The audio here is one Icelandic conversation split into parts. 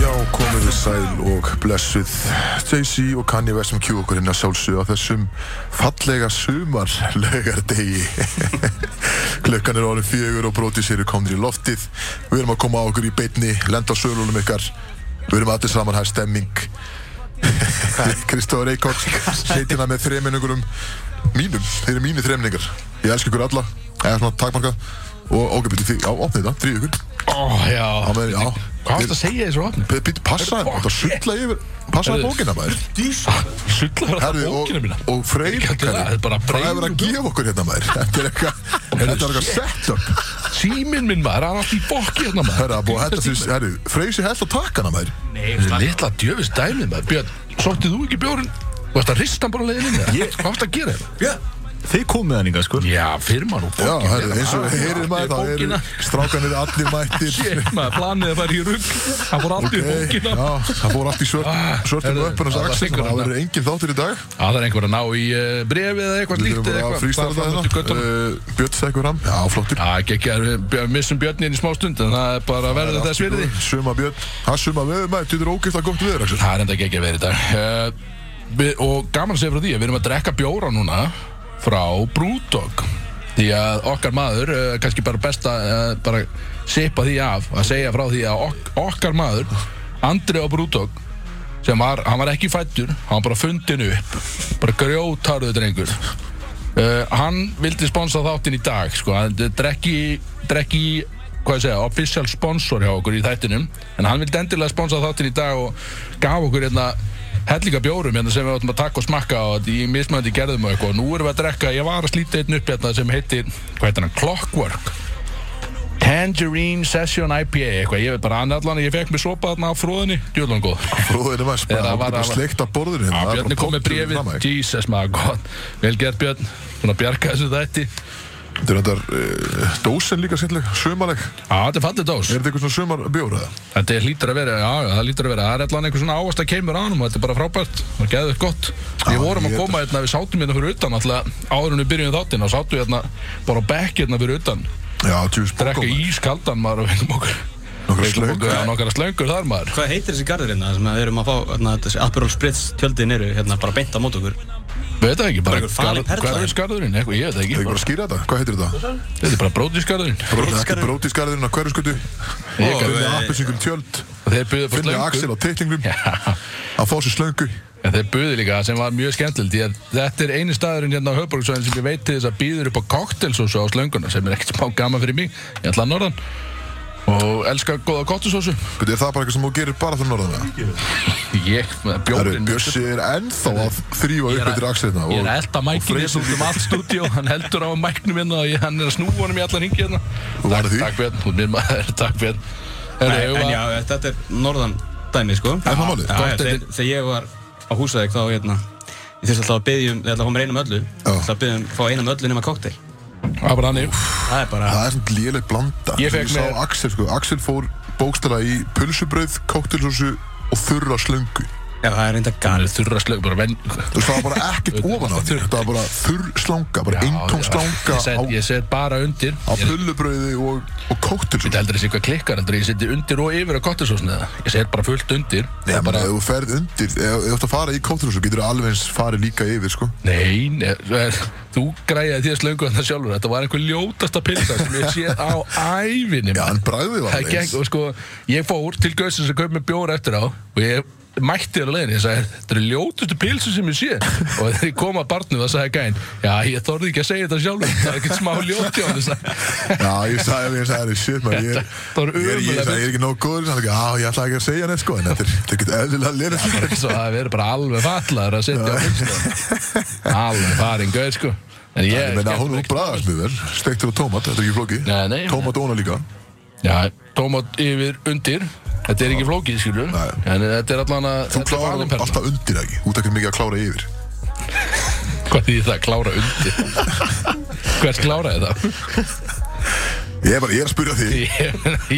Já, komið við sæl og blessuð Jay-Z og Kanye West sem kjú okkur inn að sjálfsögja á þessum fallega sumarlaugardegi Klökkan er orðin fjögur og brótið sér er komnir í loftið Við erum að koma á okkur í beinni, lenda á sölunum ykkar Við erum allir saman, það er stemming Kristóður Eikóks, setina hérna með þreminningurum mínum, þeir eru mínir þreminningar Ég elska ykkur alla, eða svona takmarka og ógæpildi því, já, opnið þetta, þrý ykkur Ó, já. Það verður, já Hvað varst að segja þessu opni? Býttu, passaði, þetta sulla yfir Passaði Herðu. bókina maður Sullar það Herðu, og, bókina mína. og Freyr Ég gæti það, þetta er bara Hvað Freyr hefur að og- gefa okkur hérna maður Þetta er eitthvað Þetta er eitthvað setup Tíminn minn maður, hann er alltaf í bóki hérna maður. Herra, búið að hætta því Herru, Freyr sé hægt að taka hana maður Þetta er litla djöfis dæmið maður. Björn, sóttið þú ekki bjórn? Varst að rista hann bara á leiðinni? eða? Hvað varst að gera hérna? Þið komið hann yngar sko Já, fyrir maður og Já, bókin. herru, eins og við heyrir maður Ég Það eru bókina. strákanir allir mættir Shit maður, planið að fara í rugg. Hann fór alltaf í Hey, bókina. já, það fór allt í Ah, svört Svörtum herru, öppun og það var saxin sigur Það hérna. verður engin þáttur í dag Já, það er einhver að ná í uh, brefið eða eitthvað Við erum líkt bara eða að eitthvað. frístarta Bara fram og þetta til göttunum. Eh, Björn segur hann Já, flottur Já, ekki ekki, við missum Björn inn í smá stund, en það er bara að verða þess virði. Suma Björn Það suma veður maður Þetta er ógeðslega gott veður Axel. Það er enda ekki ekki að vera í dag uh, við, Og gaman að segja frá því að við erum að drekka bjóra núna frá Brewdog Því að okkar maður, uh, kannski bara best að uh, bara sipa því af að segja frá því að ok okkar maður Andri á Brewdog sem var, hann var ekki fættur, hann var bara fundin upp bara grjótarðu drengur uh, hann vildi sponsa þáttinn í dag sko, hann drekki, drekki hvað ég segja, official sponsor hjá okkur í þættinum, en hann vildi endilega sponsa þáttinn í dag og gaf okkur hérna hellinga bjórum hérna sem við áttum að taka og smakka og í mismöndi gerðum og eitthvað og nú erum við að drekka, ég var að slíta einn upp hérna sem heitir, hvað heitir hann, Clockwork Tangerine Session IPA eitthvað, ég veit bara hann allan ég fekk mér sopa þarna á fróðinni, djúlan góð Bróðinu maður, Eða bara var- var, var, sleikt af borðinu það Já, er Björn bara er komið tómt fyrir bréfið, framan þig. Jesus maður, gott Vel gert Björn, svona bjarga þessu þætti Þetta er þetta uh, dósin líka sérleg, sömarleg Er Já, þetta er fallið dós þetta eitthvað svona sömarbjór eða? Þetta er hlýtur að vera, já, það hlýtur að vera Það er allan einhver svona ávast að keimur ánum og þetta er bara frábært Það geði þetta gott Við vorum að ég- koma hérna, við sátum hérna fyrir utan alltaf áður en við byrjum þáttinn og sátum hérna bara á bekk hérna fyrir utan Já, tjús Drekka bókum ískaldan maður og veitum okkur Nokkra Veitum slöng. okkur, já, Nokkara slöngur þar maður Hvað heitir þessi garður hérna sem að við erum að fá hérna, þessi Aperol Spritz tjöldin eru hérna bara beint á mót okkur? Veit það ekki, bara einhver falin garð- perla. hvað er skarðurinn, eitthvað, ég veit það Ég ekki bara bara- að skýra þetta, hvað heitir þetta? Þetta er bara brótiskarðurinn Þetta er brótisgarðurinn á hverjuskutu Ég gaf- Finnir appinsingum tjöld Þeir byggðu fyrir Finnir slöngur Axel á teiklingum Já. Að fá sér slöngu En þeir buðu líka sem var mjög skemmtilegt því að þetta er eini staðurinn hérna á höfbruksvæðin sem ég veit til þess að býður upp á koktelsósu á slönguna sem er ekkert smá gaman fyrir mig ég ætla að norðan og elska góða koktelsósu Beti, er það bara eitthvað sem þú gerir bara fyrir norðan eða? ég, Herru, bjórin Bjössi er ennþá að þrýfa upp eftir Axel hérna ég er að og- elda og mækinn Freyr- hérna út um allt stúdíó hann heldur á mæknum hérna og ég- hann er að snúa honum í allan hingi hérna varð því? takk fyrir, hún minn maður, takk fyrir Nei, Herru, en já, ef að- þetta er norðan dæmi sko. Er það málið? Já, já, Gott, þegar, þetta- þegar ég var á húsæðik þá hérna, ég þurfti alltaf að byggja um, ég ætla að fá mér einum öllu, ég ætla að byggja um, fá einum öllu nema kokteil. það var bara þannig. Það er bara, Það er svona léleg blanda Þegar Ég fekk sá mér- Axel sko Axel fór bókstala í pulsubröð, kóktelsósu og þurra slöngu já það er reynda hann garð. er þurra slög bara venn Þú veist, það var bara ekkert ofan á því Þetta var bara þurr slanga, bara eintóm slanga ég set, á, ég set bara undir á Ég er pullubröði og, og Þetta kóktelsósu heldur þessi eitthvað klikkar heldur ég seti undir og yfir á kottisósni eða ég set bara fullt undir Nei, bara, bara... ef þú ferð undir, ef ef þú ætti að fara í kóktelsósu getur þú alveg eins farið líka yfir, sko nei, nei eh, þú græjaði því að slöngu þetta sjálfur þetta var einhver ljótasta pilsa sem ég sé á ævinni Já, maður. en bragðið var það alveg geng, eins og sko, ég fór til gauðsins að kaupa mér bjóra eftir á og ég mætti þér að leiðin, ég sagði, þetta eru ljótustu pilsu sem ég sé og þegar ég kom að barnu það sagði gæn, já, ég þorði ekki að segja þetta sjálfur það er ekkert smá ljóti á þessu Já, ég sagði, ég sagði, shit, maður, ég er, Þetta var ég er, ég, ömurlega sagði, ég er ekki nóg góður, þannig að, já, ég ætla ekki að segja neitt, sko, en þetta er, þetta er ekkert eðlilega lérið. Svo það verður bara alveg fallar að setja á fyrstu Alveg farin gauð sko En ég Ég meina, hún, hún bræðast mjög vel, steiktur og tómat, þetta er ekki flóki. Nei, nei. Tómat og óna líka. Já, tómat yfir undir Þetta er ekki flókið skilur Nei. En þetta er allan að Þú þetta er klárar valin perla. alltaf undir, ekki? Þú tekur mikið að klára yfir. Hvað þýðir það? Klára undir Hvers kláraði það? Ég er bara, ég er að spyrja því. Ég,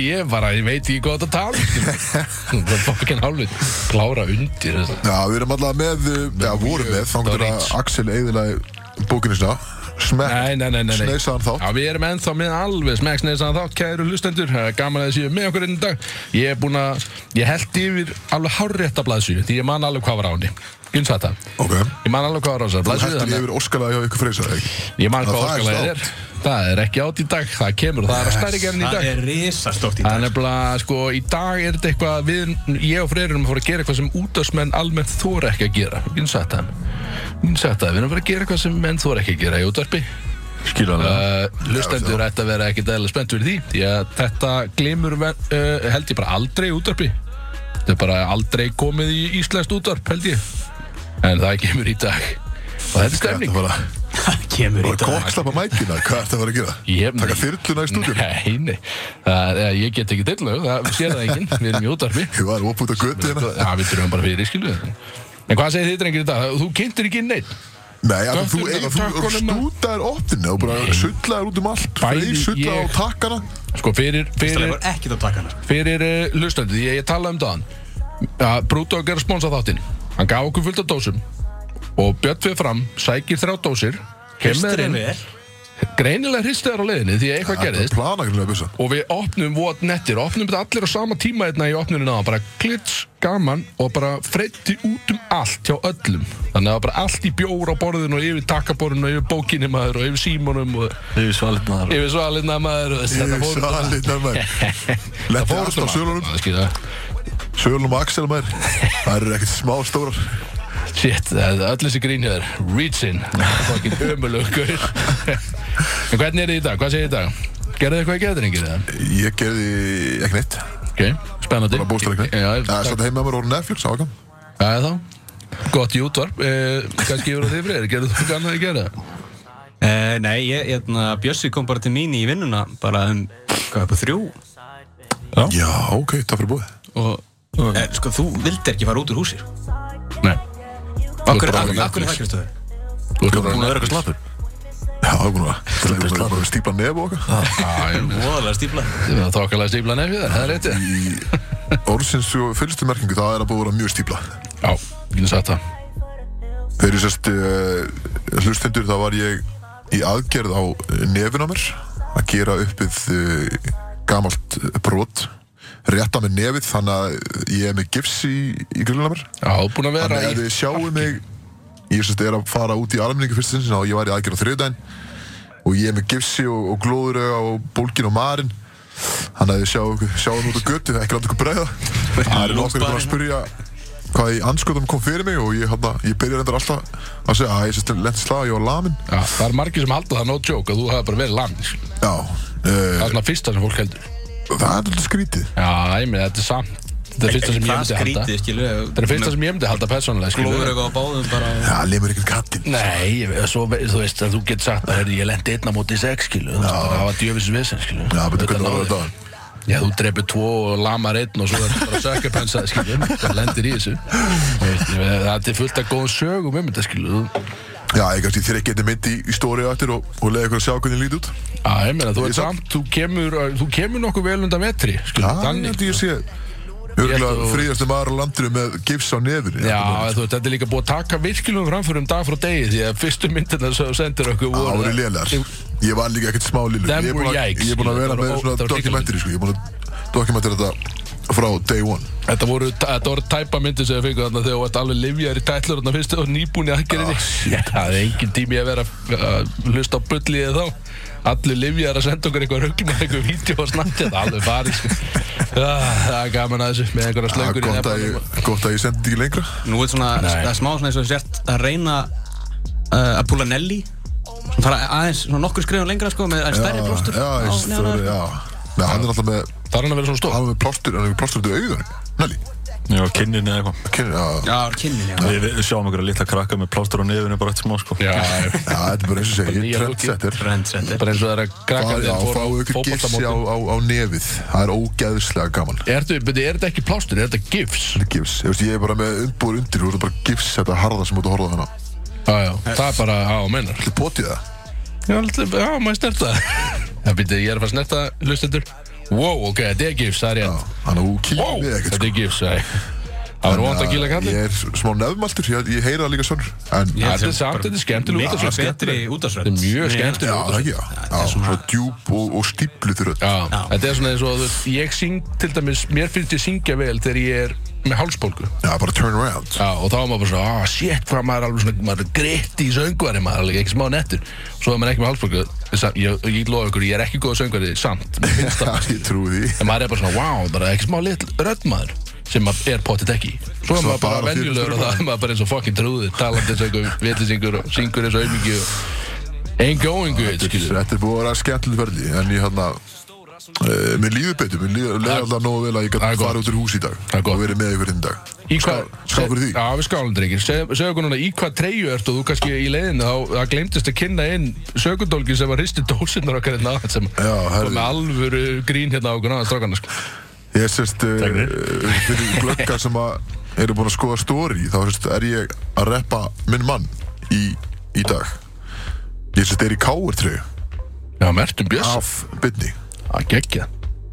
ég bara, ég veit ekki hvað þetta tala um, skilur. Það er fokkin hálfut Klára undir Já, við erum alltaf með, uh, já, eh, vorum með, þangur var að reach. Axel eiginlega bókinu sinna. smekk, Nei, nei, nei, nei, nei. sneisaðan þátt. Já, við erum ennþá með alveg smekksneisaðan þátt, kæru hlustendur Það er Gaman að þið séu með okkur einn dag Ég er búin að, ég held yfir alveg hárrétta blaðsýju Því ég man alveg hvað var á henni Gynns þetta ok. Ég man alveg hvað var á þessar Þú blaðsýju hættir þannig yfir óskalega hjá ykkur freysa, ekki? að Ég man Það- hvað það er orkalega stórt. er Það er ekki átt í dag, það kemur og það er að stærri gerðin í dag Það er risastórt í Það er dag nefnilega, sko, í dag er þetta eitthvað við, ég og Freyr erum að fara að gera eitthvað sem útdagsmenn almennt þóra ekki að gera. Ég hef sagt það. Ég hef sagt það, við erum að fara að gera eitthvað sem menn þóra ekki að gera í útdarpi. Skiljanlega Uh, Lustendur ætti að vera ekkert eðla spennt fyrir því, því að þetta glimur uh, held ég bara aldrei í útdarpi. Þetta er bara aldrei komið í íslenskt útdarp, held ég. En það kemur í dag. Og þetta er Þetta stemning. var að Það kemur í dag kokslappa mækina, hvað ertu að fara að gera? Ég- Taka þyrluna í stúdjum? Nei, nei, það, eh, ég get ekki dillu, það sér það enginn, við erum í útdarpi. Ég var opútt á götu hérna. Já, við trúum bara fyrir, skilu En hvað segir þið drengir í dag? Þú kynntir ekki neitt Nei, að þú, þú, Dötturnar, þú tökkunum, maður. stútaðir optinu og bara sullaðir út um allt. Bæði Freyr sullaði á ég- takkana. Sko, fyrir, Það fyrir, var ekkert á takkana fyrir uh, hlustandi Því að ég talaði um dagann að Brúdók er að sponsa þáttinn Hann gaf okkur fullt af dósum Og Björn fyrir fram, sækir þrjá dósir Kemur þeir inn, greinilega hristaðar á leiðinni Því að eitthvað Það er gerðist plana grunnlega bussa. Og við opnum vot nettir Opnum þetta allir á sama tíma einna í opnunum náðan Bara klits, gaman og bara freytti út um allt hjá öllum Þannig að það var bara allt í bjór á borðinu Og yfir takkaborðinu og yfir bókinni maður Og yfir símanum og Þau svalinnar yfir svalinna maður og þessi, þetta fór út um allt. Svalið, maður. Þetta Letti fór út allt á um allt. sölunum. Það skýta. Sölunum og Axel, maður. Það eru ekkert smá stórar. Shit, það er öll þessi grín hér Reachin, fokkin ömulugur En hvernig er þið í dag? Hvað segir þið í dag? Gerðu þið eitthvað í geðringir eða? Ég gerði ekki neitt. Ok, spennandi Bara bústar ekki neitt. Já, Það er takk. satt heima með mér orðin Netflix, ákvæm. Það er þá Gott í útvarp, eh, kannski yfir á því fyrir Gerðu þú eitthvað annað í gera? Eh, Nei, ég, hérna, Bjössi kom bara til mín í vinnuna bara um, hvað, upp á þrjú Já, ok, það fyrir búið. og, eh, sko, þú vildir ekki fara út úr húsir Nei Akkur bara er orðinn það, Netflix. Kristóður? Þú ert bara Búin að vera orðinn- eitthvað slappur Já, það er búin að- það er búin að stípla nef og okkar. Já, ég- Móðalega stífla Það var þokkalega stífla nefnir það, það er rétti Í orðsins og fylgstu merkingu, það er að búið að vera mjög stíplað. Já, ég get sagt það Þegar ég sérst uh, hlustendur þá var ég í aðgerð á nefina mér að gera uppið uh, gamalt brot rétta með nefið þannig að ég er með gifs í, í grillina mér Já, búin að vera þannig að í þið sjáu mig ég sérst er að fara út í almenningu fyrst sinni og ég var í aðgerð á þriðdæn og ég er með gifsi og, og glóðuröga og bólkin og marinn þannig að þið sjáu, sjáu mig um út á götu ekki láta ykkur bregða það er nokkur búin að spyrja hvað í anskotum kom fyrir mig og ég, hana, ég byrja reyndar alltaf að segja að ég sérst lent slag, ég var lamin Já, það er margir sem halda það no joke að þú hafa bara verið lang Það Já, uh, er svona fyrsta sem fólk heldur það er alltaf skrítið Já, ég meina, þetta er samt Þetta er fyrsta sem ég Það myndi halda skrítið, skilu Þetta er fyrsta sem ég myndi halda persónulega skilur. Glóður eitthvað á báðum bara Það lemur ekkert kattinn Nei, ég, veit- svo, ve- þú veist að þú get sagt að herri, ég lendi einna móti í sex skilu Þú veist, það var djöfis vesen skilu Já, betur hvernig var náði- þetta Já, þú drepir tvo og lamar einn og svo er bara sökkapensað skilu Það lendir í þessu Þú veist, ég veit, Það er fullt af góðum sögum um þetta skilu Þú- Já, ég kannski þeir ekki eitthvað mynd í, í stóri aftur og, og leiði ykkur að sjá hvernig lítið út Já, ég meina, þú, Ég ert samt- samt, þú, kemur, þú kemur nokkuð vel undan vetri Já, skilu, ég held ég sé Ég Örgulega held þú- fríðastu maður á landinu með gifs á nefur Já, þú veist, þetta er líka búið að taka virkilegum framförum dag frá degi því að fyrstu myndina sem þú sendir okkur Það voru lélegar Ég var líka ekkert smá lillur Them Ég er búin were að- yikes. ég er búin að vera Það voru- með það svona voru dokumentir sko. Ég er búin að dokumentir þetta frá day one Þetta voru, þetta voru tæpa myndir sem við fengum þarna þegar þú ert alveg livjar í tætlur þarna fyrstu og nýbúin í Ah, aðgerinni Það er engin tími að vera að hlusta á bulli eða þá Allir livjar að senda okkur eitthvað rugg með eitthvað vídeo og snakka Það er alveg farið sko. Ah, Það er gaman að þessu með Það einhverja er slöngur í Ah, gott að nefnum ég- gott að ég sendi þetta ekki lengra Nú er svona, Nei. það er smá svona eins og sért að reyna uh, að púla Nelly Svona fara aðeins, svona nokkur skrifum lengra sko með aðeins stærri blóstur Já, ég veist, það er- já Nei, hann er alltaf með Það er hann að vera svona stór Hann er með plástur Hann er með plástur til auðunum Nelly Já, kynninni eða eitthvað Kynir, já Já, kynnin, já Við, við sjáum einhverja litla krakka með plástur á nefinu bara eftir smá sko Já, já. Já, þetta er bara eins og segja, ég nýja er trendsetter Trendsetter bara eins og það er að krakka Já, fá ykkur gifsi á, á, á nefið Það er ógæðislega gaman Er þetta- byrju, er þetta ekki plástur, er þetta gifs? Gifs, ég veist, ég er bara með umbúður undir Þú veist, bara gifs þetta harða sem út að horfa á hana Ah, Já, já, það er bara, já, meinar Þetta er potið það Já, alltaf, já, maður snerta það. Það býtti, ég er að fara að snerta hlustendur Wow, ok, þetta er gifs, það er rétt Þannig að þú kýlir Wow, við ekkert þetta sko. er gifs, það Það var vond að gíla kalli Ég er smá nefnmaltur, ég, ég heyra það líka svonur En Já, Þetta er samt, þetta er skemmtileg Miklu útastrætt betri útarsrönd Þetta er mjög Já, það skemmtileg er útastrætt ekki það. Já, svona djúb og, og stípluð rödd. Já, þetta er svona eins og þú veist, ég syng til dæmis, mér finnst ég syngja vel þegar ég er með hálsbólgu Já, bara turn around. Já, og þá er maður bara svona, ah, shit, hvað maður er alveg svona, maður er gritt í söngvari, maður er alveg ekki smá nettur Svo er maður ekki með hálsbólgu, sam- ég, ég lofa ykkur, ég er ekki góð söngvari, samt, mér finnst Já, það ég trúi því. En maður er bara svona, wow, bara ekki smá litl röddmaður sem maður er potið ekki í. Svo er Svo maður bara bara venjulegur og það er maður bara eins og fucking trúður talandi eins og einhver vitlisingur og syngur eins og auðmikið og ain't going good, skilur Þetta er búið að vera skemmtileg ferli, en ég hann að... Uh, mér líður betur, mér líður leið alltaf nógu vel að ég Það er gæti gott. farið út úr hús í dag Það er gott. og verið með ykkur hinn í dag. Í hvað- skál fyrir því. Já, við skálum drengir Seg- Segðu okkur núna, í hvað treyju ert og þú kannski í leiðinu þá það glemtist að kynna inn sögundólki sem var hristi dósinnar okkar hérna áðan sem Já, kom herri. með alvöru grín hérna á okkur náðan strákana sko. Ég er sérst, uh, Fregnir. uh, fyrir glöggar sem að eru búin að skoða story, þá sérst, er ég að reppa minn mann í, í dag. Ég sérst, er í káertröju Já, mertum Ah, bjöss af bytni. Það geggja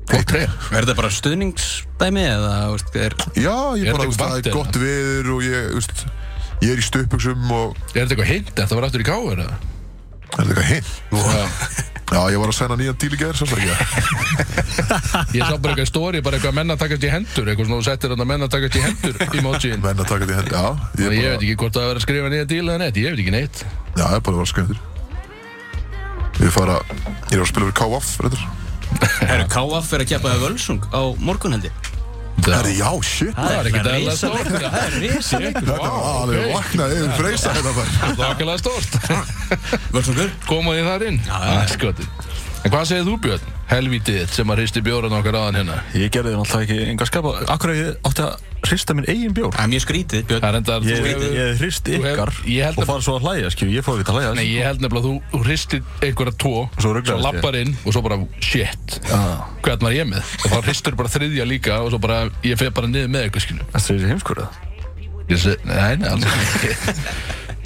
Flott treyja Er þetta bara stuðningsdæmi eða veist, er, Já, ég Er bara, þú þetta veist, eitthvað það vant er eða? gott veður og ég, þú veist, ég er í stöpugsum og Er þetta eitthvað hint? Þetta var aftur í káur eða? er þetta eitthvað hinn? Já Já, ég var að sæna nýjan díl í gerð, sérstaklega. Ég sá bara eitthvað stóri, bara eitthvað menna takast í hendur Eitthvað svona þú settir þetta menna takast í hendur Emojiin Menn að taka þetta í hendur, já. Þannig Ég, ég er veit bara, ekki hvort það er að skrifa nýja díl eða neitt Ég veit ekki neitt já, ég er bara að vera sköndur. Ég fara, ég er að spila fyrir KF, reyndar. er KF fyrir að keppa við Völsung á morgunhendi? Það er já, shit. Það er ekkert eðlilega stórt. Það er risalegur Þetta var alveg ok. vaknað yfir freysa hérna bara. Þakkilega stórt Völsungur? Koma því þar inn Skoti En hvað segir þú Björn? Helvítið þitt sem að hristi bjóran okkar aðan hérna Ég gerði það náttúrulega ekki enga skapa Akkur að ég átti að hrista minn eigin bjór Það er mjög skrítið, Björn Það er endar Ég, ég hristi þú ykkar hefur- ég held og að- fara svo að hlæja skilju, ég fór ekki að hlæja sko. Nei, ég held nefnilega að þú hristir einhverja tvo Svo ruglaðist ég. lappar inn og svo bara shit Ah. Hvern var ég með? Og þá hristur bara þriðja líka og svo bara ég fer bara niður með eitthvað skilju Það er heimskur það Ég segi, nei, nei, alls ekki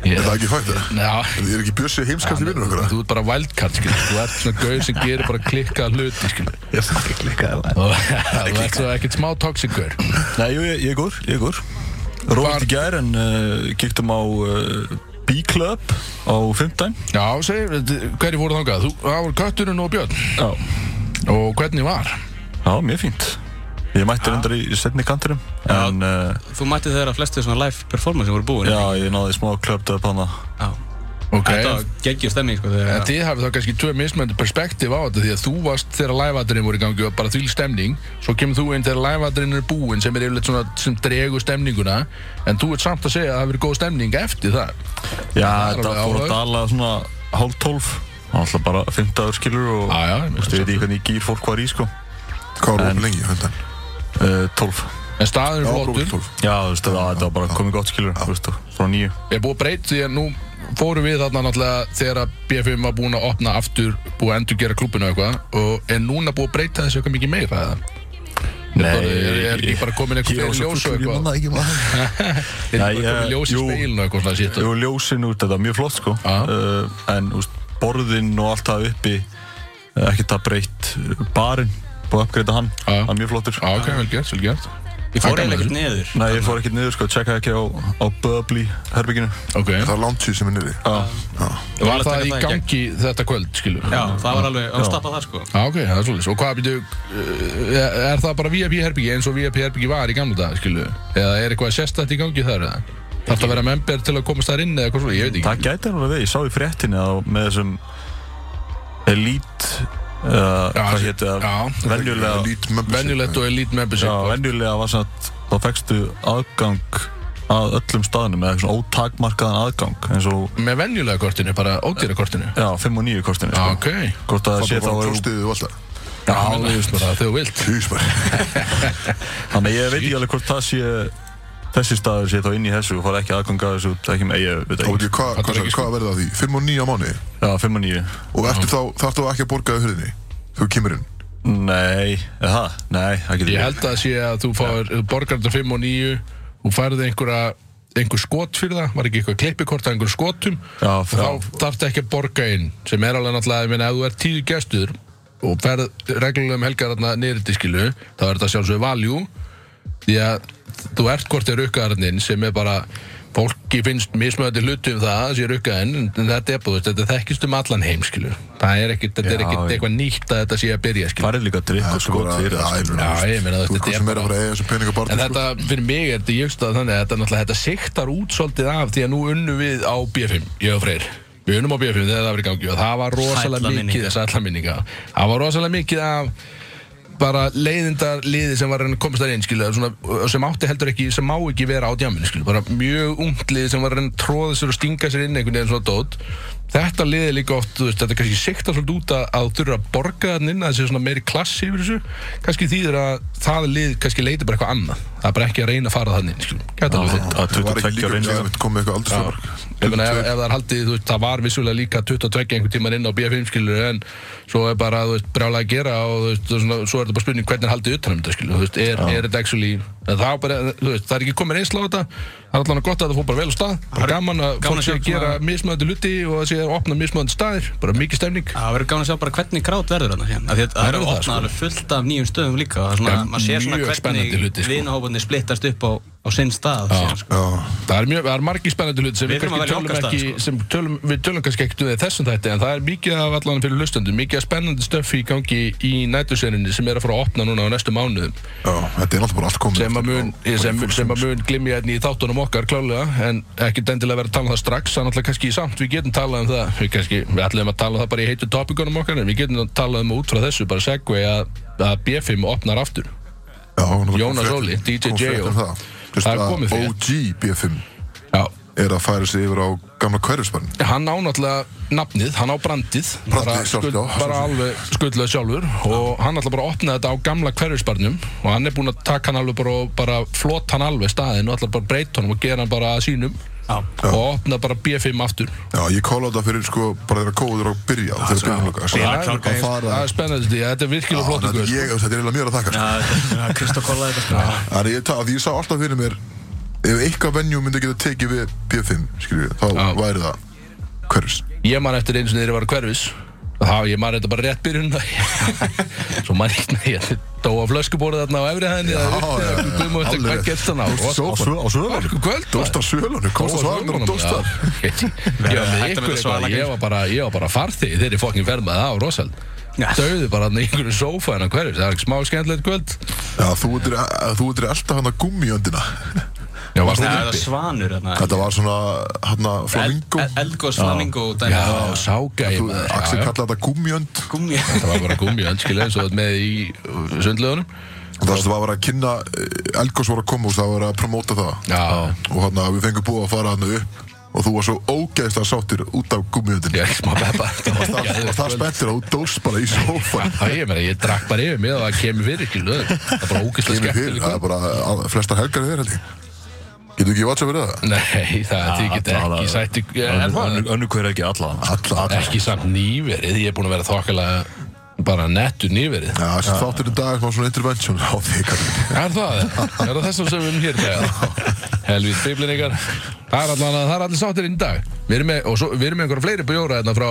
Ég- Er það ekki fætt það? Já, Ég er ekki bjössið heimskast í vinnur okkur. þú ert bara wildcard, skilju Þú ert svona gauð sem gerir bara klikkað hluti, skilju Ég er ekki klikkað það Og þú ert svo ekkert smá toxic gaur Nei, jú, ég, ég er góður, ég er góður Róðið í gær en uh, kíktum á uh, B-Club á 15 Já, segir, hverju voru þangað? Þú, það voru kötturinn og Björn Já Og hvernig var? Já, mjög fínt Ég mætti reyndar í setni kanturum En uh, Þú mætti þegar að flestu svona live performance sem voru búin já, ég náði smá klöptöð upp hana Já. Ok Þetta geggjur stemming sko, þegar- En þið hafið þá kannski tvö mismöndu perspektíf á þetta Því að þú varst þegar læfadurinn voru í gangi og bara þvíl stemning Svo kemur þú inn þegar læfadurinn er búinn sem er yfirleitt svona sem dregur stemninguna En þú ert samt að segja að það hefur verið góð stemning eftir það Já, er þetta fór alveg áhugavert. að dala svona hálf tólf Það var alltaf bara 15 skilur og Já, já, ég Þú veist, ég veit ekki hvernig gýr fólk var í sko Hvað var opið lengi, hundan? Eh, uh, 12 En staðurinn Já, er opið flottur 12. Já, þú veist, það, þetta var bara komið gott skilur Þú veist, frá nýju Ég er búið að breyta því að nú fórum við þarna náttúrulega þegar að BFM var búin að opna aftur búið að endurgera klúbbinu og eitthvað og er núna búið að breyta þessu eitthvað mikið meira eða? Nei, er, er, er ekki bara komin Ég eitthvað var fleiri svo ljós og fullur, ég eitthvað manna ekki maður er Nei, ekki bara komin ég- ljós í jú. speilinu og eitthvað svona shit Jú, ljósin úr þetta, mjög flott sko Já. uh, En úst, borðin og allt það uppi eh, Ekkert það breytt Barinn, búið að uppgreita hann Já. Hann er mjög flottur Já, Ah, ok, vel gert, vel gert Ég fór Gaman eiginlega þessu. ekkert niður Nei, ég fór ekkert niður sko, tjekkaði ekki á, á Bubbly herbygginu Ok, Það er loungið sem er niður. Ég var að taka hérna það í það í gegn. gangi þetta kvöld, skilur Já, það var alveg að stappa það sko Já, ok, það er svolítið Og hvað býtu, uh, er það bara VIP herbyggi eins og VIP herbyggi var í gamla dag, skilur Eða er eitthvað sérstætt í gangi þar, eða? Þarf það að vera member til að komast þar inn eða hvað svona, ég veit ekki Það gæti alveg við, ég sá í fréttinni að með þessum Elite uh, Já, Hvað þessi- héti það? já. Venjulega Elite membership. Venjulegt og elite membership Já, já, venjulega var svona að þá fekstu aðgang að öllum staðnum eða svona ótakmarkaðan aðgang eins og, Með venjulega kortinu, bara ódýra kortinu já, 5 og 9 kostinu Já, sko. ok Hvort að það sé Það þá var er klóstiðið og alltaf. Já, þú veist bara þegar þú vilt Hús bara. Þannig að ég veit ekki alveg hvort það sé þessi staður sé þá inn í þessu og fara ekki aðganga þessu út, ekki með, ég veit Þá veit ekki ég hvað Þetta er hva, ekki sko- hva verður það því. 5 og 9 á mánu. Já, 5 og 9 Og eftir þá þarf þú ekki að borga þau hurðinni. Þú kemur inn. Nei, er það? Nei, það getur Ég held að sé að þú fáir þú borgar þetta 5 og 9 Þú færði einhverja einhver skot fyrir það, var ekki eitthvað klippikort að einhver skotum Já, og já. þá þarf þetta ekki að borga inn sem er alveg náttúrulega, ég meina, ef þú er tíu gestur og um ferð reglulegum helgarna niður í diskilu, þá er þetta sjálfsög valjú því að þú ert hvort er rukkaðarinn sem er bara fólki finnst mismöðandi hluti um það að sé rukkaðinn en en þetta er búið, þetta þekkist um allan heim skilur, það er ekkit, þetta Já, er ekkit já. eitthvað nýtt að þetta sé að byrja skilur farið líka að drikka og skot fyrir það sko. Já, ég meina, Þú er þetta hvað er sem er bara- að fara að eiga þessu peninga En barnum sko. þetta, fyrir mig er þetta jökstað þannig að þetta náttúrulega, þetta siktar út svolítið af því að nú unnu við á B5, ég og Freyr. Við unnum á B5 þegar það var í gangi og það var rosalega Sælla mikið, minninga. sælla minninga, það var rosalega mikið af bara leiðindar liði sem var að reyna að komast þar inn, skilu, svona, sem átti heldur ekki, sem má ekki vera á djáminu, skilu, bara mjög ungt liði sem var að reyna að tróða sér og stinga sér inn einhvern veginn svona dót. Þetta liði líka oft, þú veist, þetta kannski sikta svolítið út að, að þú þurfa að borga þann inn, að það sé svona meiri klass yfir þessu, kannski þýðir að það lið kannski leiti bara eitthvað annað, það er bara ekki að reyna að fara þann inn, skilu, gæta alveg þitt. að Það var ekki 22 líka ára inn með að koma með eitthvað Ég meina, ef, aldursfjörg ef það er haldið, þú veist, það var vissulega líka 22 einhvern tíman inn á B5 skilur en svo er bara, þú veist, brjálega að gera og þú veist, og svona, svo er þetta bara spurning hvernig er haldið utanum þetta skilur, þú veist, er, er þetta actually en það, er bara, þú veist, það er ekki komin einsla á þetta það er allan gott að það fór bara vel á stað bara gaman að hérna gaman fólk að sé sjá að svona- gera mismöðandi luti og að sé að opna mismöðandi staðir bara mikið stemning Það verður gáðan að sjá bara hvernig krát verður þarna hérna. Af því að Það er verður að það, opna sko. alveg fullt af nýjum stöðum líka og svona, Já, maður sér svona mjög spennandi hvernig hluti, sko. vinahóparnir splittast upp á, á sinn stað síðan, sko. það er, mjög, það er margir spennandi hluti sem Við við, þurfum kannski að velja tölum okkar stað, ekki sko. sem tölum, við tölum kannski ekkert um það í þessum þætti en það er mikið af allan fyrir hlustendum mikið af spennandi stöfi í gangi í næturserinni sem er að fara að opna núna á næstu mánuðum Þetta er náttúrulega bara allt komið sem að mun, eftir- ég, sem, bara í sem að fólksins. mun glimja hérna í þáttunum okkar klálega en ekki dendilega vera að tala um það strax þannig að kannski samt við getum talað um það við, kannski, við ætlum að tala um það bara í heitu topikunum okkar en við getum að tala um það út frá þessu bara segvei að, að B5 opnar aftur Já, náttúrulega Jónas kom frétt- Óli, DJ kom frétt um J.O. það. Þú veist Það er að komið frétt. OG B5 Já. er að færa sig yfir á gamla hverfisbarn hann á náttúrulega nafnið, hann á brandið bara, sjálft, já, sjálft. bara alveg skuldlega sjálfur og hann ætla bara að opna þetta á gamla hverfisbarnum og hann er búinn að taka hann alveg bara, og bara flota hann alveg staðin og ætla bara að breyta honum og gera hann bara að sínum Já. og opna bara B5 aftur Já, ég kála þetta fyrir sko bara þeirra kóður á byrja þegar byrjum loka Það er- að fara Það er spennandi, því að þetta er virkilega Já, flott þetta er ykkur ég- þetta er eiginlega mér að þakka sko. Já, Kristó kollaði þetta sko. Þannig ég, ta- því ég sá alltaf fyrir mér ef eitthvað venjú myndi geta tekið við B5 skilju, þá Já. væri það hverfis Ég man eftir einu sinni þegar ég var hverfis Þá, ég man þetta bara rétt byrjun Svo man ég ekki Ég dó á flöskubórið þarna á efri hæðinni Það já, já, já, uppið og þetta alveg hvað rétt. gett þannig á Dóst á svö- á svölunum. Orku kvöld Dóst á svölunum, komst á svölunum og dóst þar Ég var með ykkur Hægt að vera eitthvað svala Ég var bara, ég var bara farþið Þeirri fokkin ferð með það á Rosald Já. Dauðu bara hann í einhverju sófa hennar hverfis Það er smá skemmtilegt kvöld Já, þú ert að- þú ert alltaf hann að gummiöndina Já, varst þú Það er uppi? svanur þarna. Þetta var svona, hann að flamingo Eldgóðs flamingo dæmi. Já, ságæði Þú- Axel kallaði þetta gummiönd Gúmi. Það var bara gummi öndskilega eins og þú ert með í uh, sundlögunum Það var að vera að kynna Elgos var að koma og það var að promóta það Já, og hann að við fengum búið að fara hann upp og þú var svo ógeðst að sáttir út af gummiöndinu ég er smá beppa Það og það spenntir að þú dóst bara í sófan Það ég meina, ég drakk bara yfir mig og það kemur fyrir ekki lög Það er bara ógeðslega Kemur fyrir, skemmtilega það er bara að, flestar helgar er þér held ég Getur ekki vatsa verið það? Nei, það þið get alla- ekki sætti Er það? önnu hver ekki allan Alla, alla Ekki samt nýverið, ég er búin að vera þokkalega bara nettu nýverið Já, þessi þáttur í dag er smá svona intervention á því kannski Er það? Er það þessum sem við erum hér í dag? Helvít biblin ykkar Það er allan að það er allir sáttir inn í dag Við erum með, og svo, við erum með einhverja fleiri bjóra hérna frá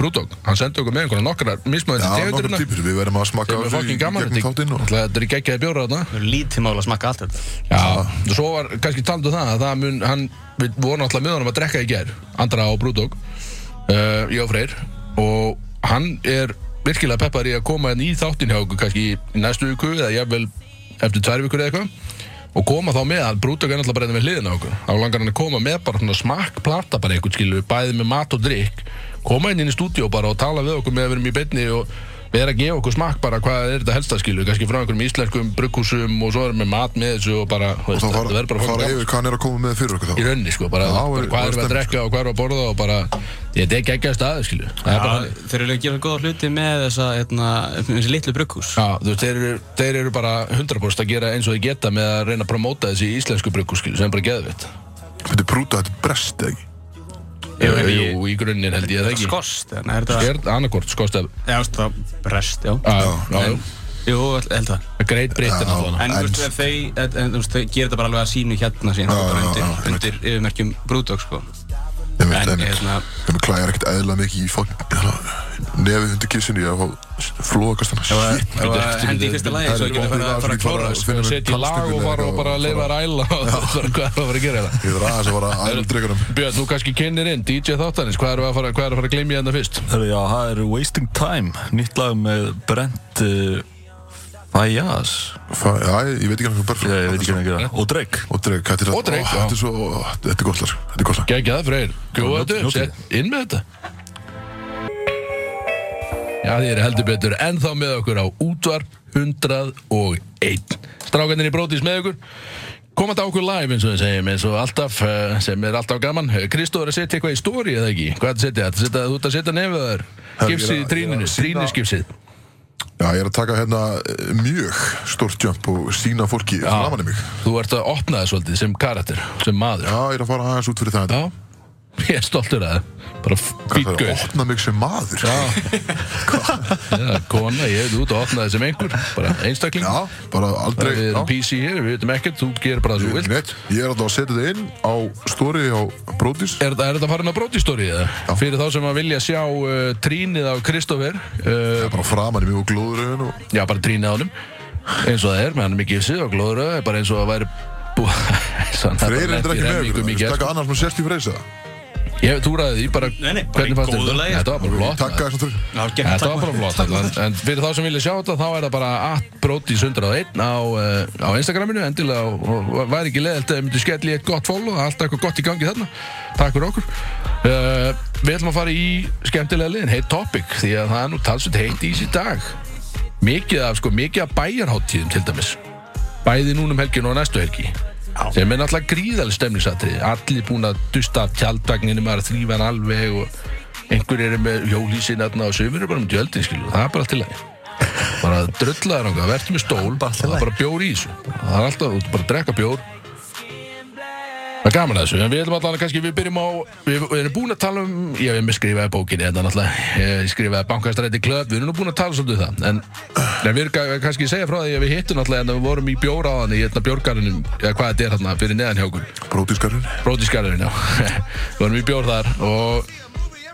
Brúdók Hann sendi okkur með einhverja nokkra mismöðin Já, nokkur tegundurina típur, við verðum að smaka Það er þessu fokkin gaman gegnum þáttinn og Þetta þetta er geggjaði bjóra þarna Lítið mál að smakka allt þetta. Já, og svo var kannski taldu það að það mun, hann, við vorum alltaf með honum að drekka í gær, Andra og Brúdók, uh, ég og Freyr, og hann er virkilega peppar í að koma hérna í þáttin hjá okkur kannski í næstu viku eða jafnvel eftir tvær vikur eða eitthvað og koma þá með að Brúdók er alltaf bara hérna við hliðina á okkur, þá langar hann að koma með bara svona smakkplata bara einhvern skilu, bæði með mat og drikk, koma inn inn í stúdíó bara og tala við okkur með að við erum í beinni og við erum að gefa okkur smakk bara hvað er þetta helsta skilu kannski frá einhverjum íslenskum brugghúsum og svo erum við mat með þessu og bara þú og veist, þá þetta fara, verður bara fara fólk yfir hvað hann er að koma með fyrir okkur þá í rauninni sko bara, Já, bara er- er sko. hvað erum við að stemning, drekka og hvað erum við að borða og bara ég, þetta er geggjað staði skilu það er bara Já, þannig. Þeir eru að gera góða hluti með þessa, hérna, þessi litlu brugghús. Já, þú veist, þeir eru, þeir eru bara 100% að gera eins og þeir geta með að reyna að promóta þessi íslensku brugghús skilu sem er bara geðvitt Þetta er brúta, þetta er brest, eða ekki? Jú, en ég- Jú, í grunninn held ég það ekki Skost, en er þetta... Er annarkort skostef Já, það brest, já. Ah, Já, En- Jú, ég held það. greit breytin Já. alltaf hana En þú veist, En- ef þau, en, en, þú veist, þau gerir þetta bara alveg að sínu hérna síðan, Já, bara já, undir, já, einmitt. undir yfirmerkjum Brúdók, sko. Já, einmitt, En einmitt. hérna, Ég klæjar ekkert eðla mikið í fólk Nefið undir kissinni Ég fá flókast hana Shit ef að hendi í fyrsta lagi Það svo er ég geti opnið fara lag, að ég fara að get bara klóra að sko. finna mér setja í lag og fara og bara leifa þær æla og bara hvað er að fara að gera þetta Ég þarf aðeins að vara aðeins dregunum Björn, þú kannski kennir inn DJ Þáttanins, hvað erum við að fara, hvað erum við að, fara að glemja hérna fyrst? Herru, já, það er Wasting Time, nýtt lag með Brent uh, Fajas, Fa- Já, ég veit ekki hann ég, ég veit ekki hvernig það, og Drake. Og dreg, hvað er þetta? Og Drake, Ó, já. Þetta er svo, ó, þetta er gott lag, sko. þetta er gott lag Gækja það Freyr, gjóða Njótið, þetta upp, njótið. sett inn með þetta Já, þið eru heldur betur ennþá með okkur á útvarp 101 Strákanir í brótis með okkur Komandi á okkur live eins og við segjum eins og alltaf eh, sem er alltaf gaman Kristóður að setja eitthvað í stóri eða ekki Hvað er að setja þetta? Þú ert að setja nefið þar Herru, ég er Gipsið að- í ég er tríninu, að sýna- trínisgipsið Já, ég er að taka hérna eh, mjög stórt jump og sína fólki framan í mig Þú ert að opna það svolítið sem karakter, sem maður Já, ég er að fara aðeins út fyrir það Já, ég er stoltur að það Bara Hvað það er fíkur að opna mig sem maður Já Já, kona, ég hefði út að opna þessum einhver Bara einstakling Já, bara Bara aldrei Við já. erum PC hér, við veitum ekkert Þú gerir bara það sem þú vilt Nett, Ég er alltaf að setja þetta inn á story á Brodís Er, þetta- er þetta farin að brótistóri eða? Fyrir þá sem að vilja sjá uh, trínið á Kristoffer uh, Bara framan í mig og glóður auðan og Já, bara trínið á honum Eins og það er, með hann er mikið sið og glóður auð, Bara eins og það væri búið Freyr er Freyri þetta ekki með ykkur, við sko. taka annars með sérst í freysa Ég hef túraði því bara Nei, nei, bara í Hvernig fannst góðu þetta? lagi. sko. Þetta var bara flott maður. Takka þessum þurr Já, gekk Þetta takk var bara flott en, en fyrir þá sem vilja sjá þetta þá er það bara atbrotis101 á, uh, á Instagraminu endilega og, og væri ekki leðilt að myndi skell í eitt gott follow það er alltaf eitthvað gott í gangi þarna Takk fyrir okkur uh, Við ætlum að fara í skemmtilega liðin heitt topic því að það er nú talsveit heitt í þessi dag Mikið af, sko, mikið af bæjarháttíðum til dæmis bæði núna um helgin og næstu helgi sem er náttúrulega gríðaleg stemningsatrið allir búin að dusta af tjaldvagninu maður að þrýfa hann alveg og einhverjir eru með hjólísin aðna og sömur eru bara um djöldin skilu, það er bara allt í lagi bara dröllaðar ánga, verður með stól Bara allt í það lagi. er bara bjór í þessu það er alltaf, þú ert bara að drekka bjór Það er gaman að þessu, en við ætlum allavega kannski, við byrjum á, við, við erum búin að tala um, ég hef með skrifaði bókinni, þetta náttúrulega, ég skrifaði bankastræti klöp, við erum nú búin að tala svolítið um það, en, en við erum ga- kannski að segja frá því að við hittum náttúrulega en við vorum í bjóraðan í hérna bjórgarunum, eða hvað þetta er hérna fyrir neðan hjá okkur, Brodískarinn brótisgarunum, já, við vorum í bjór þar og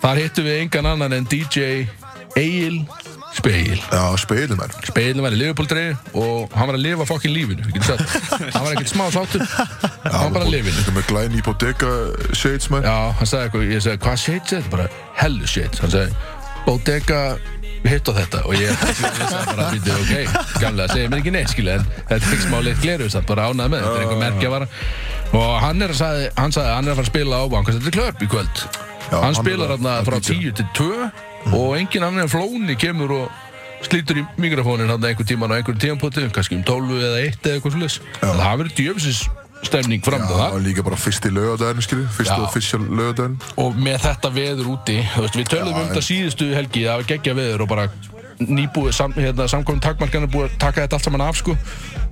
þar hittum við engan annan en DJ Egil Spegil. Já, speilin mær Speilin var í Liverpool-treyju og hann var að lifa fokkin lífinu, ég geti sagt. Hann var ekkert smá sáttur, hann var bara að lifa. Eitthvað með glæni í bodega shades mær Já, hann sagði eitthvað, ég sagði, hvað shades er þetta? Bara, hellu shades. Hann sagði, Bodega, hitt á þetta. Og ég, ég sagði bara, býttu, ok, gamlega, segir mér ekki neitt, skilja, en þetta er ekki smá leitt gleru, samt bara ánað með, þetta er einhver merkja vara. Og hann er að sagði, hann sagði, hann er að fara að spila á Bankastætti Klöp í kvöld. Já, hann hann er spilar að- þarna að frá DJ. 10 til 2 og enginn annar en flóni kemur og slítur í mikrofónin hann einhver tíman á einhver tímanpoti, kannski um 12 eða 1 eða eitthvað svolítið. Það verður djöfisins stemning fram til það. Og líka bara fyrsti lögadaginn, skilju Fyrsti Já. official lögadaginn og með þetta veður úti þú veist, við töluðum Já, um en- þetta síðustu helgi það var geggja veður og bara nýbúið sam, hérna, samkominn takmarkan er búið að taka þetta allt saman af sko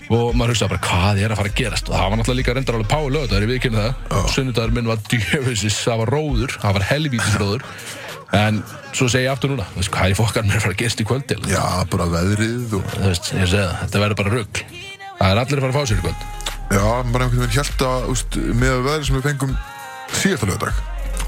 og maður hugsaði bara hvað er að fara að gerast og það var náttúrulega líka reyndar alveg páu lögðar ég viðkynna það, sunnudagur minn var djöfusis það var róður, það var helvítis róður en svo segi ég aftur núna þú veist, hvað er fokkar mér að fara að gerast í kvöldi Já, bara veðrið og þú veist, ég segi það, þetta verður bara rugg það er allir að fara að fá sér í kvöld Já, bara einhvern veginn hjælt að úst, Með að veðrið sem við fengum síðasta lögadag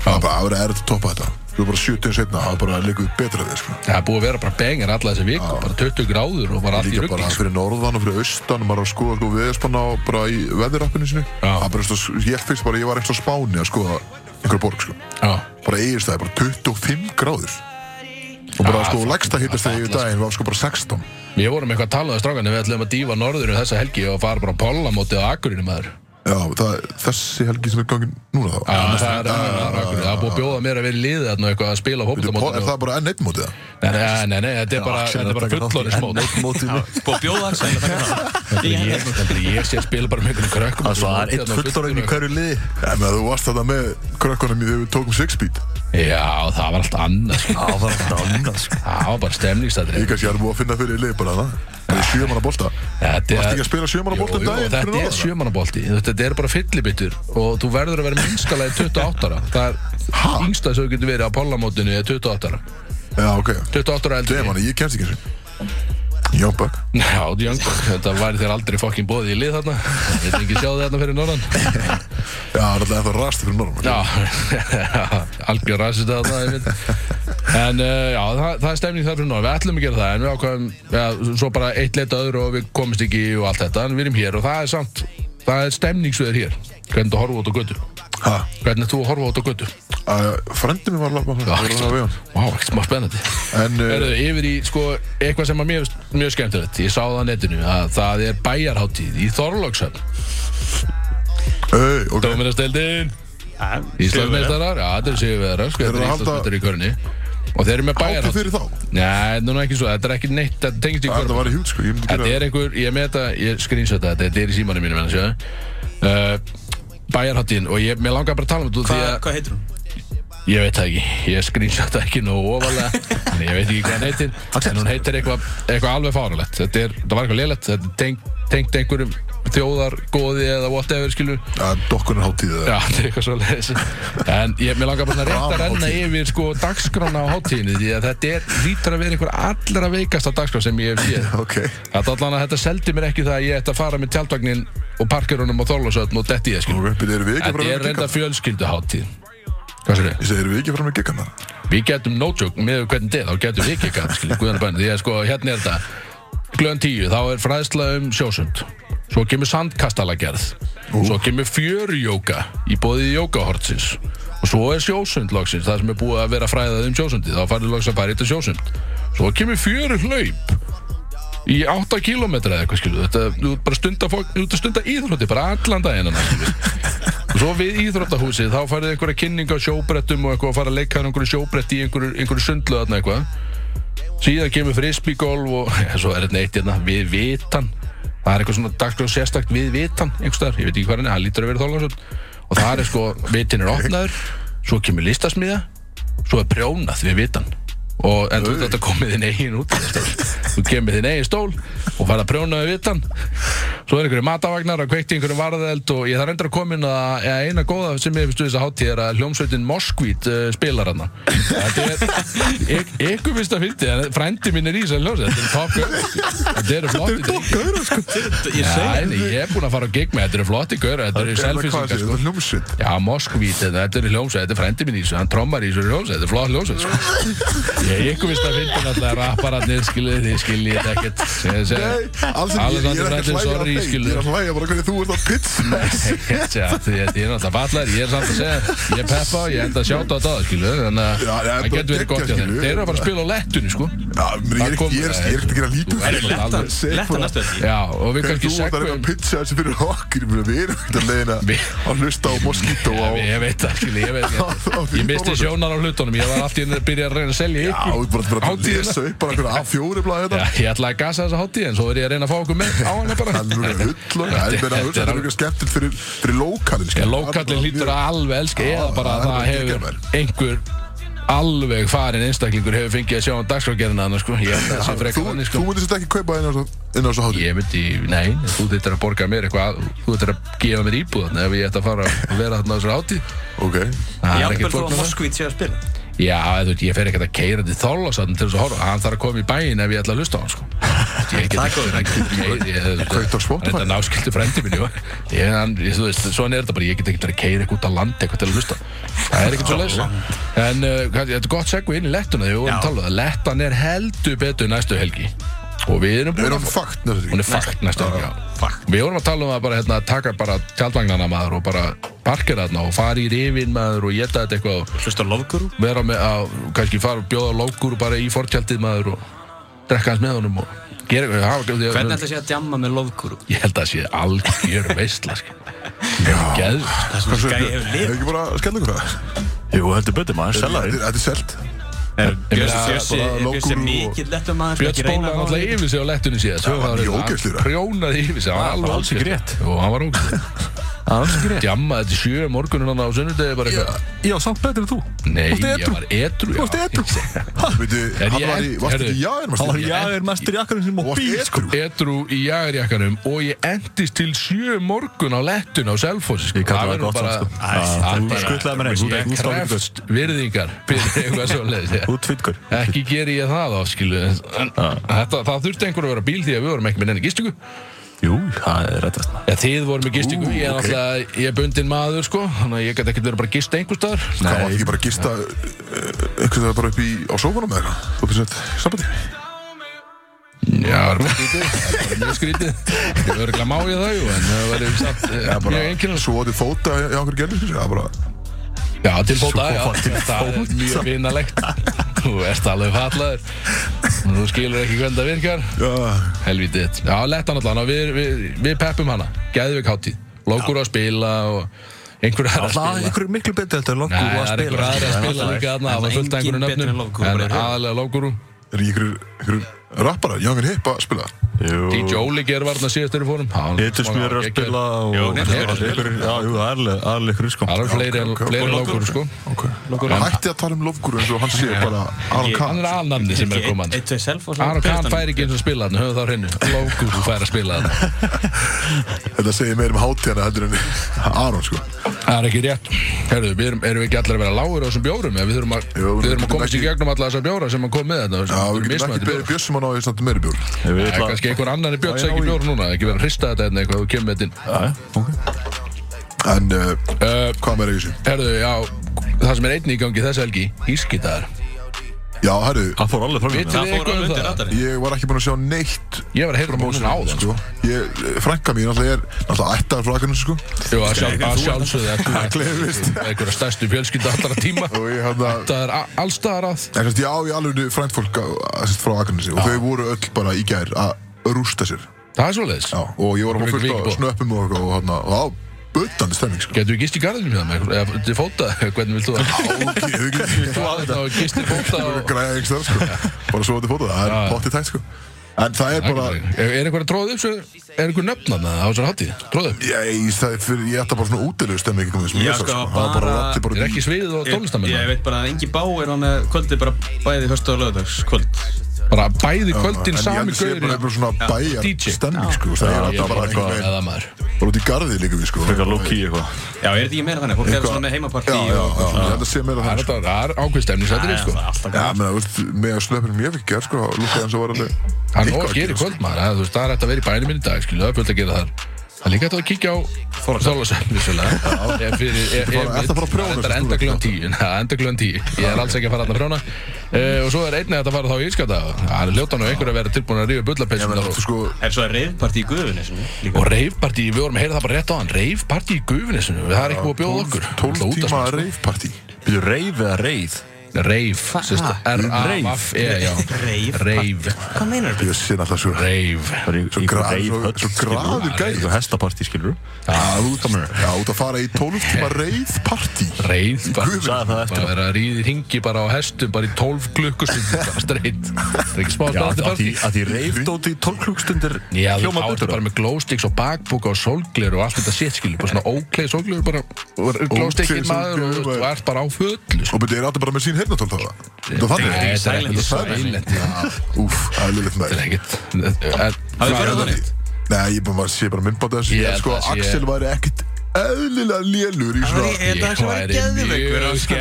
Það er bara að vera erfitt að toppa þetta Þú er bara 70 setna, það er bara að líka betra við, sko það er búið að vera bara bengar alla þessi viku bara 20 gráður og bara allt í sko. Líka rugg bara fyrir norðan og fyrir austan maður er að skoða sko veðspanna á bara í veðirappinu sinni Já. Það er bara, þú veist, ég fyrst bara, ég var eftir á Spáni að skoða einhverja borg sko Já. bara eigist það, bara 25 gráður og bara Já, sko það- lægsta hittast þegar í það- daginn var sko bara 16 Við vorum eitthvað að tala um það strákan en við ætlum að dífa norðurinn þessa helgi og fara bara á pollamótið á Akureyri maður. Já, það, þessi helgi sem er gangið núna þá Já, næsta- það er annar Akureyri. Það er búið að bjóða mér að vera í liðið þarna og eitthvað að spila á Bíddu, po- Er hóptamótið. það bara enn eitt mótið það? Nei, nei, nei, nei, þetta er bara, Axel þetta er bara að taka þátt í fullorins enn mót. sko, eitt mótið mitt. Búið að bjóða Axel að taka það Í Ég, henni. þetta er ég sé að spila bara með einhvern krökkum. Það hérna er svo- það er eitt fullorinn í hverju liði. Já, menn þú varst þetta með krökkunum í þegar við tókum sixbeat Já, það var allt annað, sko. Já, það var alltaf annað, sko. Það var bara stemningstættir. Ég kannski er búið að finna fyrir í lið bara það Það er sjömanna bolta Þetta Varstu ekki að spila sjö manna Jú, bolta um jú, daginn fyrir Þetta er norðan? sjömanabólti, þetta er bara fyllibittur og þú verður að vera minnskalega 28 ára Það er yngsta sem þú getur verið á pollamótinu er 28 ára Já, ok 28 ára eldur Demann, ég kemst ekki eins og Young Buck Já, Young Buck, þetta væri þér aldrei fokkin bóðið í lið þarna Ég vil ekki sjá þið þarna fyrir norðan Já, það er alltaf ennþá rasti fyrir norðan Já, algjör ræsist þarna ég veit. En uh, já, það, það er stemning þar fyrir norðan Við ætlum að gera það, en við ákvæðum já, Svo bara eitt leita öðru og við komist ekki og allt þetta En við erum hér og það er samt Það er stemningsveður hér Hvernig þú horfa út á götu Hæ? Hvernig þú horfa út á götu Frendin minn var að labba hann Það var að labba við hann Vá, ekkert smá spennandi En uh, Verðu, yfir í sko, eitthvað sem er mjög, mjög skemmtilegt Ég sá það á netinu að það er bæjarháttíð í Þorlókshöfn hey, ok Dóminasteldin Íslandsmeistarar, já þetta er sigurveðarar sko, Þeir eru Þetta er að halda- Íslandsmeistar í körni Og þeir eru með Átti bæjarháttíð fyrir þá Nei, núna ekki svo, þetta er ekki neitt Þetta tengist í Það körni var í hjút sko Ég myndi Þetta gera er einhver, ég með þetta, ég screenshota þetta Þetta er í símanum mínum en sjá uh, Bæjarháttíðin og ég, mér langar bara að tala um þetta út af því Hvað að- hvað heitir hún? Ég veit það ekki, ég screenshota ekki nú ofalega En ég veit ekki hvað hann heitir En hún heitir eitthvað eitthva alveg fáralegt Þetta er, það var eitthvað lélegt Þetta er tengt, tengt einhverjum þjóðargóði eða whatever skilur Það er dokkunar hátíð Já, þetta er eitthvað svo leiðis En ég, mér langar bara svona rétt að renna yfir sko dagskrána á hátíðinni Því að þetta er, lítur að vera einhver allra veikasta dagskrá sem ég hef séð Ok Þetta allan að þetta seldi mér ekki það að ég ætti að fara með tjaldvagnin og parkerunum á Þorlásöðn og detti ég skilur Ok, byrju, erum við ekki að fara Þetta er með reynda giggan? fjölskylduháttíð Hvað sér Ég segi, erum við ekki að fara með giggan það? Við getum nótjók með hvernig þið, þá getum við ekki gæt, skilja, guðanabæn, því að sko, hérna er þetta, glöðan tíu, þá er fræðsla um sjósund, svo kemur sandkastalagerð, svo kemur fjörujóka í bóðið jókahortsins og svo er sjósund loksins, það sem er búið að vera fræðað um sjósundi, þá farið loks að fara í þetta sjósund, svo kemur fjöruhlaup í 8 km eða eitthvað skilu þetta, þú ert bara að stunda, fólk- þú ert að stunda íþrótti bara allan daginn annars, skilu. og svo við íþróttahúsið þá færið einhverja kynninga á sjóbrettum og eitthvað að fara að leika þér á einhverju sjóbrett í einhverju, einhverju sundlu þarna eitthvað síðan kemur frisbygolf og svo er þetta eitt hérna við vitan það er eitthvað svona dagskráð sérstakt við vitan einhverstaðar, ég veit ekki hvað hann er, hann lítur að vera þólansson og það er sko, vitin er opnaður svo kemur listasmiða svo er prjónað við vitan og en þú þetta komið þinn eigin út þú kemur þinn eigin stól og farið að prjóna við vitan svo er einhverju matavagnar að kveikti einhverju varðeld og ég þarf endur að koma inn að að eina góða sem ég finnst við þess að hátíð er að hljómsveitin Moskvít uh, spilar hana þetta er ek- ykkur finnst að fyndi en frændi mín er í þess að hljómsveit þetta er topgöð þetta eru flotti Gauður sko Ég Já, segi en ég er búinn að fara á gig með þetta eru flotti gauður þetta eru Það selfisingar er sko það hljómsveit Já, Moskvít, þetta þetta er hljómsveit, þetta er frendi minn í þessu, hann trommar í þessu hljómsveit, þetta er flott hljómsveit, sko. Ég er ykkur vist að finna náttúrulega rappararnir, skiluðu, þið skiljið þetta ekkert. Ég segi- Nei, alls ekki, ég- ég er Alexander ekki að hlæja Franklin, að sorry, þeim, ég skiluðu. er að hlæja bara hvernig þú ert að pizza Ekkert, já, því að Ég er náttúrulega fallar, ég er samt að segja, ég er peppa og ég enda að sjáta á það, skiluðu, þannig að Já, já, það þetta getur var verið gott hjá geggjað, þeim. skilurðu. Þeir eru að fara að spila á lettunni, sko. Já, menn ég er Það ekki kom- ég er ekki- ég er ekki að gera lítið Þú erum fyrir náttúrulega alveg- Segðu Letta bara- næstu þetta Já, og við Hvernig kannski þú ert að reyna segum að pitcha þessu fyrir okkur ég meina, Við erum ekki að leiðina Við- að hlusta á Moskító á Ég veit það, skiluðu, ég veit Á það. því Ég misti borðinu. sjónar á hlutunum, ég var allt í enn að byrja að reyna að selja Já, þú ert ykkur. bara bara að Hátíðina. lesa upp bara einhverja A4 blaði hérna. Já, þetta ég ætlaði að gasa þessa hátíð en svo er ég að reyna að fá okkur með á hana bara Það er mjög hullun Það er Þetta meina er- hullun, það er mjög skemmtilegt fyrir, fyrir sko. lókalin En Lókallin lítur að alveg elska Já, eða það bara að er það bara hefur geggjað, einhver alveg farin einstaklingur hefur fengið að sjá um dagskrágerðina þannig sko ég held að það sé Þú, frekar þannig þú sko myndir þetta ekki kaupa inn á þessu hátíð Ég myndi, nei, þú þurftir að borga mér eitthvað þú þurftir að gefa mér íbúð þarna ef ég ætti að fara að vera þarna á þessari hátíð Ok Það er Jafnvel ekkert þó að flóknar það. Moskvít sé að spila Já, eða þú veit, ég fer ekkert að keira til þálasatn til þess að horfa, hann þarf að koma í bæinn ef ég ætla að hlusta á hann, sko. Ég get ekki fyrir að keira, Kaupt á Spotify. þetta náskildi frændi minn, jú. Ég, hann, ég, þú veist, svona er þetta bara, ég get ekki verið að keira eitthvað út á landi eitthvað til að hlusta. Það er ekkert svo leiðis. En uh, hvað- þetta er gott seggu inn í lettuna, þegar við vorum Já. að tala um það. Lettan er heldur betur næstu helgi. Og við erum Við búin erum að fá- fakt næstu því hún er fakt næstu helgi, já. Fuck Við vorum að tala um að bara hérna, taka bara tjaldvagnana maður og bara parkera þarna og fara í rifin maður og geta þetta eitthvað og Hlusta á Lofguru vera með að kannski fara og bjóða lókur bara í fortjaldið maður og drekka hans með honum og gera eitthvað hafa, því að- Hvernig ætla að sé að djamma með Lofguru? ég held að það sé algjör veistla sko. Geð- Hvað svo, Gæi hefur hefur lifað. ekki bara að skella ykkur það? Jú, heldur betur maður, Þetta selja er- þín þetta er selt meina, Bjössi bara Bjössi er Lofguru mikið lettum maður Björn spólaði náttúrulega yfir sig á lettunni síðan hann var mjög ógeðslegur. prjónaði yfir sig hann var var alveg alls ekki rétt. og hann var ógæstur Algjörlega. Djammaði til sjö morgununa á sunnudegi bara eitthvað Ég á samt betur en þú. Nei, Þú ert ég edrú. var edru Þú ert edrú. Veitu, Er hann ég var í, ent- varst Herðu, ekki jáður Það var maður? jáður mestur í akkurinn sem á Og bíl. varst sko. edru? Edru í jagarjakkanum og ég endist til sjö morgun á lettun á Selfoss Ég kalla það verður gott bara- samt, sko. Æ, það er Þú bara- skutlaði mér eins. Ég Þú stáðir ekki krefst virðingar fyrir eitthvað svo Þú tvitkur. Ekki geri ég það á, skilu en, þetta, Það þurfti einhver að vera bíl því að við vorum ekki með neina gistingu Jú, það er réttast. ja, Þið vorum með gistingu, Ú, ég er ok. náttúrulega Ég er bundin maður, sko Þannig að ég gæti ekkert verið bara að gista einhver staðar Sko, Hvað var ekki bara að gista uh, einhvern veginn bara upp í á sófanum eða eitthvað? Þú finnst þetta sambandi? Já, það er mjög skrítið Það er mjög skrítið Ég verður ekki að má ég það, jú En það verður samt eh, Já, bara mjög einkennilega svo til fóta í okkur gerðis, það er bara Já, til fóta, já Það er mjög vinalegt Þú ert alveg fallaður Þú skilur ekki hvernig það virkar Já, Helvítið Já, letta náttúrulega, við, við, við peppum hana Gæðvik hátíð Lókur að spila og einhverju aðra að Það er spila einhverju miklu betur þetta er Næ, langur það að er einhverju spila. Það er aðra að spila líka þarna Það var enginn fullt af einhverju betur en nöfnum Lókúr, En bara í raun. aðalega Lókuru er ekki einhverjir- einhverjir rapparar, Young and Hip að spila? Jú. DJ Óli gerur varna síðast þegar við fórum Hann- Hittusmjör að hann var spila og... Jú, Það er Hittusmjör. einhverju- Já, jú, það er alveg- alveg ykkur sko. Það eru fleiri en ok, ok. fleiri en Og Lókúr. Lókúr, sko Ok. Hætti að tala um lofgúru eins og hann sé bara Alan Hann Kahn. er alnamni sem er að koma hann Eitt, tvei, self og svo Aron Kahn fær ekki eins og spila hann, höfðu þá hreinu Lókur fær að spila hann Þetta segir meir um hátíðana heldur en Aron, sko. Það er ekki rétt Herðu, við erum, erum við ekki allir að vera lágur á þessum bjórum eða við þurfum að, Jú, við þurfum við að komast í getum ekki- gegnum alla þessar bjóra sem hann kom með þetta Já, við getum ekki beðið Bjössum að ná í samt meiri bjór. Ég vil Það er að- kannski einhver annan í björn Já, sem já, ekki já. bjór núna ekki verið að hrista þetta en eitthvað þú kemur með þetta Já, já, ok. En uh, inn uh, hvað meira í þessu? Herðu, já, það sem er einnig í gangi þess helgi Ískitaðar Já, herru, Það fór alveg fram í Vitið mér. þið Það eitthvað fór alveg um undir það? radarinn ég var ekki búinn að sjá neitt Ég var að heyra bóðin áðan sko. sko. Ég, frænka mín alltaf er alltaf ættaður frá Akranes sko. Jú, að sjálf- að sjálfsögðu Það ert þú klefist einhverja stærstu fjölskylda allra tíma Og ég hérna, hann að Það er a- allstaðar að En sérst, ég á í alveg frænt fólk á- sérst, frá Akranesi og þau voru öll bara í gær að rústa sér Það er svoleiðis Já, og ég var að fá fullt Voru ekki á mikið búið? snöppum og, og, og, og, og á bötandi stemming sko. Getur við gist í garðinu með það með eitthvað? Eða til fóta, hvernig vilt þú það? Ok, þau getur Þú að þetta gist í fóta og... græða einhvers þar sko. bara svo til fóta, það Já, já. er potti tætt sko. En það er bara Er er einhver að tróða upp svo? Er einhver nöfnan það á þessari hátíð? Tróða upp? Ég, það er fyrir, ég ætta bara svona útilegu stemming um þessum Já, lesa, sko, Það var bara bara- laddi bara Er ekki sviðið og Ég, ég tónlistamenn? veit bara að Ingi Bá er hann með kvöldið bara bæði höstu og lögdags kvöld Bara bæði kvöldin En ég held sami að sé bara gaurin eitthvað svona DJ. bæjar stemming sko. Það er Ég alltaf er bara bara einhvern eitthvað veginn eða maður bara út í garði líka við sko Frekar low-key eitthvað. Já, er þetta ekki meira þannig? Fólk er Eitthvað- svona með heimapartí Já, já, já, og ég held að sé meira það Það er sko. þetta- það er ákveð stemningsættir, sko alltaf Já, menn, þú veist, með að slöpunum ég fikk gert, sko, lúkaði hans að var alveg Hann eitthvað og að gerir gera, sko. kvöld maður, það, þú veist, það er hægt að vera í bænum minn í dag, skilju, það er fullt að gera þar. Það er líka hægt að kíkja á Þorlasöfn, vissulega. Ef fyrir, ef- ef- bara- ertu að fara að prjóna Það er þessu enda stúlku? kljóðan tíu, það er enda kljóðan tíu. Ég er alls ekki að fara þarna að prjóna. Uh, og svo er einnig hægt að fara þá í Ískata. Það er ljótan og einhver að vera tilbúin að rífa Ég bullapessunar menn, og, þú sko, Er svo reyðpartí í guðunisinu líka og reifpartí, við vorum að heyra það bara rétt á hann, reifpartí í gufinisinu, það er ekki búið að bjóða okkur. 12 Þetta tíma útvarp- reifpartí Býtu reið eða reið? Reif, sérst, R-A-F-E, E, já. Reif? Reif, Hvað meinar þetta? Ég sé alltaf svo reif. Það er í- Svo í gra- reif svo- höll, svo skilurðu. graður gæi. Eitthvað hestapartí, skilur Já, út, já, út að fara í 12 tíma reifpartí reið bara, Guð minn. sagði það eftir bara að vera að ríði ringi bara á hestum bara í 12 klukkustundir bara streitt það er ekki smá Já, spennandi að því, partí að því reifdóti í 12 klukkstundir Já, þú hljóma áttu betur bara með glowsticks og bakbúka og sólgleru og allt þetta shit, skilur, bara svona ókleið sólgleru bara, og glowstickin Ókleið maður og sólgleraugu, þú maður. ert bara á fullu, sko. Og byrja, er alltaf bara með sín heyrnatól þá það? Það er Nei, þannig? þetta er Silent ekkert is silent. sælent, Úf, það er lillitt með þetta er ekkert, en- Hafið farið Nei, þannig? Nei, ég bara maður sé bara myndbátt af þessu Ég Ég held sko, að sé- Axel væri ekkert eðlilega lélur í svona Ég held að Ég það væri geðveikur væri að mjög skella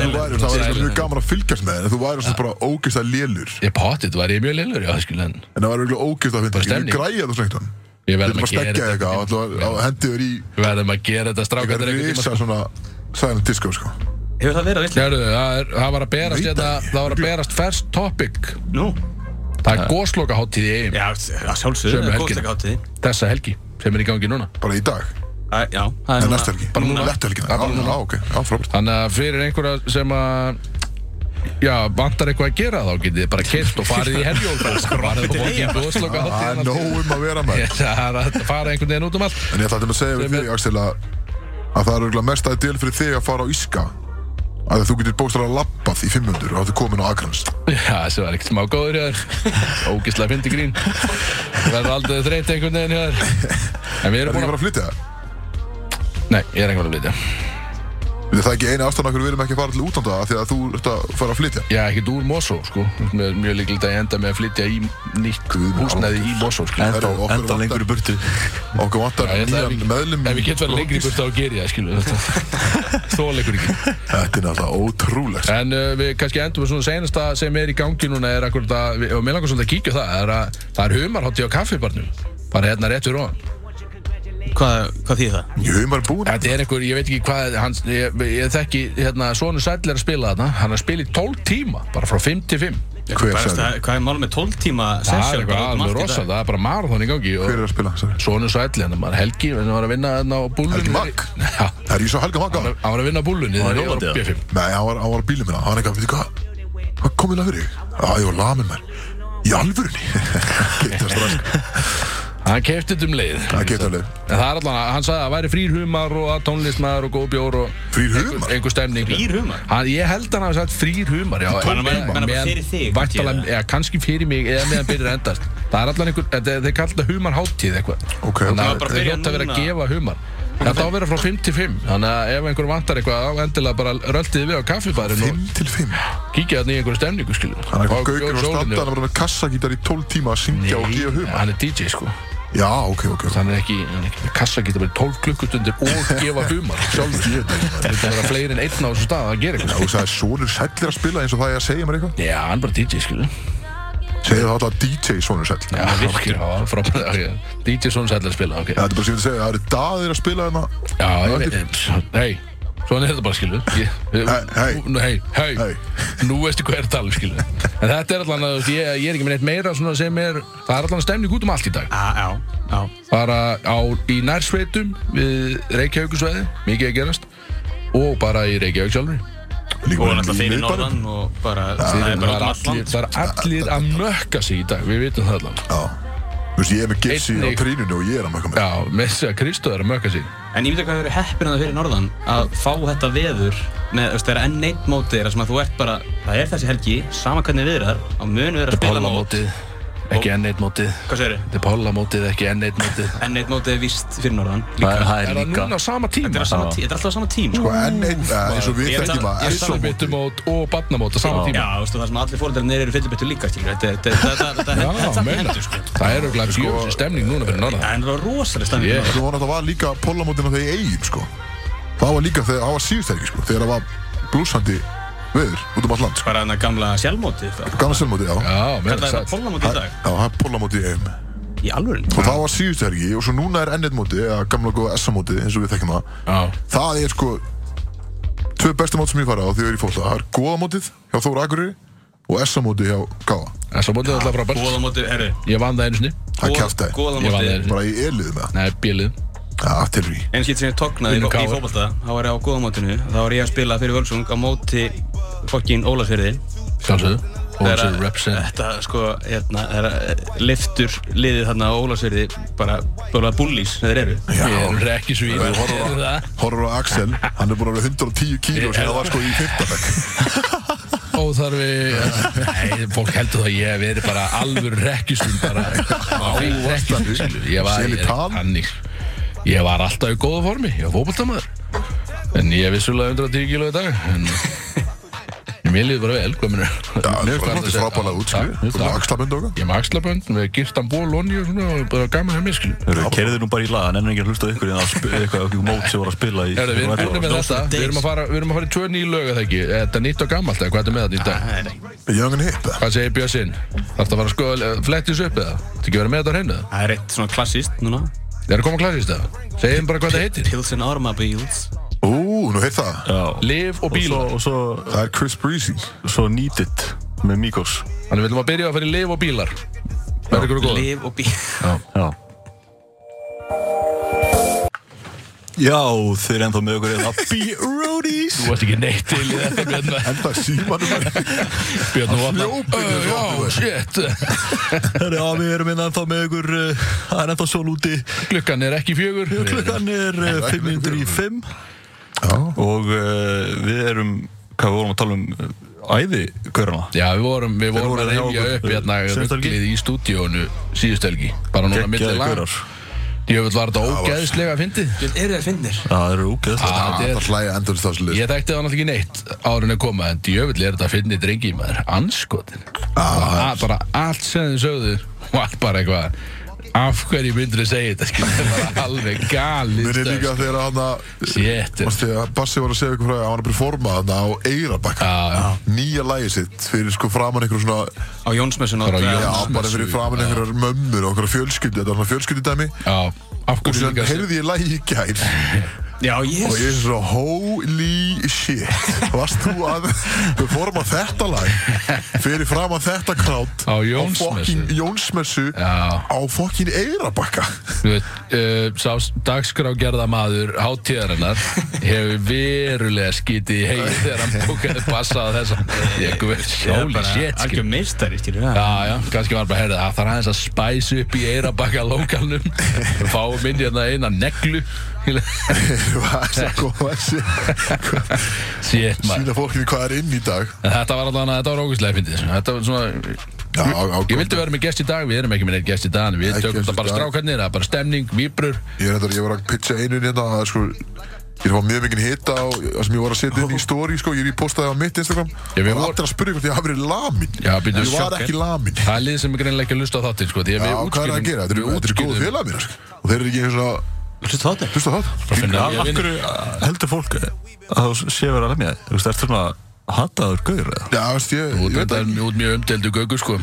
Þú silent. væri, það væri svona Silent. mjög gaman að fylgjast með þér en þú væri svona bara ógeist að lélur ég potið, þú væri ég mjög leilur, já, skilur, en en það væri virkulega ógeist að finna stemning. ég græja þú slengt hann Ég verð Þetta bara að gera steggja þetta eitthvað og einhvern ætla að hendi þér í við verðum að gera þetta eitthvað strákandir einhvern tíma, sko. risa svona silent disco sko Hefur það verið á Íslandi? Hérðu, það, er- það var að berast Veit hérna, ekki. það var að berast first topic Nú? Það er góðsloka hátíð í eigum Já, að sjálfsögðu, Sömu það er helgina. góðsleika hátíð Þessa helgi sem er í gangi núna bara í dag Æ, Já, það er en núna- næsta helgi Bara núna næsta helgi bara já, já, ok já, frábært Þannig að fyrir einhverja sem að Já, vantar eitthvað að gera þá getið þið bara kert og farið í herjól Farið og borgið í góðsloka það er Ah, hátíð nóg um að vera með Það er að fara einhvern veginn út um allt en ég ætla að segja við Sem er- þig Axel að að það er virkulega mest að del fyrir þig að fara á Íska að þú getur bókstæðan að labbað í 500 og að þú komin á Akrans Já, þessi var ekkert smá góður hjá þér Ógislega fyndi grín Verður aldrei þreytt einhvern veginn hjá þér En við er það erum búin ekki að bara að flytja það? Nei, ég er einhvern veginn að flytja. Það er ekki eina ástæðan okkur við erum ekki að fara til útlanda af Því að þú ert að fara að flytja Já, ekkert úr Mosó, sko. Mér er mjög líkilegt að ég enda með að flytja í nýtt Guð minn húsnæði í Mosó, sko. Herru, Enda, enda okkur vantar- lengur í burtu Okkur vantar Já, ég ætla ef nýjan ég- meðlum Ef ég get verið í- lengri í burt þá ger ég það, skilur. Þóleikur ekki. Þetta er náttúrulega ótrúlegt En uh, við kannski endum við svona senasta sem er í gangi núna er akkurat að, og mér langar svolítið að kíkja á það, er að það er humarhátti á kaffibarnum. Bara hérna rétt fyrir ofan. Hvað, hvað þýð það? Ég hef maður búin Þetta er einhver, ég veit ekki hvað, hans, ég, ég þekki, hérna, Sónu Sæll er að spila þarna, hann er að spila í 12 tíma, bara frá 5 til 5. Hver Hvað er, sagði? það- hvað er mál með 12 tíma Það er session? um eitthvað alveg rosa, það er bara marathon í gangi Hver og er að spila? Sorry. Sónu Sæll, hann var Helgi, hann var að vinna þarna á búlunni. Helgi Magg? Já, Það er ég svo helga hann makka var- hann var að vinna á búlunni þegar ég var á hjólandi, B5. Nei, hann var, hann var á bílum minna Hann var eitthvað, veitir hvað? Hvað kom inn að fyrir? Já, ég var lamin mér Í alvörunni Geta strax Hann kefti þetta um leið. Það geta alveg En það er allan að hann sagði að það væri frýr humar og að tónlistmaður og góð bjór og Frýr humar? einhver stemning Frýr humar? Hann, ég held að hann hafi sagt frýr humar já, Tónlist- meðan- Meina bara meðan- fyrir þig, væntanlega- kannski, Já, kannski fyrir mig eða meðan byrjar að endast Það er allan einhver, þetta- þeir kalla þetta humarháttíð eitthvað Ok, Þannig ok. að bara þeir byrja hljóta að vera að núna. gefa humar Þetta á að vera frá 5 til 5 Þannig að ef einhver vantar eitthvað þá endilega bara röltið við á kaffibærin og 5 til 5 Hann kíkja þarna í einhverju stemningu skilur er eitthvað gaukur og standa Hann er bara hérna með kassagítar í 12 tíma að syngja og gefa Nei, humar hann er DJ sko Já, ok, ok ok. Þannig er ekki, hann er ekki með kassa geta bara 12 klukkustundir og gefa humar sjálfur. Þetta er bara fleiri en einn á þessu stað að gera Já, eitthvað. Þú sagði, sonur sæll er að spila eins og það er að segja mér eitthvað Já, hann er bara DJ, skilu. Segðu það alltaf DJ sonur sæll Já, ok, já, frábæð, ok. DJ svona sætla að spila, ok. Þetta er bara sem ég vil segja, það eru daðir að spila hérna Já, ég veit, hei, svona er þetta bara, skilu. Ég- Hey, hey. Nú- Nú, hei, hei, Hey. nú veistu hvað er að tala um, skilu. En þetta er allan að, ég, ég er ekki með neitt meira svona sem er, það er allan stemning út um allt í dag. Já, já, já. bara á, í nærsveitum við Reykjavíkusveiði, mikið að gerast og bara í Reykjavík sjálfri Líka Og bara náttúrulega í fyrir miðbænum. norðan og bara, það er það er bara út um allir, alland. það er allir að mökka sig í dag, við vitum það allan Já Þú veist, ég er með gipsi á Einnig- trínunni og ég er að mökka mig Já, með þess að Kristóð er að mökka sig En ég myndi hvað verið heppin að það fyrir norðan að fá þetta veður með, þú veist, það er enn eitt mótið þeirra sem að þú ert bara, það er þessi helgi, sama hvernig viðrar, á mun við erum að spila mót. Pálamótið, ekki enn eitt mótið Hvað segir Þetta er Pálamótið, ekki enn eitt mótið Enn eitt mótið er víst fyrir norðan. Það er- það Er er það líka núna á sama Þetta tíma? er, á sama tí, þetta er alltaf á sama tíma. Sko, enn einn, eh, eins og við Ég er þekkjum sama- að ég er SO sama- mótið. Sannbyttumót og barnamót á sama Já, tíma þú veist, það sem allir fóröldarnir eru fyllibittu líka, skilur, þetta, þetta, þetta, þetta, Já, þetta, þetta meina hendur, sko. Það er auðvitað fjóðsir stemning núna fyrir norðan Það er náttúrulega rosalega stæðið. Ég- Yeah. Svo var náttúrulega var líka pollamótina þegar ég eigin sko. Það var líka þegar, það var síðust helgi sko, þegar það var blúsandi veður út um all land sko. Bara þannig gamla sjálfmótið það. Gamla selmóti, já. já. Já, með Þetta er það þess að pollamót í dag. það er pollamóti í eigum. Í alvöru. Og það var síðust helgi og svo núna er ennett móti, eða gamla góða SA móti eins og við þekkjum það. Já, Það er sko tvö bestu mót sem ég fara á því að ég er í fólta. Það er góða mótið hjá Þóra Akureyri og SA móti hjá Gáða. en svo mótið er alltaf frábært Góðamótið, herru. Ég vann það einu sinni Það er kæftæði. Ég vann það einu Góðamótið. sinni Bara í elið með það. Nei, bílið Já, til því. Einu skilt sem ég tognaði í, Unnu í KR. fótballta, þá var ég á góðamótinu, þá var ég að spila fyrir Völsung á móti fokkin Ólafsfjörði. Sjálfsögðu Þegar Ólafsfjörður að- represent Þetta, sko, hérna, það er að liftur liðið þarna á Ólafsfjörði, bara, bara bullís, þeir eru. Ég er rekki svo í Þú horfir á, það horfir á Axel, hann er búin að vera 110 kíló sem það var sko í 15 Óþarfi Nei, fólk heldur það að ég hef verið bara alveg rekkjustum bara þannig. Rekkjustum Ég var Sel í ég er tal. þannig Ég var alltaf í góða formi Ég var fótboltamaður En ég er vissulega 110 kíló í dag En en Mér líður bara vel, hvað minnur Já, það er svona frábælega útskriðu. Þú erum að axla bunda okkar. Ég er með axlabönd, með girtan ból, onni og svona og bara gaman hjá mér, skilju Kerðu nú bara í lag, hann ennur ekki að hlusta á ykkur en að spila eitthvað okkur mót sem voru að spila í Herra, við erum búin með Þetta þetta, við erum að fara, við erum að fara í tvö nýju lög eða ekki, Er þetta er nýtt og gammalt eða hvað er þetta með þetta í dag? Young and hip. Hvað segir Björnsinn? Þarf þetta að fara að skoða, fletti þessu upp eða? Þetta ekki verið með þetta á hreinu eða? Það er eitt svona klassíst núna. Það er að koma klassist eða? Segjum bara hvað þetta heitir. Pils and Automobiles. Ú, nú heyrð það. Já, Liv og og svo, bílar. og svo, Það er Chris Breezy. svo Need It með Migos Þannig viljum að byrja að fara í liv og bílar. Verður ykkur góð? Liv og bíl. Já Já, þeir eru ennþá með okkur hérna. eða B-Roadies Þú varst ekki neitt til í þetta Björn. Enda símanum er Björn Fljópið og vatna. þessu Já, opnaði. shit. Herra, Já, við erum hérna ennþá með ykkur uh, Það er ennþá sól úti Klukkan er ekki fjögur. Klukkan er uh, 505 Já. Og uh, við erum Hvað við vorum að tala um uh, Æði Körna Já, við vorum, við vorum voru að hjá reyja okkur, upp hérna síðustu helgi? rugglið í stúdíónu síðustelgi, bara núna milli lag. Ég vil var þetta ógeðslega að fyndið. Eru þeir finnir? Það eru úgeðslega Ah, þetta Það er- er hlæja endur þessu list Ég þekkti það náttúrulega ekki neitt árun að koma en djöfull er þetta að finna í drengi maður anskotin ah, bara allt sem þið sögðu var bara eitthvað af hverju myndur þið segja þetta skilur það var alveg galið Mér er líka þegar hann að Shit. Varstu þegar Bassi var að segja ykkur frá því að hann var að performa hann á Eirabakka Já, já. Nýja lægi sitt fyrir sko framann ykkur svona Á Jónsmessun Bara á Já, Jóns- bara fyrir framann ykkur mömmur og okkur fjölskyldu Þetta var svona fjölskyldudæmi Já, af Og hverju sér líka heyrði ég lægi í gær Já, yes Og ég er svo holy shit Varst þú að performa þetta lag Fyrir framann þetta krátt Á Jónsmessu. fucking Jónsmessu Já. Á fokkin Eirabakka Þú veit, uh, sá dagskrágerða maður hátíðarinnar hefur verulega skítið í heið þegar hann bókaði passað þess að ég guð, holy shit skilur. Algjör meistari, skilur það Já, já, kannski var bara að heyra það Það er aðeins að spæsa upp í eirabakka lókalnum Fáum inn hérna eina neglu Það er svo góð að sé- Shit, maður Sýna fólkinu hvað er inn í dag En Þetta var allavega, þetta var ógustlega fyndið Þetta var svona Já, á, á, Ég vildi vera með gest í dag, við erum ekki með neitt gest í dag en Við Ekki tökum gest þetta í bara dag. strákarnir, það er bara stemning, víbrur Ég, er reyndar, ég var að pitcha einu hérna að sko Ég er að fá mjög mikinn hita á það sem ég var að setja inn í story sko, ég er í postaði á mitt Instagram Já, Já, við og vor- allir að spyrja hvort ég hafi verið lamin Já, býttu, Ég var sjokk, ekki lamin Já, Það er lið sem er greinilega ekki að lusta á þáttinn sko, því að við hvað er að útskýrum- gera? Þetta við eru- Þetta eru góðu útskýrum- félag mér sko. og þeir eru ekki eins og Hlustu það um þetta? Hlusta það? Bara finna- Af ég af vinn- hverju uh, heldur fólk að þú sé verið að lemja þig? Þú veist, ertu svona hataður gaur eða? Já, veist, ég, ég Þú ert veit þetta það ekki. mjög- mjög umdeldu gögu sko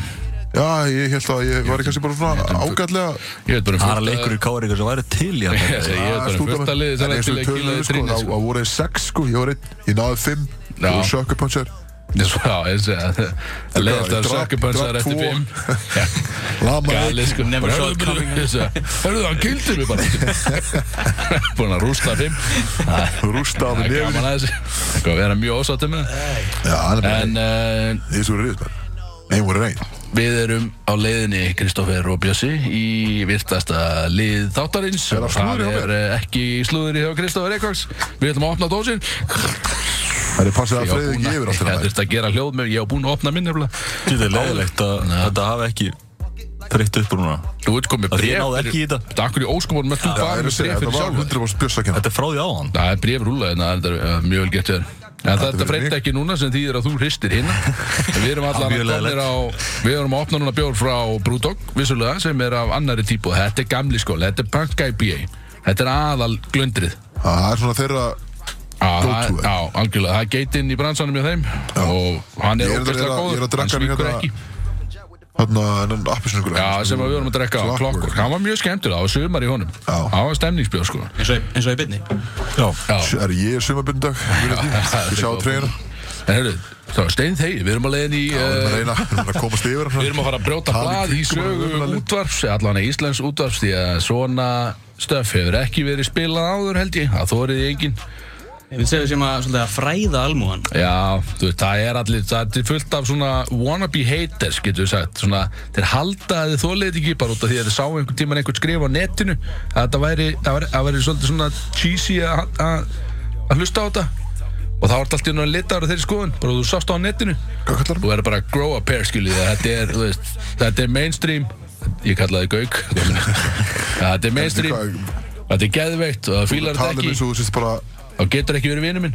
Já, ég held að ég var kannski bara svona ágætlega Ah, Ég veit bara um Það er fullt að- leikur í káringar sem væri til í að Ég lemja þig. ég veit bara um fullt að liði En sem er eins til og að við kýla tölum þið sko, trinni þá sko. þá voru þeir sex sko, ég var einn, ég náði fimm Já. Þú voru sjökkupunchar Já, ég segi að að leiðast að Drap- sökkupansar drap eftir tvo. fimm Já, Lama Galið sko Never saw it coming. Hörðu það, hann kildi mig bara Búin að rústa fimm Það Rústa á er mig nefn gaman að þessu Eitthvað að vera mjög ósáttum með það. Já, hann er bara En uh, Því svo eru riðismenn Nei, voru reyn við erum á leiðinni Kristoffer og Bjössi í virtasta lið þáttarins Er það og það slúður hjá er eh, ekki slúður í hjá Kristoffer Eikváks Við ætlum að opna dósin Það er passið að Ég freyði ekki yfir allt þetta þurfti að gera hljóð með Ég hef búin að opna minn nefnilega Þetta er leiðilegt að þetta hafi ekki þreytt upp úr núna. Þú veit komið Að bref því ég náði ekki í þetta. Akkur í óskomunum er þú Það bara er að með segja, bref þetta fyrir var sjálf 100% bjössakina Þetta er frá því áðan. Það er bref rúlega en það er uh, mjög vel gert hjá þér. En þetta fyrir freyndi mig. ekki núna sem þýðir að þú hristir hinn Við erum allan mjög að komnir leiðilegt. á Við erum að opna núna bjór frá Brewdog Vissulega sem er af annari típu Þetta er gamli skóli, þetta er Punk IPA Þetta er aðal glöndrið Það er svona þeirra Á, Go það- to it. á, algjörlega, það er geitinn í bransanum hjá þeim og hann Ég er er að- ég er ógæslega að- ég er að góður, hann drekka mér svíkur hérna- ekki Þarna, sko. en appisnugur Já, sem að við vorum að drekka á klokkur Hann var mjög skemmtur, það var sumar í honum Já. Það var stemningsbjór sko Eins og, eins og í byrni Já. Já. Er ég sumarbyndag Ég sjá treyna En heyrðu, það var stein þegi, við erum að leiðin í Við eh, erum að reyna Við erum að komast yfir Við erum að fara að brjóta Tala í blað kringum hana, í sögu umræðu. útvarps Allan í Íslands útvarps Því að svona stöf hefur ekki verið spilað áður held ég Það þóriði engin Ég vil segja sem að, svolítið, að fræða almúan Já, þú veist, það er allir Það er fullt af svona wannabe haters Getur við sagt, svona Þeir halda að þið þólið ekki bara út af því að þið sá einhvern tíman einhvern skrifa á netinu að þetta væri, það væri, það væri svolítið svona cheesy að- að að hlusta á þetta Og það var alltaf náttúrulega litar á þeirri skoðun Bara þú sást það á netinu Hvað kallar hann? Þú verður bara að grow up here, skiljið Þetta er, þú veist, þetta er mainstream Ég kallaði Gauk Þetta er mainstream Þetta er geðveikt og það fílar Tala þetta með ekki svo Þú sést bara og getur ekki verið vinnu minn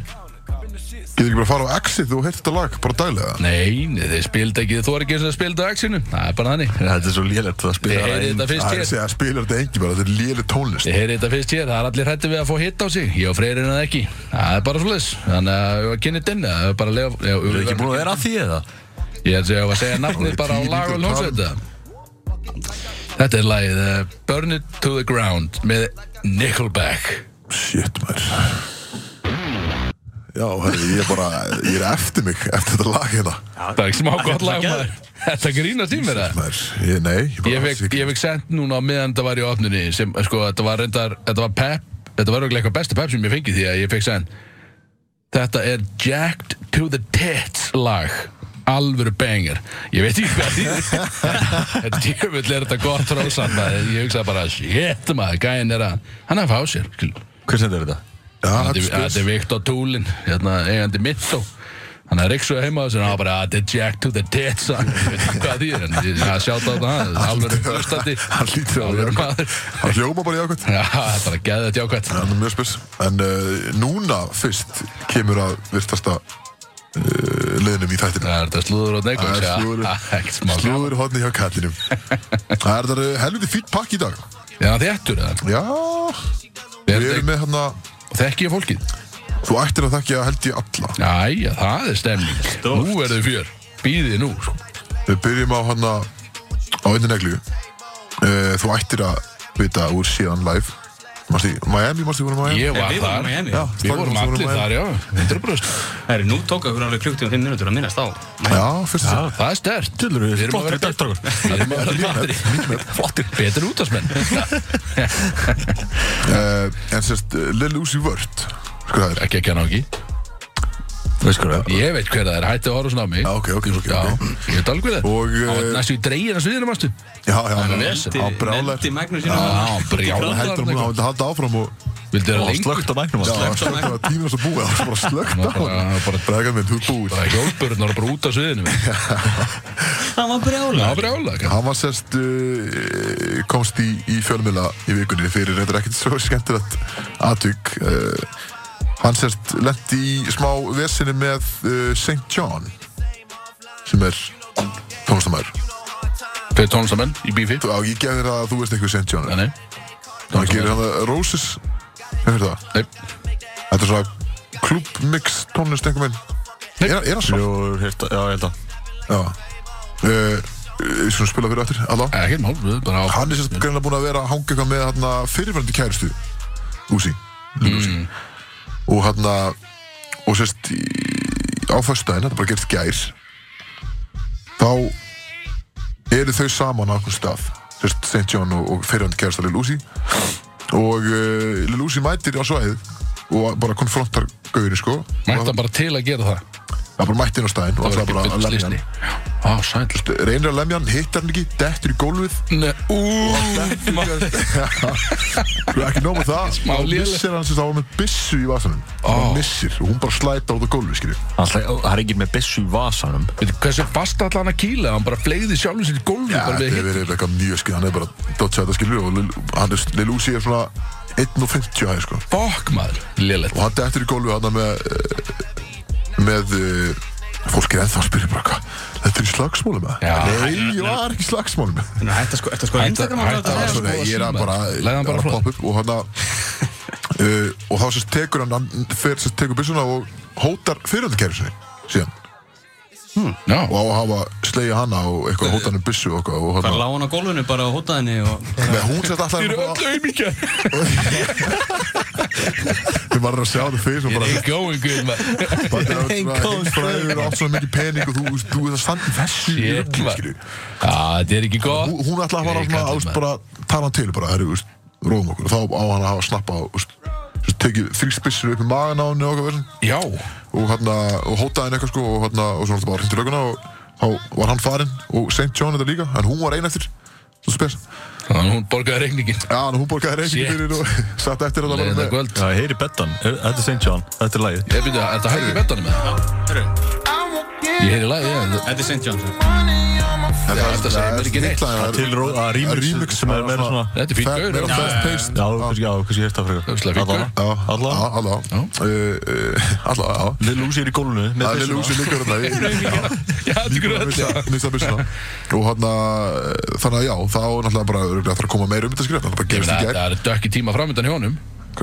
Getur ekki bara að fara á exit Þú heilt þetta lag Bara daglega Nei, nei, þið spildi ekki, þú er ekki eins og það spildi á exinu Það er bara þannig Þetta er svo lélægt að Þið spila heyrið þetta fyrst Það er að hér segja að spilar þetta engi bara Þetta er léli tónlist Þið heyrið þetta fyrst hér, það er allir hætti við að fá hitt á sig Ég og Freyrin að ekki, það er bara svoleiðis Þannig að við varum að kynna dinna Við bara að lefa já, Þú við er ekki verðum- búin að vera að því eða? Ég ætla að segja- ég var að segja nafnið bara á lag og ljónsveita Þetta er lagið uh, Burn It To The Ground með Nickelback Shit, maður Já, herri, ég er bara Ég er eftir mig Eftir þetta lag hérna Það er ekki smá gott þetta er lag maður geðveikt. Þetta grínast í mér það Maður, ég, nei bara- Ég fekk, ég fekk sendt núna á meðan þetta var í opnunni sem, sko, þetta var reyndar, þetta var pep Þetta var auðvitað eitthvað besta pep sem ég fengið því að ég fekk sendt Þetta er Jacked to the Tits lag Alvöru banger Ég veit ekki hvað því Djöfull er þetta gott rósan maður. Ég hugsaði bara, shit maður, gæinn er að Hann er að fá sér skilur. Hver sendir þetta? Já, Þetta þetta er- er spes. þetta er Viktor Túlin hérna, eigandi mitt og Þannig að Riksu heima þessu og hann var bara að the jack to the dead son Ég veit ekki hvað því er en ég sjátt á þetta hann alveg hlustandi Hann lítur á Alvöru jákvæmt. maður. Hann hljóma bara jákvæmt. Já, þetta er að geða þetta jákvæmt Hann er mjög spes. En uh, núna fyrst kemur að virtasta uh, liðnum í þættinu. Það er þetta slúður og neikvæms Það er slúðurinn. Ekkert smá gaman. Slúður hodni hjá kallinum. Það er það helviti fýtt pakk í dag. Er hann þéttur eða? Já, Er við erum þetta- með hérna, Þekki ég fólkið? þú ættir að þekkja held ég alla. Æja, það er stemning Stórt. Nú er þau fjör Býðið nú sko. Við byrjum á hérna, á einni neglu. Uh, þú ættir að vita úr síðan live. Manstu, í- Miami, mástu voru Miami? Ég Nei, var við vorum þar í Miami. Já, Við vorum Stockholm, allir vorum þar, já 100% Það eru nú tók okkur alveg klukkt í fimm minútur að minnast á Já, fyrst sem. Það er stert Tilur við erum að flottir í vera dag, drákur. Við erum að vera betri Flottir Betri útastmenn Uh, en sérst, uh, Lil Uzi Vert Sko það er Ekki ekki hann á ekki Þú veist hvað það er? Ég veit hver það er Hætti að horfa svona á mig Já, ok, ok, ok, Já, ok. Ég veit alveg það Og, Hann var eh, Næstu í dreigina sviðinu, mástu Já, já, er já, vesen. á brjálar Neldi Magnús sína Já, Hún brjálar heldur að hún eitthvað. hafði halda áfram og Vildu vera lengur? Slögt á mæknum Já, hans. hann slökkt á tíminn sem búið Það var bara slökkt á Bara- bara- Bræðgan minn, þú ert búið Það er hjólpurinn að bara út af sviðinu minn. Það var brjála Já, brjála Hann var sérst uh, komst í, í fjölmjöla í vikunni fyrir reyndar ekkert svo skemmtilegt aðtök uh, Hann sérst lendi í smá vesinu með uh, St. John sem er tónlistamæður Fyrir tónlistamenn í bífi Já, ég gef þér að þú veist eitthvað St. John er. Nei, Hann gerir hann að Roses Hefur það? nei Þetta er svona klubmix tónlist einhver minn Er, er hann svart? Jú, hérta, já, ég held að. Já uh, Svona spila fyrir öttir, allavega Ekkert mál Við erum bara á Hann er sérst greinlega búinn að vera að hanga eitthvað með hérna, fyrirverandi kærustu Úsi mm. Og hérna Og sérst í- á föstudaginn, þetta bara gerst gær Þá eru þau saman á einhvern stað Sérst St. John og, og fyrirverandi kærusta Lil Úsi Og uh, Lil Úsi mætir á svæðið Og bara konfrontar gauðinu sko Mætti hann bara til að gera það Það bara mætti inn á staðinn og Það ætlaði var bara ekki að fullt lemja lísni hann. Á, sæl Reynir að lemja hann, hittar hann ekki, dettur í gólfið. Nei, Ú, Þú er ekki nóg með það. Smá Þá lélegt. missir hann sem það var með byssu í vasanum. Ó. Hann missir og hún bara slæta á það gólfið, skiljið. Alltaf, það er ekki með byssu í vasanum. Veitu, hversu fast ætla hann að kýla? Hann bara fleiði sjálfum sér í gólfi bara Þetta við er hitt. verið eitthvað mjög skil, hann er bara dodgað þetta skiljið og Lil- hann er, Lil Uzi er svona 1.50 hæði sko. Fokk maður, lélegt. Og hann dettur í gólfið hann með, eh, með, eh, fólk er ennþá að spyrja bara hvað, þetta er í slagsmálum eða? Já. Nei, ég var ekki í slagsmálum eða? Þannig að hætta sko, hætta sko Hætta- Instagram að hætta- láta Já, segja svona, sko, ég er að síma. bara, Legðu hann bara að frá poppa upp og hann að uh, og þá sérst tekur hann hann fer sérst tekur byssuna og hótar fyrirhundakæri sinni síðan Já, og á að hafa slegið hana og eitthvað hótar hann um byssu og eitthvað og Bara hann lá hann á gólfinu bara og hóta henni og Nei, hún sérst alltaf þeir eru hérna öll auðmíkjar. við varum að sjá það fyrir og bara They're going good, maður. bara Ain't going heimfræður og átt svona mikið pening og þú veist, þú veist að standa í þessu í Shit, rugli, maður. skilju. Já, þetta er ekki gott. Hún- hún ætlaði að fara Nei, svona kallinn, ást maður. bara tala hann til bara, herru, veist, róum okkur þá á hann að hafa snappa og tekið þrýspissur upp í magan á henni og okkar verðin Já, og hérna, og hótaði henni eitthvað sko og hérna, og svo náttúrulega bara hringt í löguna og þá var hann farinn og St. John þetta líka en hún var ein eftir, svo spes þannig að hún borgaði reikningin. Já, en hún borgaði reikning Shit. fyrir og satt eftir þetta bara Leðið það með kvöld. Já, ég heyri bettan. Er- Þetta er St. John. Þetta er lagið. Ég byrja, er þetta hægir betanum með það? Ég heyri lagið, já. en- Þetta er sko. St. Johnson En Já, þetta segir mér er ekki neitt. snillan, það er- Til ró- að remix- remix sem er meira svona- Þetta er fín Fa- gaur, meira já. fast paced Já, kannski, já, kannski hérta frekar. Öxlega fínkur. Já, Alla. já, alla Já. Uh, uh, Alla, já Lil Uzi er í gólfinu með Það er byssuna. Lil Uzi líka hérna í- Já. Já, þetta er Líka að gröð. missa- missa byssuna. Og hérna, þannig að já, þá er náttúrulega bara örugglega að það er að koma meira um þetta skrifa, það bara Ég gerist meina, í gær. það er dökki tíma framöndan hjá honum.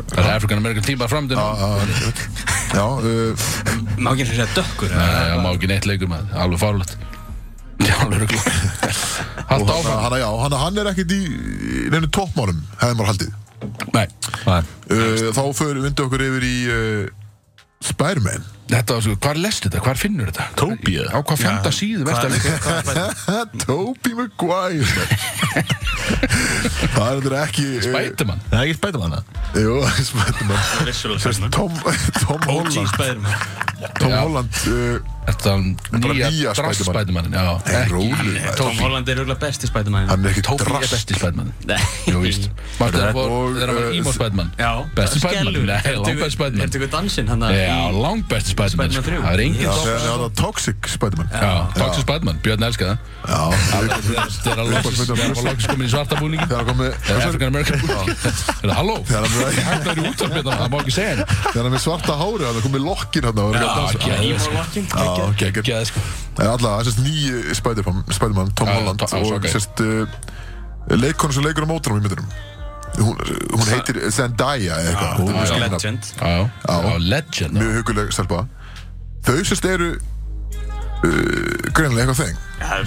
Það er African American tíma framöndan. Já, já, Já, uh, Má ekki eins og segja dökkur Nei, það má ekki neitt leikur með það. Alveg fárlegt. Já, alveg rugl. Og Haldt hann, áfram. hann, já, hann, hann er ekkert í í neinu toppmálum, hefði maður haldið. Nei, Nei. Uh, þá förum við undir okkur yfir í uh, Spiderman. þetta var sko, hvar lest þetta? Hvar finnur þetta? Tóbi, eða? Á hvað fjanda síðu verður þetta? Tobey Maguire. það er þetta ekki... uh, Bætumann. Það er ekki Spiderman, það? Jú, Spiderman. Vissulega Tom, Tom OG Holland. Spiderman Tom Já. Holland uh, Þetta er Bara nýja nýja drass Spiderman. Spiderman Já, Nei, ekki- rólegur, Nei, maður. Tom Tom Holland- Holland er auðvitað besti spædumann Hann er ekki Tófi er drast besti Spiderman Nei. Jú, víst Marstu þegar Og, fór- þegar hann var uh, emo Spiderman Já Besti Spiderman Skelfur. Nei, Er þetta langbest ykkur- Er Spiderman Já, langbest Spiderman sko. þetta ykkur dansinn hann að Spiderman þrjú. Það er engin Já, topp þegar það er Toxic Spiderman Já, Toxic Spiderman Björn elskar það Já, Þegar- Þegar hann loksist- Spiderman. þegar hann var loksist komin í svarta búningin þegar hann með African American Þetta, halló Þegar hann með- Þetta er út af þetta, það má ekki segja henni Þegar hann með svarta hári, hann er komið lokkin hann og er að dansa. Já, Emo sko. Locking Já, geggjur. Geðið sko Það er alltaf, það sést nýji Spiderman, Spiderman Tom Já, Holland Tom- já, og ok. sérst uh, leikonu sem leikur á mótunum í myndunum. Hún, hún heitir Zendaya eða eitthvað. Hún er já, mjög skemmtileg nafn. Legend Já, já, já, legend Mjög huguleg stelpa. Þau sérst eru uh, greinlega eitthvað þeng.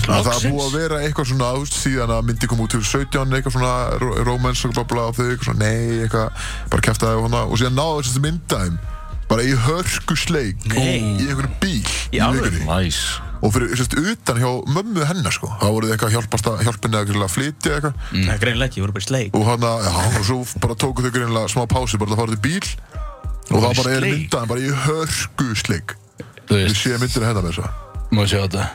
Það er búið að vera eitthvað svona ást síðan að myndi kom út til 17 eitthvað svona ro- romance og blabla og þau eitthvað svona nei eitthvað bara kæftaði og hana og síðan náðu þessi myndaðum bara í hörku sleik Nei. í einhverju bíl í, alvöru? vikunni. Næs og fyrir sérst utan hjá mömmu hennar sko þá voru þið eitthvað að hjálpast að hjálpinni að greinilega flytja eitthvað Mm. Það er greinlega ekki, ég voru bara í sleik og hana já og svo bara tóku þau greinlega smá pási bara til að fara til bíl og það bara er sleik? myndaðum bara í hörku sleik Þú við veist, séum myndir hérna með þess að má sjá þetta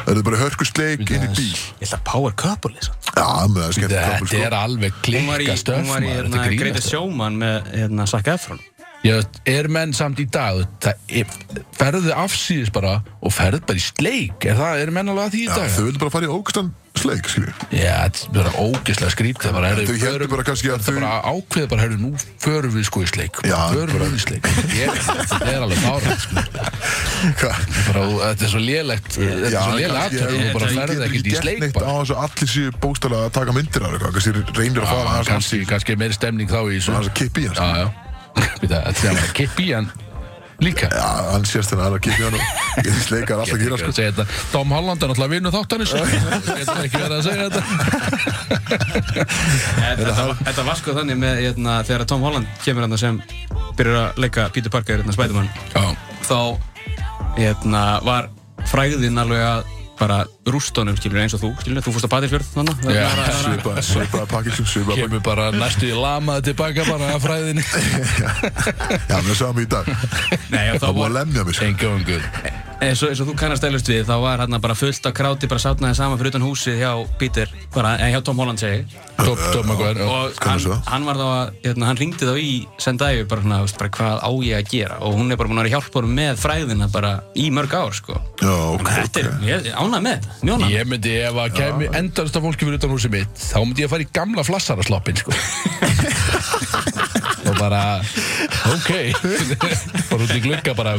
það eru bara í hörku sleik inn í aðeins. bíl Ég ætla að power couple þess já með það er sko. skemmt Þetta er alveg Hún var í, klikka hún stöf var í hérna, Greita Sjóman með hérna, Saka Efron Er menn samt í dag það er, ferðu afsýðis bara og ferðu bara í sleik er það, er menn alveg að því í Já, dag? þau vildu bara fara í ógstann sleik, skiljið. Já, þetta er bara ógeðslega skrítið það bara, Þau heyrðu, heldur förum- bara kannski að Það þau... bara ákveði bara, herru, nú förum við sko í sleik Já, Förum bara- við í sleik Ég- Þetta er alveg bárað sko. Hvað? bara, þú- Þetta er svo lélegt Þetta er svo lélega aðtöð Þú bara ferði ekkert í sleik neitt á bara. þess að allir séu bókstælega að taka myndir af eitthvað. Kannski reynir að fara Já, aðeins Ah, Kannski kannski er meiri stemning þá í þessu aðeins að kippa í sko. hans. Já, já Býta, Þetta er að kippa í hann líka Já, hann sést þennan aðeins að kippa í hann og ég sleikar alltaf að gera, sko. segja þetta Tom Holland er náttúrulega vinnu þáttanis Getur ekki verið að segja þetta Þetta var- þetta var sko þannig með hérna, þegar Tom Holland kemur hann sem byrjar að leika Peter Parker hérna, Spiderman Já, þá hérna, var fræðin alveg að bara rústunum skilur eins og þú skilur, þú fórst að Batirfjörð þannig Já, Svipaði, svipaði pakkisum, svipaði kemur bara næstu í lamaði tilbaka bara að fræðinni pakkisum. Já, við sáum í dag. Nei, og þá Það búið var, að lemja mig, sko. Engjóngur eins, og, eins og þú kannast elust við þá var hérna bara fullt af kráti bara sátnaði saman fyrir utan húsið hjá Peter bara, eh, hjá Tom Holland segi ég. Top, top, maður og Skal hann, við sjá? hann var þá að, hérna, hann ringdi þá í Sendaiu bara svona, þú veist, bara hvað á ég að gera og hún er bara búin að vera hjálpa honum með fræðina bara í mörg ár, sko Já, ok, ok. Þetta er, ég er ánægð með þetta, mjóna Ég myndi ef að kemi endanast af fólki fyrir utan húsið mitt þá myndi ég að fara í gamla flassarasloppin sko. og bara ok bara út í glugga bara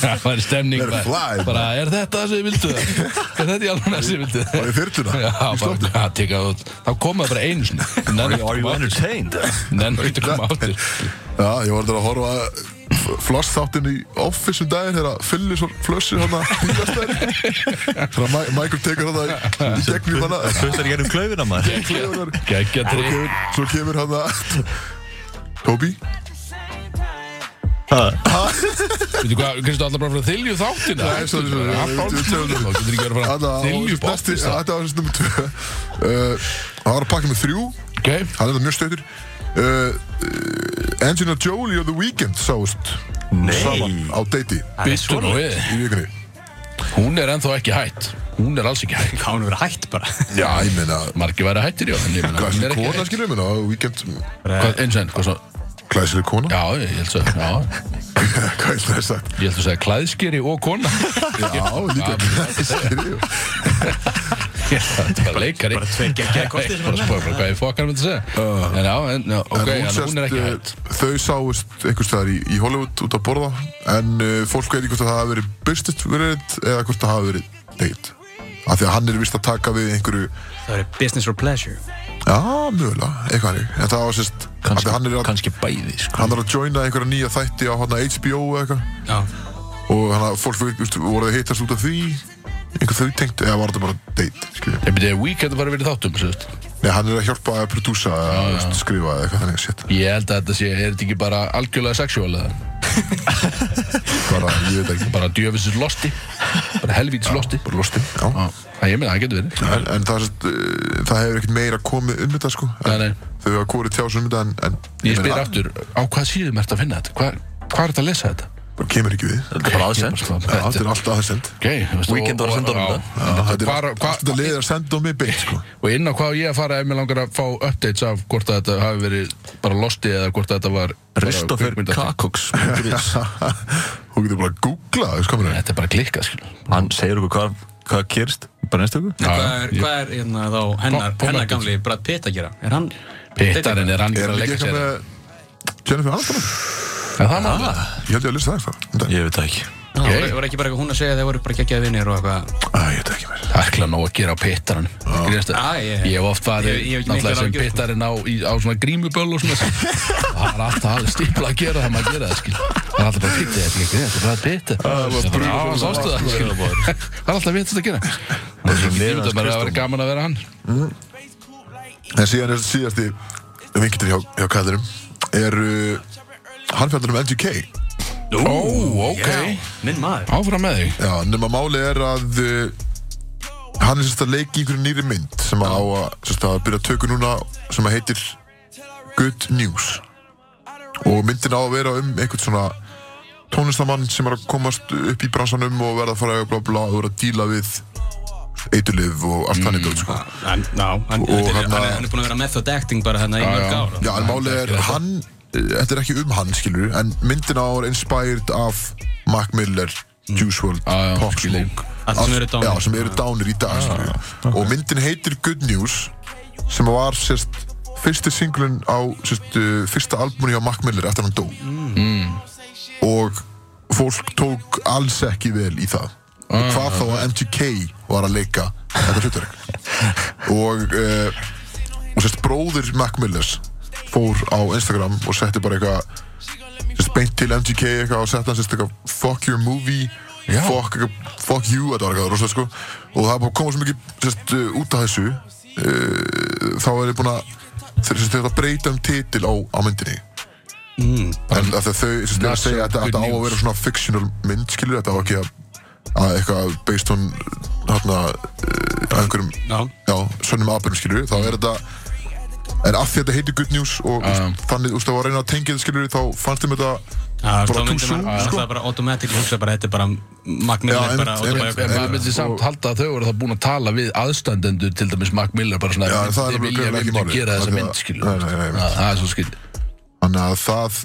það var stemning Verður fly, bara, bara er þetta það sem þið vildu er þetta í alveg það sem þið vildu Var í þyrluna? Já, Í bara, sloppnum? ja, teka, það út. þá kom það bara einu sinni Are you nenni entertained? ekki að koma áttur Já, ég var þetta að horfa floss þáttinn í office um daginn þegar að fyllir svo flössir hann að bílastæri þannig að Mi- Michael tekur hann að í gegnum hann að Pustar í gerum um klaufina maður geggja trí svo kemur hann að Tobi Ha, Veitu hvað, kannski alltaf bara að fara að þylju þáttina Nei, sorry, sorry, Það sorry, er sorry, allt álsmál. sorry. Þú getur ekki verið að fara Þetta að þylju var bótti þetta var sérst nummer 2 Það var að pakka með þrjú Ok, hann er það mjög stöður uh, uh, Angelina Jolie og The Weeknd sáust saman á deiti byttu nú við í vikunni Hún er ennþá ekki hætt Hún er alls ekki hætt Hvað hún verið hætt bara Já, ég meina Margi væri hættir, já en ég meina, Hvað Hún er er ekki kona, hætt skilum við, og Weekend, Hvað- Eins og enn, hvað svo klæsileg kona? Já, ég held svo Já, Hvað er það sagt? ég held svo að segja klæðskeri og kona Já, líka klæsileg. Ég held að Þetta var leikari bara tveir geggjaðir kostir sem Bara hann er. spóra bara hvað ég fokkar með þetta segja En já, en, já, ok, en hún er ekki eh, hætt þau sáist einhvers staðar í, í Hollywood út að borða en uh, fólk veit ekki hvort að það hafi verið business verið eða hvort það hafi verið date af því að hann er vist að taka við einhverju Það verið business for pleasure já, mögulega, eitthvað hannig en það var sérst, af því að hann er að kannski bæði sko hann er að joina einhverja nýja þætti á hérna hana, HBO eða eitthvað Já, og hann að fólk veit, vist, voru þau hittast út af því einhver þau tengt, eða var þetta bara date skiljum, Ég byrja, weekend var að vera í þáttum, svo veist nei, hann er að hjálpa að prodúsa eða þú veist, skrifa eða eitthvað þannig, shit Ég held að þetta sé, er þetta ekki bara algjörlega sexuál eða bara, ég veit ekki, bara djöfisins losti bara helvítis losti bara losti, já Já, það ég meina, það getur verið en, en það, er samt, uh, það hefur ekkert meira komið um þetta sko Nei, nei. En þau hafa hvorið tjásu um þetta en, en Ég spyr meina, aftur, á hvað síðum ert að finna þetta? Hvar, hvar er þetta að lesa þetta? bara kemur ekki við Þetta er bara aðsend Kemur Já, bara. Þetta er alltaf aðsend Ok, veistu, Weekend og- var að senda honum og- já. þetta. Já, Þetta er Hvar- allt- hvar- allt þetta liðið að senda um mig beint sko. Og inn á hvað á ég að fara ef mér langar að fá updates af hvort að þetta hafi verið bara losti eða hvort að þetta var eh, bara Ristoffer kvikmynda- Kakoks Hún getur bara að googla þess kominu Þetta er bara klikkað, skil Hann segir okkur hvað, hvað gerist Bara næstu okkur Já, Hvað er, ég- hvað er hérna, þá hennar, Pom- hennar Pommerkins. gamli Brad Pitt að gera? Er hann? Pittarinn er hann ekki Er að hann ekki leika eitthvað sér með Jennifer Aniston? En það má Ah. það Ég held ég að lista það eitthvað Ég veit það ekki Það Ok. okay. var ekki bara eitthvað hún að segja að þeir voru bara geggjaði vinnir og eitthvað Æ, ég veit ekki mér Ækla nóg að gera á pittarinn Greiðstu? Já, Ah. ég- Ég hef oft farið Ég- ég hef ekki náttúrulega miklar sem áhyggjur, sko. pittarinn á, í, á svona grímuböll og svona Það er alltaf alveg stípla að gera það maður að gera það skil Það er alltaf bara pitti, þetta er ekki þetta, það er pitti Það er bara að sástu það skil Það er alltaf vitið að gera Það er svona niður niður hans að bara að vera gaman að vera hann En síðan er síðasti vinkitur hjá, hjá kallurum er uh, hann fjallar um MGK Ó, ok Minn maður Áfram með þig Já, nema máli er að uh, hann er sérst að leiki í einhverju nýri mynd sem að á að, sérst að byrja að tökja núna sem að heitir Good News og myndin á að vera um einhvern svona tónlistamann sem er að komast upp í bransanum og verða að fara að bla bla og vera að díla við eiturlif og allt þannig dót sko. Hann, ná, hann, Og hann, hérna- hann, er- hann er búin að vera method acting bara hérna í mörg já. ára Já, en málið er hann Þetta er ekki um hann, skilur En myndina var inspired af Mac Miller, Mm. Juice WRLD, Já, já, Pop skil ég. Smoke Ah, Allt sem eru dánir. Ah, Já, sem eru dánir í dag skilur Og myndin heitir Good News sem var sérst fyrsti singlun á sérst, uh, fyrsta albúni hjá Mac Miller eftir hann dó Mm. og fólk tók alls ekki vel í það Ah, og hvað þá að MTK var að leika þetta hluturinn og uh, og sérst bróðir Mac Millers fór á Instagram og setti bara eitthvað sérst beint til MGK eitthvað og setti hann sérst eitthvað fuck your movie fuck, eitthvað, fuck you, þetta var eitthvað rosalega sko og það er bara komað svo mikið sérst uh, út af þessu uh, þá er ég búin að þeir sérst þetta breyta um titil á, á myndinni mm, en af því að þau sérst eru að segja að þetta- Good þetta á að news. vera svona fictional mynd skilur þetta á ekki að að eitthvað based on hérna uh, einhverjum Já. já, sönnum aðbyrjum skilur þá er þetta en af því að þetta heitir Good News og Já. úst, þannig úst, að var að reyna að tengja þetta skilur þá fannst þeim þetta Já, Bara þá too myndi soon, maður sko. alltaf bara automatic hugsa bara þetta er bara Mac Já, Miller einmitt, einmitt, bara En autobiography maður myndi samt halda að þau voru það búin að tala við aðstandendur til dæmis Mac Miller bara svona Já, það er Þið alveg vilja greinilega ekki vilja málið. gera þessa Það- mynd skilur Nei, nei, nei, nei. Það það er svo skil þannig að það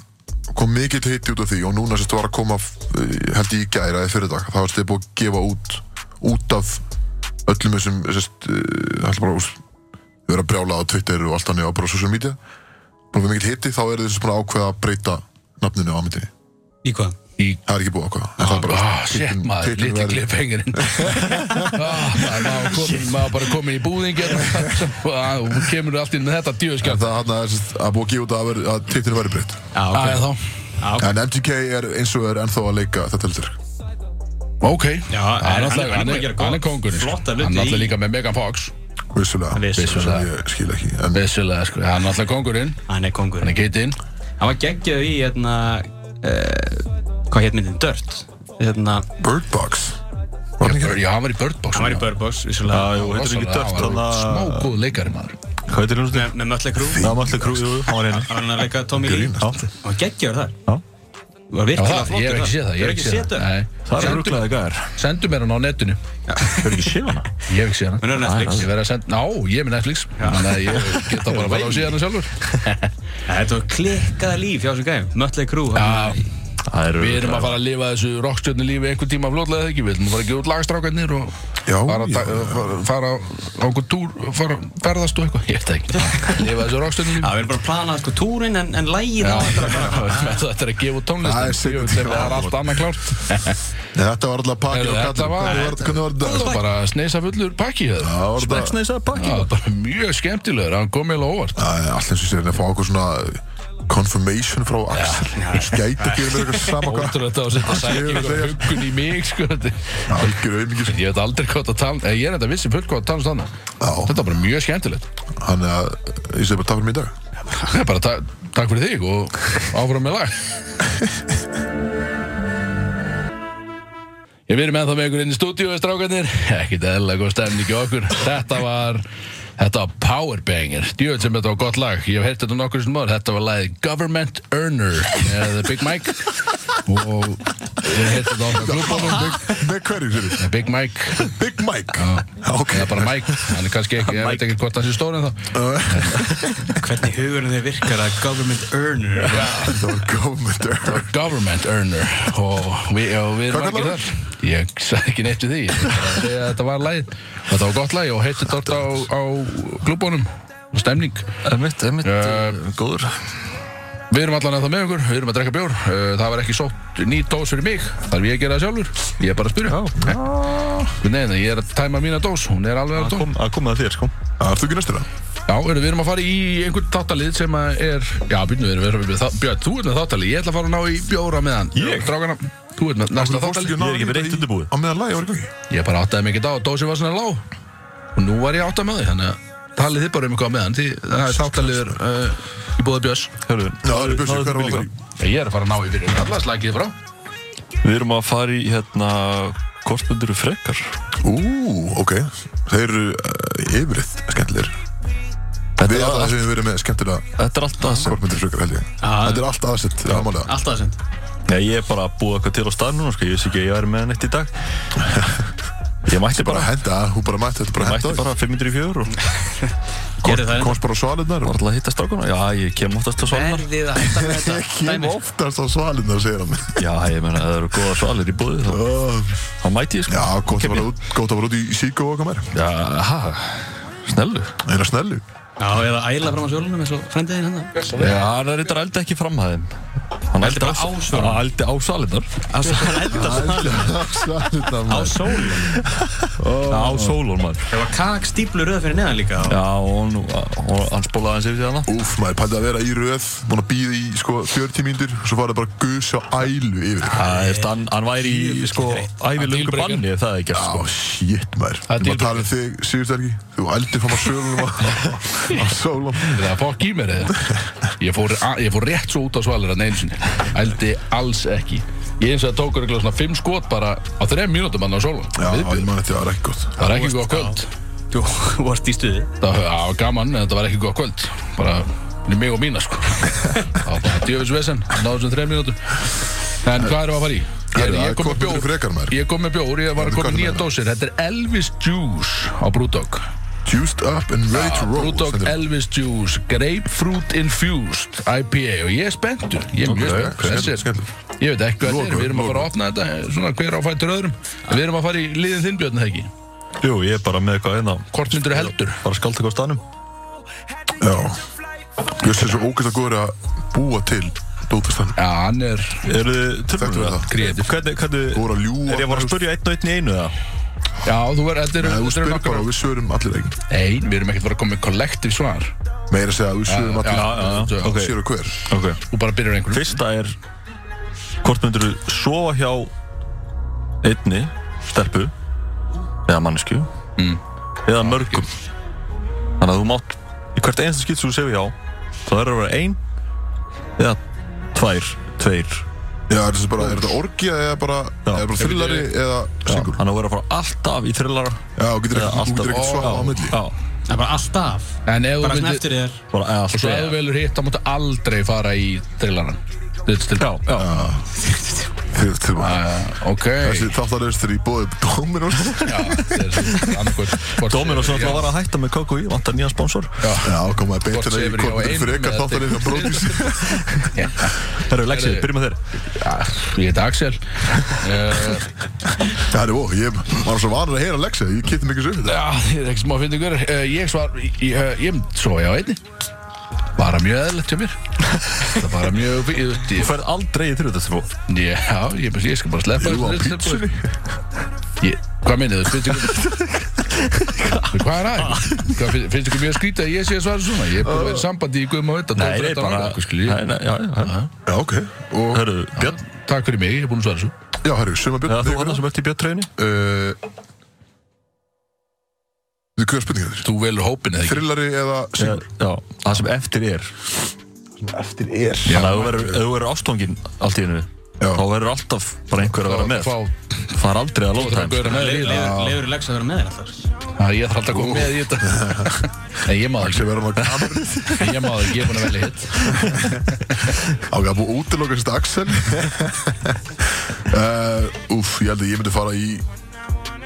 kom mikill hitti út af því og núna sérst var að koma eh, held ég í gæra eða fyrir dag þá varst þið búið að gefa út út af öllum þessum sérst uh, bara úst, við erum að brjála á Twitter og allt þannig á bara social media búin að vera mikill hitti þá er þess búin að ákveða að breyta nafninu á myndinni Í hvað? Í það er ekki búið að ákveða en það er bara Ah, shit titlinn- maður, titlinn litli verður- klippengirinn ah, maður, maður, kom, maður bara komin í búðingin og hún kemur allt inn með þetta En djöðskjald það hann að, að búið að gefa út að, ver- að titlinu væri breytt Já, Það er ok Ah, þá Já, En MGK er eins og er ennþá að leika þetta heldur Ok, Já, hann, hann- er hann er náttúrulega- búinn hann, að er- gera hann er gott- kongurinn sko. flotta Hann hluti er í- náttúrulega líka með Megan Fox Vissulega Vissulega. Sem Ég skil ekki En Vissulega, sko, hann er náttúrulega kongurinn hann er kongur Hann er getinn Hann var geggjöð í hérna uh, Hvað hétt myndin? Dirt Hérna Bird Box Var hann ekki Já, hann var í Bird Box Hann var í já. Bird Box vissulega Já, jú, heitir ekki Rosalega, Dirt, hann var þarna- Smágóð leikari maður Hvað heitir hljómsveitin? Með, með Mötley Crüe Það var alltaf krú, jú, jú, hann var hérna Hann var hann að leika Tommy Lee grínast? Já, Hann var geggjöður þar Já. Var Já, virkilega það, flottur ég hef ekki séð það, þar. ég hef Þú hefur ekki séð það Nei. Nei það er Sendu- rúglaði gæðar Sendu mér hann á netinu Hefur ekki séð hana? Ég hef ekki séð hann Hún er á Netflix Ég verði að senda, á, ég er með Netflix Þannig að ég geta bara að fara og séð hann sjálfur Þetta var klikkað líf hjá þessum gæm Mötley Crüe Já, hann- Það er Við erum rúglaði að fara að lifa þessu rockstjörnu lífi einhver tíma fljótlega eða ekki, við ætlum að fara að gefa út lagastrákarnir og Já, fara, að já, ta- fara, fara á einhver túr, fara að ferðast og eitthvað, ég veit það ekki, lifa þessu rockstjörnu Já, lífi. við erum bara að plana sko túrin en, en lægin Já, þetta er að gefa út tónlist, Það er en ég seinna veit tíma. það er allt annað klárt. Nei, Þetta var alltaf pakki Heyrðu, á þetta kallum var- Hvernig var- Hvernig var Það þetta? var bara að sneisa fullur pakki í það. Það var þetta Smeksna þess að Já, pakki bara mjög skemmtilegur, hann kom eiginlega óvart. Það er alltaf eins og sér En að fá okkur svona Confirmation frá Axel Skæta ekki verið eitthvað sama hvað Ótrúlega þetta að setja sækir og hugun í mig, sko. þetta- Algjör auðmikið Ég veit aldrei hvað það tala, eh, ég er þetta vissi full hvað það tala stanna. Já. Þetta var bara mjög skemmtilegt. Þannig að Ég segi bara takk fyrir mig í dag Það er bara ta takk fyrir þig og áfram með lag Ég verið með það með ykkur inn í stúdíu strákarnir, ekkert eðlilega góð stemning í okkur Þetta var, þetta var Powerbanger, djöðl sem þetta var gott lag Ég hef heyrt þetta nokkur sem maður, þetta var lagið Government Earner með Big Mike og Ég heiti þetta okkar klubbanum með, með hverju sér þið? Big Mike Big Mike ok Eða bara Mike, hann er kannski ekki, ég veit ekki hvort það sé stóri en þá Hvernig hugurinn þeir virkar að government earner það var government error. Government earner og við, og við erum Hvað margir kallar þar Ég sagði ekki neitt við því Ég var að segja að þetta var læg Þetta var gott læg og heiti þetta á, á klubbanum Stemning Emitt, emitt, Eh, uh, góður Við erum allan að það með okkur, við erum að drekka bjór Uh, Það var ekki sótt ný dós fyrir mig Þarf ég að gera það sjálfur, ég er bara að spyrja Nei, nei, ég er að tæma mína dós Hún er alveg að dó Kom, að koma það þér, sko. það er þú ekki næstur Já, heyrðu, við erum að fara í einhvern þáttalið sem að er Já, býtnu, við erum að Björn, þú ert með þáttalið, ég ætla að fara að ná í bjóra með hann Ég? Drákana, þú ert með næsta þáttalið Ég er ekki með neitt undirbúið. á meðan lagi var ekki Ég bara áttaði mikið á, dósi var svona lág Og nú var ég áttað með því, þannig að Talið þið bara um eitthvað með hann, því það er þáttaliður uh, í búða Björns Hörru, Já, það er bjössi, náðu hver þú var líka? það? Ég er að fara að ná í fyrir, allar slækið frá Við erum að fara í, hérna, hvort myndir þú frekar? Ú, ok Þeir eru uh, yfirið skemmtilegir Við er erum það sem við verið með skemmtilega Þetta er allt aðsett Kortmyndir frukar held ég Ah. Þetta er allt aðsett, það er málega Alltaf þessend Já, ég er bara að búa eitthvað til á stað núna, sko. Ég veist ekki að ég væri með neitt í dag. Ég mætti Bara bara, henda, hún bara mætti þetta bara mætti henda bara 504 og Gerið það Komst bara á svalinnar var alltaf að hitta strákuna. Já, ég kem oftast á svalnar. Verðið að hætta með Ég kem Dæmi. oftast á svalinnar, segir hann Já, ég meina, ef það eru góða svalir í búið, þá, Ó, þá mæti ég, sko. Já, gott Kem ég. að vera út, gott að vera út í síku og okkar mér Já, ha, snellu. Eina snellu Já, eða æla fram á sjólunum eins og frendiðin hann Já, hann er eitthvað aldrei ekki framhæðin. Hann Eldi eldi á, bara á svalirnar. á, eldi á svalinnar. Svalinnar, Á maður sólunum Á sólun, maður. Það var kak stíplu röð fyrir neðan líka Já, og, nú, og hann spólaði hans yfir síðan það. Úf, maður pændi að vera í röð Búin að býða í, sko, 40 mínútur Svo farið bara gus á ælu yfir Það er, hann, hann væri í, sko, ævilöngu Dealbreaker. banni, ef það er gert, Já, sko. shit, maður Við Það erum að er dealbreaker. tala um þig, Sigurstergi Þú eldir fram á sölunum á- á sólan Það er fokk í mér eða ég fór, a- ég fór rétt svo út á svalir að neins Ældi alls ekki Ég eins og það tókur eitthvað svona fimm skot bara á þrem mínútum hann á sólu Já, Viðbjóður. ég man þetta, það var ekki gott Það var ekki góð kvöld Þú varst í stuði Það var- það var gaman en þetta var ekki góð kvöld Bara fyrir mig og mína sko Það var bara djöfis vesen Náðu þessum þrem mínútum En hvað erum við að fara í? Ég, Herra, ég kom með hvort myndir bjór frekar, maður? Ég kom með bjór, ég var að koma hvað er með nýja með dósir Þetta er Elvis Juice á Brewdog Juiced up and ready to roll Brewdog stendur. Elvis Juice Grapefruit Infused IPA og ég er spenntur ég er mjög Ok, spenntur skemmtilegt, Þessi er- skemmtilegt. ég veit ekki hvað þetta er Lokum, við erum að fara að opna þetta eh, svona hver á fætur öðrum En við erum að fara í liðin þinn björn það ekki Jú, ég er bara með eitthvað eina, hvort myndir þú heldur bara skalt eitthvað á staðnum. Já Ég sé svo ógæst að góður að búa til Dótastann já hann er Eru þið Þekktum tilbúinu við það? það? kreatív Hvernig, hvernig, Þú voru að ljúga er ég bara að spyrja einn og einn í einu það? já þú er þetta er Nei, þú þetta er spyrir bara nokkar og við svörum allir ekki nei við erum ekkert bara að koma með kollektiv svar Meira að segja að við svörum allir já, já, já, Þú ok. Sér og hver Ok. og bara byrjar einhvern Fyrsta er, hvort myndir þú sofa hjá einni, stelpu, eða mannesku, Mm. eða mörgum. Þannig að þú mátt, í hvert einsta skipt sem þú sefur hjá, þá er að vera ein, eða tvær, tveir. Já, er þetta bara, er þetta orgja eða bara Já. Eða bara thrillari eða singur Þannig að vera bara alltaf í þrillara. Já, þú eða getur ekkert- þú alltaf- getur ekkert svara á Já, milli Já, Það er bara alltaf en ef þú Bara svona myndir eftir þér bara eða og alltaf. svo ef þú velur hitt þá máttu aldrei fara í trillaran Já, já. Þeir- þeir- Ah, ok Þessi þáttaröðstur í bóði Dominos Já, þetta er svona annað hvort- Dómir og svo ætla Já. að vara að hætta með KKI, vantar nýjan sponsor. Já, komaði Hvort beintina í sefur ég á kortmyndir einum fyrir eða eitthvað þáttaröðstur þremur? Brótis Já. Herru, Lexi, byrjum með þér. Já, Ég heiti Axel uh, Það er ó, ég var svo vanur að heyra Lexa Ég kipti mikið svo upp í þetta Já, þið er ekki smá fyndingur uh, Ég svar, ég, ég, ég svo ég á einni Bara mjög eðlilegt hjá mér Það er bara mjög fínt Þú ég- færð aldrei í þrjóðastempu. Já, ég, ég, ég skal bara sleppa Jú, á þessu litlu pítsunni. tilboði. Ég- Hvað meinið þið? Finnst ykkur Hvað er aðeins? Hvað finnst- finnst ykkur mjög skrítið að ég sé að svara svona? Ég er búin að vera í sambandi í guðum á þetta Nei, nei, bara... Nei, nei, já, já. Já, ok Og, Herru, Björn, Takk fyrir mig, ég er búin að svara svo já, herru, suma eða björn þú hann sem ert í Björn-treyni? Þú hvað er spurningin þér? Þú velur hópin eða ekki? Thrillari eða Já, singur? já, það sem eftir er. Eftir er Já, Þannig að ef þú verður- ef þú verður ástóngin allt í hennu, Já. þá verður alltaf bara einhver að vera með. Fá- Það er aldrei að lóta þeim. sko. Gauðra með Leifur- líða Leifur Leifur Lex að vera með þér alltaf Já, ég þarf alltaf að koma með í þetta Nei, ég má það Sem verður hann að kamerun ekki Ég má það ekki, ég er búin að velja hitt Á, ég hafa búið að útiloka sérst Axel uh, Úf, ég held að ég myndi fara í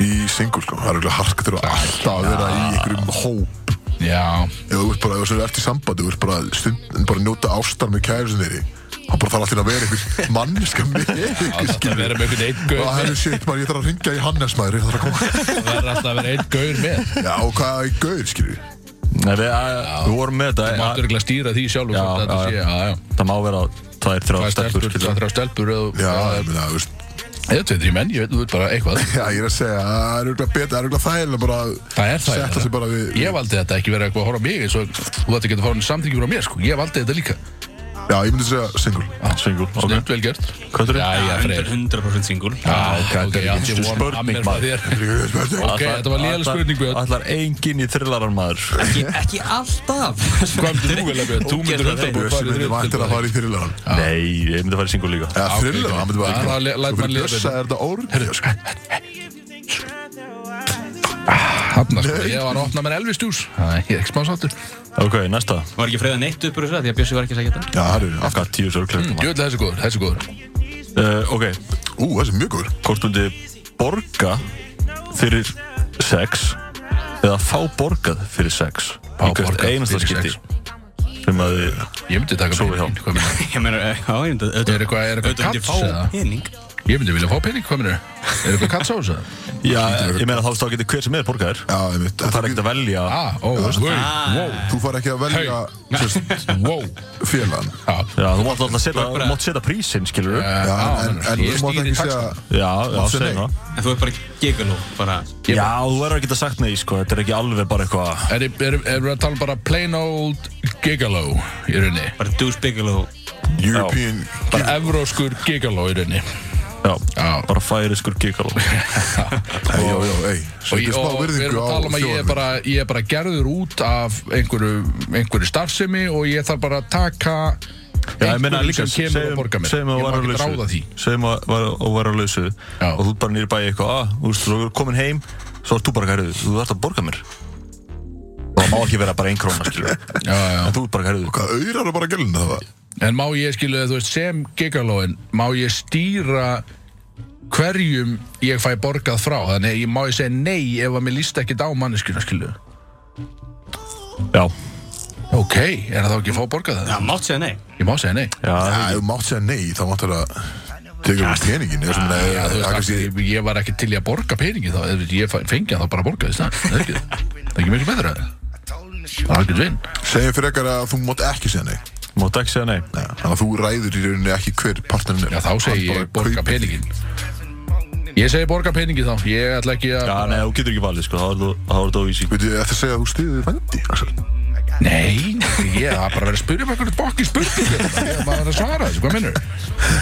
í single sko, það er eiginlega harka til að alltaf að vera í einhverjum hóp Já, ef þú ert bara, ef þú ert í sambandi þú ert bara, stund, bara að njóta ástar með kæri sem þeirri, það bara þarf alltaf að vera einhver manneska með ykkur alltaf að vera með einhvern einn og það gaur er shit maður, ég þarf að ringja í Hannes maður ég þarf að koma, Það er alltaf að vera einn gaur með já og hvað í gaur skilur Nei, við, að, við vorum með þetta Þú að- máttu örgulega stýra því sjálf Já, og þetta já, sé já. Já, já Það má vera tvær, Það þrjá er stelpur stelpur, það skilur. er þrjá stelpur eða- já, eða- ég meina, þú veist Eða tveið þrjú menn, ég veit, þú veit bara eitthvað já, ég er að segja, það er eiginlega betur, það er eiginlega þægilega bara að Það er það setja sig bara við, Ég valdi þetta ekki verið eitthvað að horfa á mig eins og þú ætti ekki að fá henni samþyggjum frá mér sko Ég valdi þetta líka já, ég myndi segja single Singul, ok Snumt vel gert Hvað er Já, þetta? já, freyr 100% single Já, ok, þetta er ég átti ekki von spurning, að mér frá maður. þér Ég Ok, þetta var lélega spurning Björn Allar engin í þrillaran maður ekki, ekki alltaf Hvað myndir þú velja Björn? Þú myndir Ógeðslega hundra hrein. myndi vantir að fara í þyrlaðan Nei, ég myndi að fara í singul líka Eða ok, thriller, ok. það myndi bara Já, það læt Svo mann fyrir lifa bjössa er þetta orðið sko. Hafna sko, ég var að opna mér Elvis dús Það er ekki smá sáttur Ok, næsta var ekki freyða neitt upp úr þessu því að Bjössi var ekki að segja þetta Já, það er Afgan tíu sörgleik Jú, þessi er góður, þessi er góður uh, Ok, Ú, þessi er mjög góður hvort myndi borga fyrir sex eða fá borgað fyrir sex Fá Í hvert borgað einasta fyrir skipti sex. sem að þið Ég myndi taka Svo við pening, hvað meinar? ég meina, eh, já, ég myndi auðvitað- Er eitthvað- er eitthvað auðvitað myndi ég kats eða? fá pening Ég myndi vilja fá pening, hvað minnur? Er eitthvað katts á þessu? Já, ég meina þá getur hver sem er borgaðir Já, ég mynd Það er ekkert að velja Ah, ó, veistu, wow, Þú far ekki að velja sérst, wow félagan Já, Já, þú mátt alltaf setja, bara- mátt setja prísinn, skilur við Já, Já, já, en, en Ah, ég þú mátt stýri ekki segja taxtanum. Já, já, segja segja nei. það en þú er bara gigaló bara Ég- Já, þú verður ekki að sagt nei, sko, þetta er ekki alveg bara eitthvað Er það að tala um bara plain old gigolo í rauninni? bara dús bigaló European Bara evróskur gigolo í rauninni Já, Já. bara færiskur gigaló Nei, já, já, ei Og, Sveitir ég- smá og við erum virðingu að á tala um að ég er, þjóðarfinn bara, ég er bara gerður út af einhverju, einhverju starfsemi og ég þarf bara að taka Já, ég meina einhverjum líka, sem kemur segjum- og borgar mér. segjum að Ég má vera á ekki ráða því. lausu Segjum að vera- að vera á lausu Já. Og þú ert bara nýri bæði eitthvað ah, Þú veist, þú er komin heim Svo ert þú bara gæriðu, þú þarft að borga mér Og það má ekki vera bara ein króna, skilur við. Já, já. En þú ert bara gæriðu Hvað, auðrar er bara gælun það var En má ég skilu, þú veist, sem gigalóin má ég stýra hverjum ég fæ borgað frá þannig ég má ég segja nei ef að mér líst ekkert á manneskjuna skilu Já, Ok, er það þá ekki að fá borgað það? já, mátt segja nei Ég má segja nei já, Já, ef þú mátt segja nei, þá mátt þetta Tekur við peningin um eða svona, Ah, Já, þú eða- eða veist, kannski- ég, ég var ekki til í að borga peningi þá, ef ég fæ- fengi hann þá bara að borga þess það, er ekki það er ekki miklu betra það er algjörð vinn Segjum fyrir ekkert að þú mátt ekki segja nei mátt ekki segja nei Nei, Þannig að þú ræður í rauninni ekki hver partnerin er Já, þá segi Hann bara ég borga kaupir- peningin Ég segi borga peningi þá, ég ætla ekki að Já, nei, þú getur ekki valið, sko, þá er þú- þá er þú óvísi Veitu, þetta segja að þú stiðið vendi, Axel Nei, ég það er bara að vera að spyrja með einhverju bokki spurningu Ég er bara að vera að svara þessu, hvað minnur?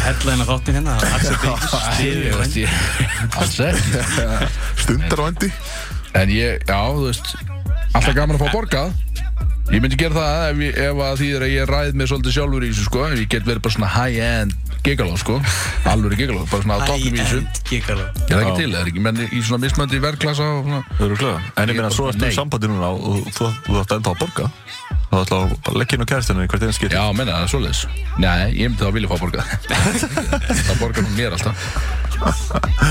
hella hennar þáttinn hérna það er alls ekki stiðið og Ég- Alls ekki Stundar vendi En ég, já, þú veist Alltaf gaman að fá borgað Ég myndi gera það ef, ég, ef að því er að ég ræð mér svolítið sjálfur í þessu, sko Ég get verið bara svona high-end gigaló, sko Alvöru gigaló, bara svona á toppnum í þessu high-end gigaló Ég er það ekki til, það er ekki menn í svona mismöndi verklasa og svona En ég meina, svo ertu Nei. í sambandi núna og þú þú þarft ennþá að borga Þá ætla að bara leggja inn á kæristinu í hvert einn skipt Já, menna, það er svoleiðis Nei, ég myndi þá vilja fá borgað Það borgar hún mér alltaf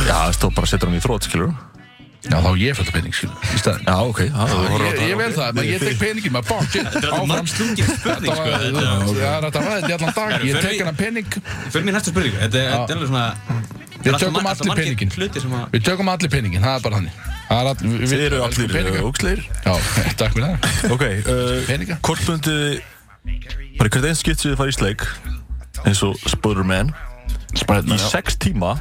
Já, þú bara setur hann í þrótt, skilur Já, þá á ég fælt að pening, skilur, í staðin Já, ok, það er Ég, ég vel það, maður ég tek peningin, maður bók, shit, þetta er áfram margslungin spurning Þetta sko var, þetta er- það er þetta ræðið allan dag, ég tek hennar pening Fyrir mér næstu spurningu, þetta er þetta er alveg svona Við þetta er alltaf tökum mar- allir alltaf margir peninginn. Hlutir sem að Við tökum allir peningin, það er bara þannig Það er all, við, við- Þið eru elskum allir peninga. ógslir Já, takk fyrir það Ok, uh, Peninga. hvort myndið þið bara í hvert einn skipt sem þið farið í sleik eins og Spiderman í Spæðna sex tíma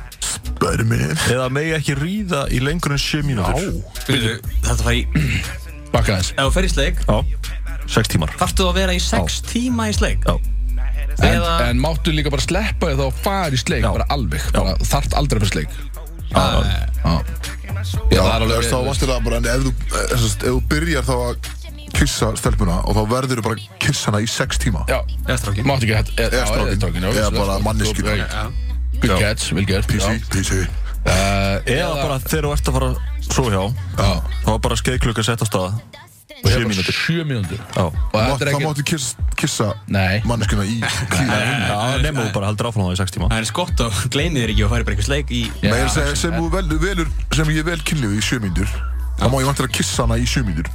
Bæri minn eða megi ekki ríða í lengur en 7 mínútur Þetta fær í Ef Bakka þess þú fer í sleik, Já, 6 tímar þarftu þú að vera í 6 tíma í sleik Já. en, Eða en máttu líka bara sleppa því þá og fara í sleik Bara alveg, bara þarft aldrei að fara í sleik Já Já, Já, það er þú alveg veist, þá varstu það bara En ef þú, eh, sem sagt, ef þú byrjar þá að kissa stelpuna og þá verður þú bara að kissa hana í sex tíma Já, Eða strákinn. máttu ekki hætt Eða strákinn. Eða bara manneskjur. Good catch, vel gert Písi, já. písi Eh, Eða bara þegar þú ert að fara svo hjá Já. þá er bara skeið klukka sett á staða Og ég Sjö var mínútur. Sjö mínútur Já. Og þetta er Það ekki máttu kiss, kissa Nei. manneskuna í klíðan Eh, Já, nema þú bara heldur áfram á það í 6 tíma Það er skott og gleymið þér ekki og færi bara eitthvað sleik í Já, Meir segja sem þú velur, velur sem ég vel kynlegu í sjömyndur þá má ég vantir að kissa hana í sjömyndur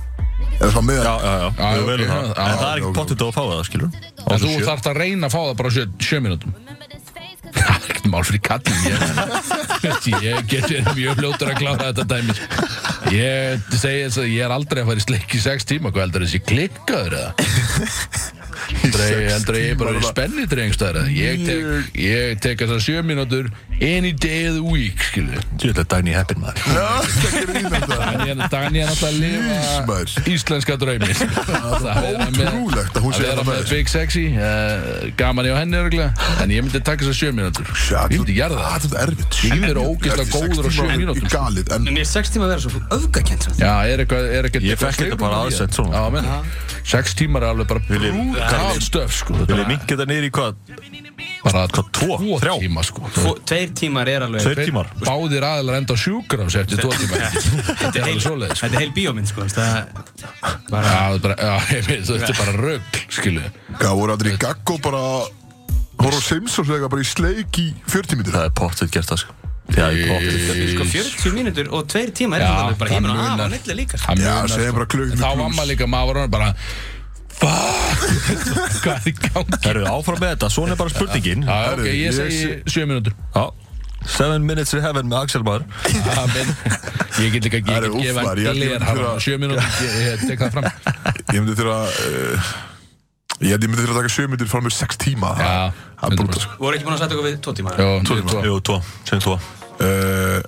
eða svona meðan Já, já, já, Já, þú ok, velur það já, já, En það já, er ekki ok, pottit að fá það, skilur En þú þarft að reyna að fá það bara á sjö, sjö mínútum Það er ekkert mál fyrir kallin Ég, ég get verið mjög fljótur að klára þetta dæmi Ég segi þess að ég er aldrei að fara í sleik í sex tíma Hvað heldur þessi klikkaður eða? Drei, heldur að ég er bara verið spennið drengstæður eða? Ég tek, ég tek þess að sjö mínútur Any day of the week, skilju Ég ætla að dæni heppin maður Það gerir í þetta Dani er náttúrulega að Jeez, maður. lifa íslenska draumi Það er ótrúlegt að hún sé vera þetta með með. Big Sexy uh, Gaman hjá henni örgulega En ég myndi taka þess að sjö mínútur Ég myndi gera Ah, það Þetta er erfitt Ég myndi vera ógeðslega góður á sjö mínútum, sko. Galið, en En ég er sex tíma að vera svo öfgakent Já, er eitthvað, er ekkert Ég fekk þetta bara aðsett svona. Já, menn Sex tímar er alveg bara Viljið- brúkál Karlinn- stöf, sko Þetta Vil ég er mingi þetta niður í hvað? bara hvað, tvo, þrjá? tíma, sko Tveir tímar er alveg Tveir tímar Báðir aðeins enda á sjúkrás eftir tvo tíma Þetta er alveg svoleið, sko Þetta er heil bíómynd sko Það Já, það er bara- já, ég veit, Þetta er bara rögg, skilu það voru aldrei gaggó bara Hóra Simpsons eða eitthvað bara í sleik í 40 mítur Það er pottit gert það, sko Já, ég pottit gert það, sko 40 mínútur og tveir tímar er Já, þetta alveg bara það heimur og af munar. á milli líka sko. Það Já, munar, segjum sko. bara klukkutími En Þá var plús. maður líka, maður var orðinn bara Fuck Hvað er í gangi? Herru, áfram með þetta, svona er bara spurningin Já, ok, Herru, ég ég segi sé- sjö mínútur Já, 7 minutes in heaven með Axel maður Amen Ég get líka ekki Herru, að úff, gefa maður, ég held ég glir myndi hann þurfa- Sjö mínútur, ég- ég tek það fram Ég myndi þurfa uh, Ég held ég myndi þurfa að taka 7 mítur frá mér 6 tíma Það- Já, Það er brúta 100%. sko Voru ekki búin að setja okkur við tvo tímar Jó, Tvo tíma. tvo. Jú, 2, sem 2 Uh,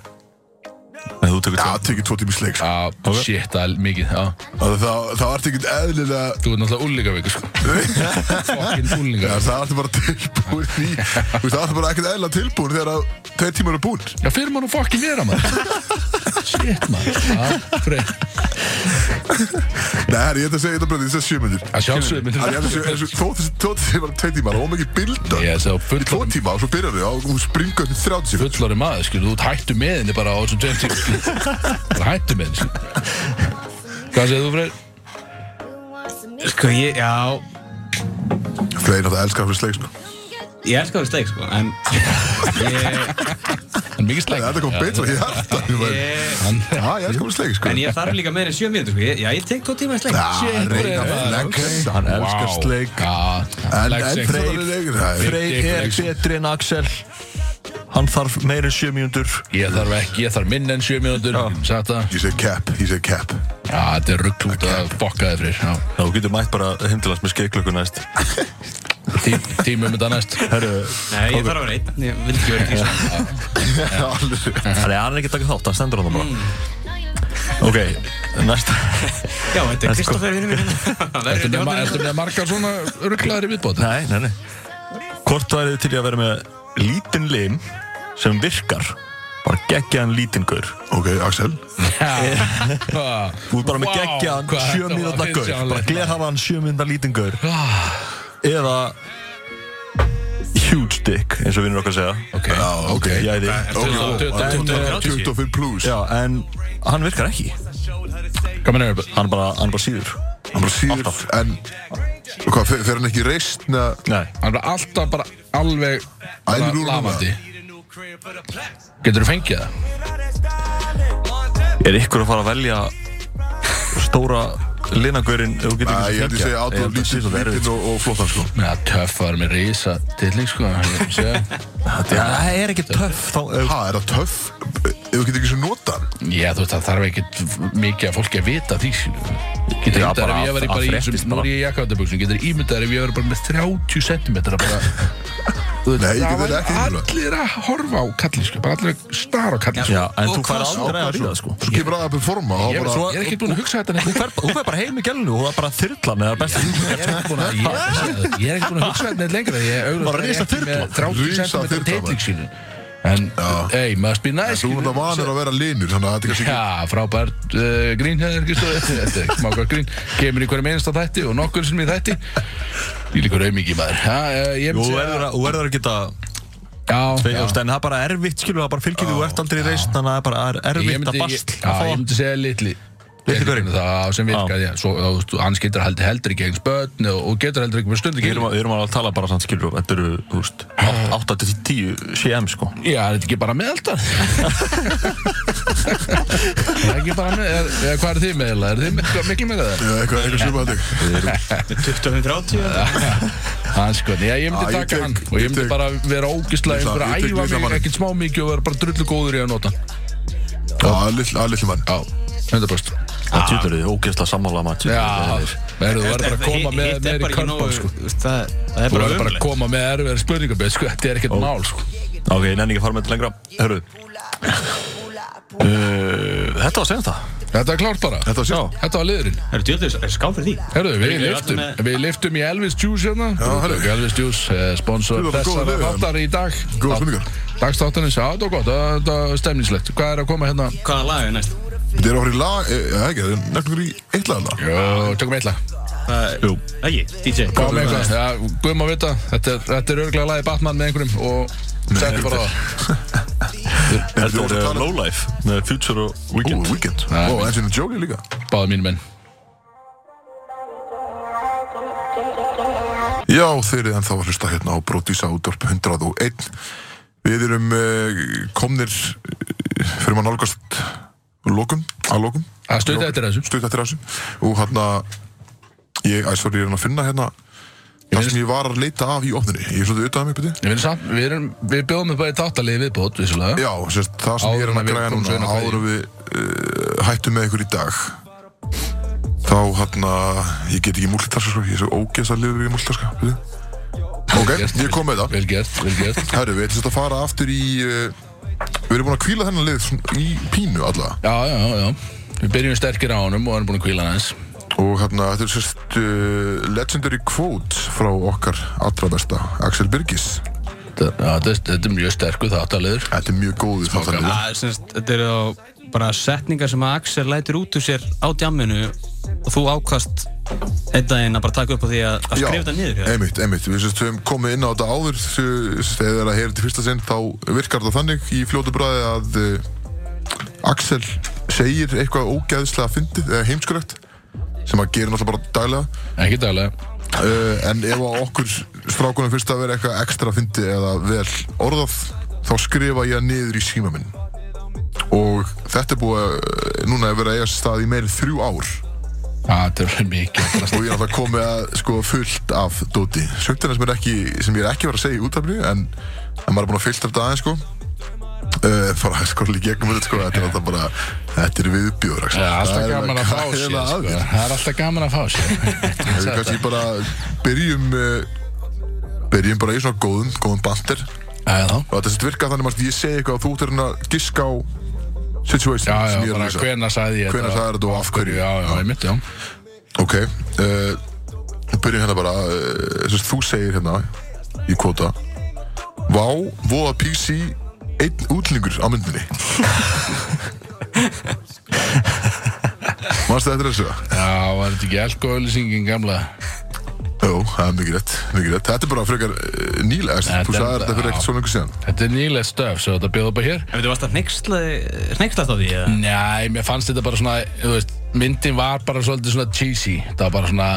En þú tekur Já, 2 tekið 2 tíma í sleik sko. Já, shit, það er mikið já. Það það vart ekkert eðlilega Þú ert náttúrulega úlíkaveikur sko Fokkin Já, úlíkaveikur það er alltaf bara tilbúin í Þú veist, það er alltaf bara ekkert eðla tilbúin þegar að tveir tímar eru búin Já, fyrir maður nú fokkin vera maður Shit maður Já, frey Nei, herri, ég ætla að segja þetta bröndið, þetta er sjömyndir Að sjálfsögðu myndir Þó þessi tóti sem var tveir tímar, það var mikið bilda Ég Í sagði á tvo fullorðin- tíma og svo byrjar þau og þú springur upp í 30 sekúndur. fullari maður, skilur, þú ert hættu með henni bara á þessum tveim tíma, skilur bara hættu með henni, skilur Hvað segir þú, Freyr? Sko ég, já Freyr náttúrulega elskar hann fyrir sleik, sko Ég elska það sleik sko En ég, Hann er mikið slæg Þetta kom beint frá hjarta ég var- ég, Hann, Já, ég elskar fyrir sleik, sko En ég þarf líka meira en 7 mínútur sko Ég- Já, ég tek tvo tímar í sleik Já, Shit, reyna Freyr, flex Hann elskar sleik En Já, flex en sex. Freyr er leikur, það er- Frey er betri en Axel Hann þarf meira en 7 mínútur Ég þarf ekki, ég þarf minn en 7 mínútur Sætt það Ég segi cap, ég segi cap Já, þetta er rugglút að fokka þið, Freyr já. Já, þú getur mætt bara heimtilast með skeiklöku næst Tí, Tímum þetta næst Herru, Nei, ég þarf að vera einn Ég vil ekki vera ekki svona þannig að hann er ekki að taka þátt, hann stendur hann bara Ok, næsta Já, þetta er Kristoffer vinnu mín Ertu Verður með, þetta ertu með margar svona rugglaðir í viðbóti? Nei, nei, nei Hvort værið þið til í að vera með lítinn lim sem virkar bara geggjaðan lítinn gaur Ok, Axel Þú er bara með Vá, geggjaðan hvað sjö þetta var mínúta gaur fyrirsjáanlegt. bara glerhafaðan sjö mínúta lítinn gaur eða huge dick eins og vinnur okkar segja Ok, ok. Jæði Ertu með En, 25 plus Já, en hann virkar ekki Komin er upp Hann bara, hann bara síður Hann bara síður Alltaf. En hvað, fer fer hann ekki reist neða Nei Hann er alltaf bara alveg bara Æður úr núna. lamandi Getur þú fengið það? Er ykkur að fara að velja stóra linagörinn ef þú getur Nei, ég held ég segja átöð lítinn lítinn og, og flottan sko Með að töffar með risa tilling sko ég sé. sko. Það er ekki töff þá ef- Ha, er það töff? Ef þú getur ekki svo nota hann Já þú veist það þarf ekkert mikið að fólki að vita því skilur. Getur Já, ímyndar bara ef ég að- verið að bara í fréttist þessum, nú bara. er ég í jakkaðabuxum Getur ímyndar ef ég verið bara með 30 cm bara, Þú veist, Nei, ég það get þetta væru ekki ímyndað. Allir að horfa á kalli sko bara allir að stara á kalli sko. Já, en Og þú fær hvað svo? aldrei að ríða sko Svo kemur aðeins að performa og Ég bara ég er ekki búin að hugsa þetta neitt Þú fær- Þú fær bara heim í gælunni og það er bara þyrlan eða besta Ég er ekki búin að, ég, ég er ekki búin að hugsa þetta neitt lengra Ég augljóslega Bara er risa ekki með þyrla. 30 Risa þyrla, cm maður. tilling skilur. En, hey, must be nice Þú erum skilur. þetta vanur að vera linur Þannig að þetta er kannski ekki Já, frábært uh, grín hefur Kristofi, þetta er smákvært grín kemur í hverjum einasta þætti og nokkur sem í þætti ég líkur auðmikið maður ha, uh, ég Þú myndi segja- verður að- þú verður að geta já, Þú veist, já. en það er bara erfitt skilur, það bara fylgir því þú ert aldrei reist þannig að það er bara það er Ég erfitt að myndi, ég, bast já, að ég fá myndi segja litli teknikunni það sem virkaði, já, svo, þá, þú veist, hann getur heldur, heldur ekki eigin spötn og, og getur heldur ekki með stundu Við erum, að- við erum alveg að tala bara samt skilur og Þetta eru, þú veist, 8-10 CM sko Já, er þetta ekki bara meðaldar? er ekki bara með, er, er, hvað er þið með eiginlega? Er þið með, hvað- miklu meira það? Já, eitthvað, eitthvað svipað held ég. 25-30 Hann sko, já, ég myndi Já, ég taka tek- hann og ég ég myndi tek- bara vera ógislega, Ég ég bara ætla- ég tek æfa litla mig manninn. ekkert smá mikið og vera bara drullu góður í að nota hann. Já, lill- að litli mann. Já, 100%. Það tjútur þið ógeðslega sammála maður Já, djöfull eru verður þú verður bara að Þetta- koma með hitt er meiri bara ekki körpan, nógu- sko. þú veist, Það það Þú er bara verður bara að umlegt koma með erfiðar spurningaböð, sko, þetta er ekkert mál, sko. þeir. Ok, ég nenni ekki að fara með þetta lengra Hörru uh, Þetta var senast það Þetta er klárt bara. Þetta var síðan. Þetta var liðurinn. Það eru djöldið, er skáð fyrir því? Herðu, við Við liftum, erum með- við liftum í Elvis Juice hérna herðu. Elvis Juice, eh, sponsor Þú ert að góða þessara liðið, þáttar í dag Góða spurningar. Dagstáttanins, já, þetta var gott, það- þetta er stemningslegt Hvað er að koma hérna? Hvaða lag er næst? Þetta er okkur í lag, eh, eða ekki, þetta er nefnilegur í eitt lag þarna. Jó, tökum eitthvað Það Jú. er ekki, DJ Kom eitthvað, já, guðum að vita Þetta er, þetta er örglega lagi Batman með einhverjum og settu bara á það Þetta þú varst að er uh, tala- Lowlife með Future og Ó, Weekend Weekend. Nei. Ó, Angelina Jolie líka. báða mínu menn Já, þeir eru ennþá að hlusta hérna á Brodísa útvarp 101. Við erum eh, komnir, eh, fyrir maður nálgast lokum, að lokum. Að stauta eftir þessu stutt eftir þessu og hann að ég, æ, sorry, ég er hann að finna hérna það sem ég var að leita af í opninni ég er svolítið auðvitað mig byrju Ég finn samt, við, erum, við bjóðum upp að í þáttalegi viðbót, vissulega já, sérst, það sem ég er Áður en hann að við græja komum svo núna inn á kveðju. áður en við uh, hættum með ykkur í dag þá hann að ég get ekki múlitaska sko, ég er svo ógeðs að lifa við múlitaska ok, ég kom með það Vel gert, vel gert herru, við ætlum sérst að fara aftur í uh, við erum búin að kvíla þennan lið svona í pínu alla Já, já, já Við byrjum sterkir á honum og erum búin að kvíla hann eins og hérna, þetta er sérst uh, legendary quote frá okkar allra besta, Axel Birgis Þetta já, þetta- þetta er mjög sterkur þáttalegur Þetta er mjög góður þáttarliður. Það er semst, þetta eru þá bara setningar sem að Axel lætur út úr sér á djamminu og þú ákast einn daginn að bara taka upp á því að, að Já, skrifa þetta niður já. einmitt, einmitt. Við sérst höfum komið inn á þetta áður s- þegar að heyra til fyrsta sinn þá virkar þetta þannig í fljótu bræði að uh, Axel segir eitthvað ógæðislega fyndið eða heimskulegt sem að gera náttúrulega bara daglega Ekki daglega uh, en ef að okkur strákunum fyrst að vera eitthvað ekstra fyndið eða vel orðað þá skrifa ég það niður í síma minn og þetta er búið að eh, núna er verið að eiga sér stað í meiri en þrjú ár Já, þetta er mikið að og ég er alltaf komið að sko fullt af dóti sögndina sem, er ekki, sem ég er ekki verið að segja í útafli en, en maður er búin að fylta þetta aðeins sko Uh, bara að skorla í gegnum þetta sko þetta er alltaf bara, þetta er viðbjóður Það er alltaf gaman að fá sér sko. sko. við Það er alltaf gaman að fá sér sko. kannski bara byrjum uh, byrjum bara í svona góðum góðum bandir og Já, þá þetta sem virka þannig að ég segi eitthvað og þú ert að reyna að giska á situation Já, já, sem ég er bara að lýsa hvena sagði ég Hvenær sagði þetta og af hverju? Já, já, ég myndi, já Ok, uh, byrjum hérna bara, uh, sérst, þú segir hérna í kvota Vá, voða PC, einn útlingur á myndinni Manstu þetta þessu? Já, var þetta ekki alkoholýsingin gamla? Jú, það er mikið rétt, mikið rétt Þetta er bara frekar uh, nýlega, Þetta sérst, þú er- sagði þetta fyrir já. ekkert svo lengur síðan Þetta er nýlega stöf, svo þetta bjóða bara hér En veitum, varst það hneikslast á því? eða? Nei, mér fannst þetta bara svona, þú veist, myndin var bara svolítið svona cheesy Það var bara svona,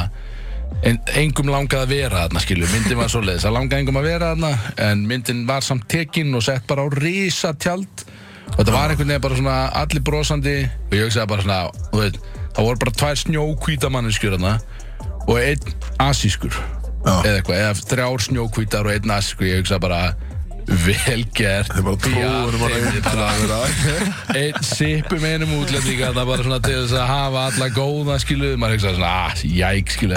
en, engum langaði að vera þarna, skilju Myndin var svoleiðis, það langaði engum að vera þarna En myndin var samt tekin og sett bara á risa tjald Og þetta var einhvern veginn bara svona allir brosandi Og ég hugsaði bara svona, þú veit, það voru bara tvær snjókvítamanneskjur þarna Og einn asískur Já. Eða eitthvað, eða þrjár snjókvítar og einn asískur Ég hugsaði bara, vel gert Þetta er bara tróðunum að Já, þeim er reynda bara- að vera einn sipum einum útlendinga það bara svona til þess að hafa alla góða skilu maður hugsa svona, ah, jæk skilu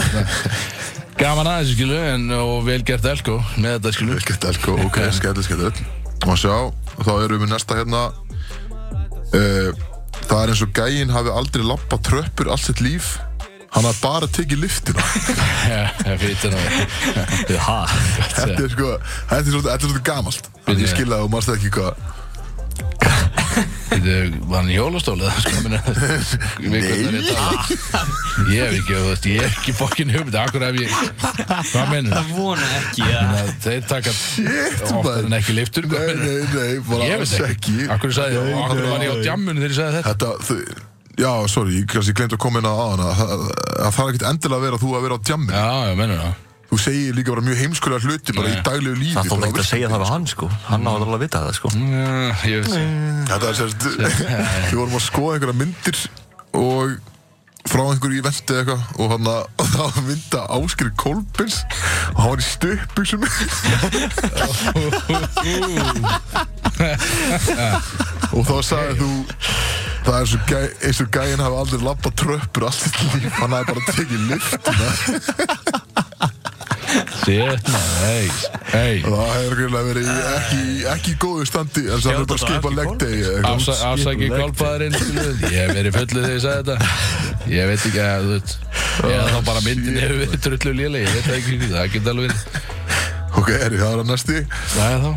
gaman aðeins skilu en, og vel gert elko með þetta skilu Velkett elko, ok, skellið, skellið Og sjá, þá erum við með næsta hérna uh, Það er eins og gæinn hafi aldrei lappað tröppur allt sitt líf Hann hafi bara tekið liftina fyrir Ha? Þetta er sko, þetta er svolítið, þetta er svolítið gamalt Þannig ég skilja það og maður stæði ekki hvað þetta var hann í Sko, hjólastólið nei ég hef ekki, þú veist, ég hef ekki fokkin hugmynd akkur ef ég, hvað mennur Ég vona ekki að þeir taka oftar maður. en ekki liftur hvað Nei, meinarðu? nei, nei, bara ég alls veit ekki, ekki akkur sagði, Nei, akkur nei, var ég á nei. djammun þegar ég sagði þetta Þetta, þau, já, sorry, ég kannski glemt að koma inn á aðan að það að það er ekkert endilega að vera þú að vera á djamminu Já, já, mennur það Þú segir líka bara mjög heimskulega hluti bara í daglegu lífi Það þótt bara á ekkert að segja það við hann sko Hann á alveg að vita það sko Mm, Ég veit Þetta er sérst, við vorum að skoða einhverja myndir og frá einhverju eventi eða eitthvað og hann að það var mynda Áskir Kolbins og hann var í stöpbuksum og þá sagði þú það er svo gæ, eins og gæinn hafi aldrei labbað tröppur allt í líf, hann hafi bara tekið lyftuna Sétt maður, hei Hei og það hefur greinlega verið í ekki, ekki í góðu standi en það er bara að skipa legdegi eða eitthvað. Afsa- Afsaki skipulegt. kálpaðurinn Ég hef verið fullu þegar ég sagði þetta Ég veit ekki að þú veit Eða þá Oh, bara myndin hefur verið trullu léleg Ég veit það ekki, það geta alveg verið ok, er það er að næsti Það er þá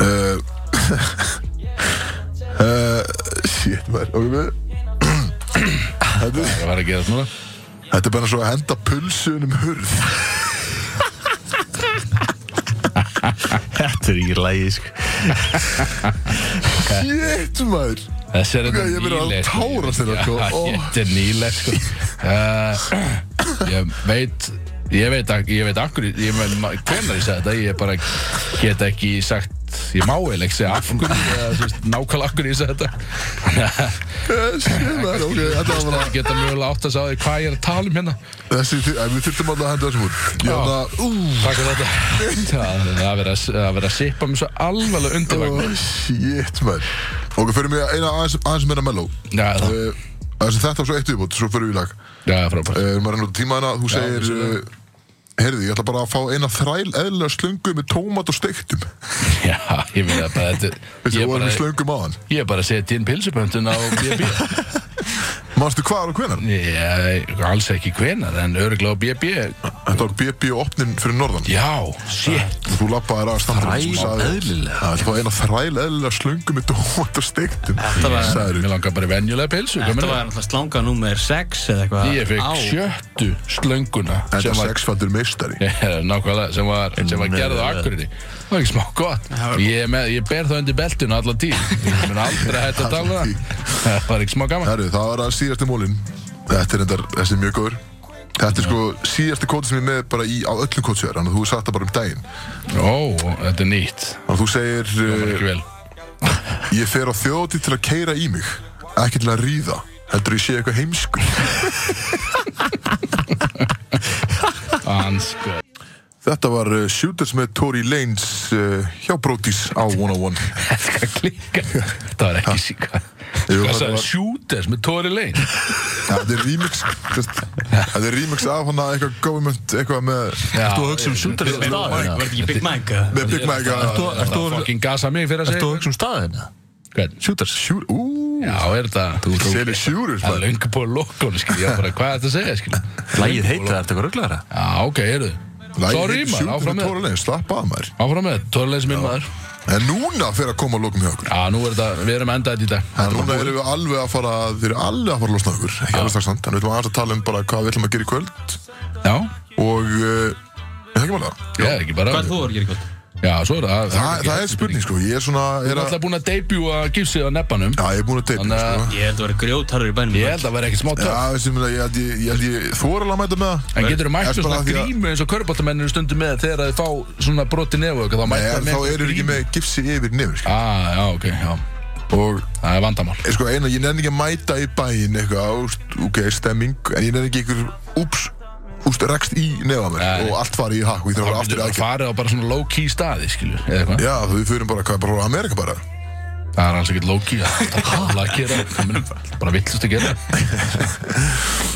Uh, uh, shit, maður, ok, við þetta, er- Það var að gera svona þetta er bara svo að henda pulsunum um hurð Þetta er ekki lægi sko Shit, maður Þessi er þetta Ok, ég byrja að nýleg sko. tárast hérna, sko. Já, Ó. Þetta er nýleg sko Eh, Ég veit Ég veit, ak- ég veit akkur ég veit, hvernig ég sagði þetta, ég bara get ekki sagt, ég má eða ekki segja af hverju, eða þú veist, nákvæmlega akkur ég sagði þetta Eh, Shit, maður, ok, þetta var bara Hlustendur geta mögulega átt að segja hvað ég er að tala um hérna Þessi, eh, við þurftum alltaf að henda þessum Hérna, hurð Ég Já. hann að, ú, Takk fyrir þetta Það er að vera, að vera að sippa mér svo alvarlega undirvagn oh, shit, maður Ok, förum við eina aðeins, aðeins meira melló Já, það uh, Þessi þetta og svo eitt viðbútt, svo förum við í lag Já, frábært uh, Maður er nú tíma hérna, þú segir vissulega. uh, Heyrðu, ég ætla bara að fá eina þræl eðlilega slöngu með tómat og steiktum Já, ég meina bara þetta Þessi Ég vorum við bara, slöngum á hann ég bara seti inn pilsupöntun á BB Manstu hvað og hvenar? Ég, alls ekki hvenar En örgulega á BB Þetta var BB og opnin fyrir norðan Já, shit Þú lappaði að standra Þræl eðlilega. Það var eina þræl eðlilega slöngu með dómat og steiktum Þetta var- Sæður Mér langar bara í venjulega pilsu hvað Þetta meinarðu? var náttúrulega slanga nummer 6 eða eitthvað Ég á. fekk sjöttu slönguna Þetta sem er var sexfaldur meistari Já, Nákvæmlega, sem var, sem var Nei, gerð á nei. akkurinni Það var ekki smá gott Ég, er með, ég ber það undir beltinu allan tíð Ég mun aldrei hægt að tala um það Það var ekki smá gaman Herru, það var að síðasti mólin Þetta er endar, þessi er mjög góður Þetta er sko síðasti kóti sem ég er með bara í, á öllum kótsjöður Þannig að þú satt það bara um daginn Ó, þetta er nýtt Þannig að þú segir Það var uh, ekki vel Ég fer á þjóti til að keira í mig Ekki til að ríða Heldur ég sé eitthvað heimskur Ansko Þetta var uh, Shooters með Tory Lanez uh, hjá Brodís á 101 Þetta klikka Það var ekki síka Jú, Hvað þetta sagði var- Shooters með Tory Lane Þetta er remix sérst, Þetta er remix af hana eitthvað government eitthvað með, Ertu að hugsa um Shooters í dag, Var eða? þetta ekki Big Mac? eða? með Big Mac að Ertu- ertu- Það fokkin gasa mig fyrir að Ertu segja að hugsa um staðin? eða? Hvern? Shooters Shoot, ú, Já, er þetta Selur Shooters Það er maður. löngu búið að lokónu skil Ég var bara, hvað er þetta að segja skil Lægið heitir það, ertu eitthvað rugglæra? Já, ok, heyrðu Lagið Sorry heitir maður, Shooters áfram með með Tory Lanez, slappa að maður Áfram með, Tory Lane sem minn maður En núna fer að koma að lokum hjá okkur Já, nú er þetta, við erum endaðið í dag En núna erum við alveg að fara þeir eru alveg að fara að losna okkur ekki alveg strax samt, en við ætlum aðeins að tala um bara hvað við ætlum að gera í kvöld Já, og uh, það ekki málega ég er ekki bara Hvað er þú að gera í kvöld? Já, svo er það það, það er spurning sko, ég er svona Þú er er að, alltaf búin að debuta gipsið á nebbanum Já, ég er búin að deyta Þannig sko. að Ég held að vera grjótarur í bænum ég held að vera ekkert smá Já, töf þessi meina, ég held ég, ég, held ég þóra að mæta með það En getur þú mættu Ertu bara svona að því að- grímu eins og körbáttamennir stundum með þegar þið fá svona broti nefu eitthvað, þá Nei, mættu en Eh, þá eru þeir ekki með gipsi yfir nefnir sko. ah, Já, ok, já, Og það er vandamál eh, sko, eina, ég nenni ekki að mæta í bæinn eitthvað, úst, ok, stemming En ég nenni ekki ykkur, úps, úst, rekst í nefa mér Nei. Og allt fari í hakk og ég þarf að fara Þú aftur í getur aðgjörn farið á bara svona low-key staði, skilju eða eitthvað Já, þú við fyrir bara, hvað, bara á Amerika bara Það er alls ekkert low-key að það er alveg að gera það mun bara villust að gera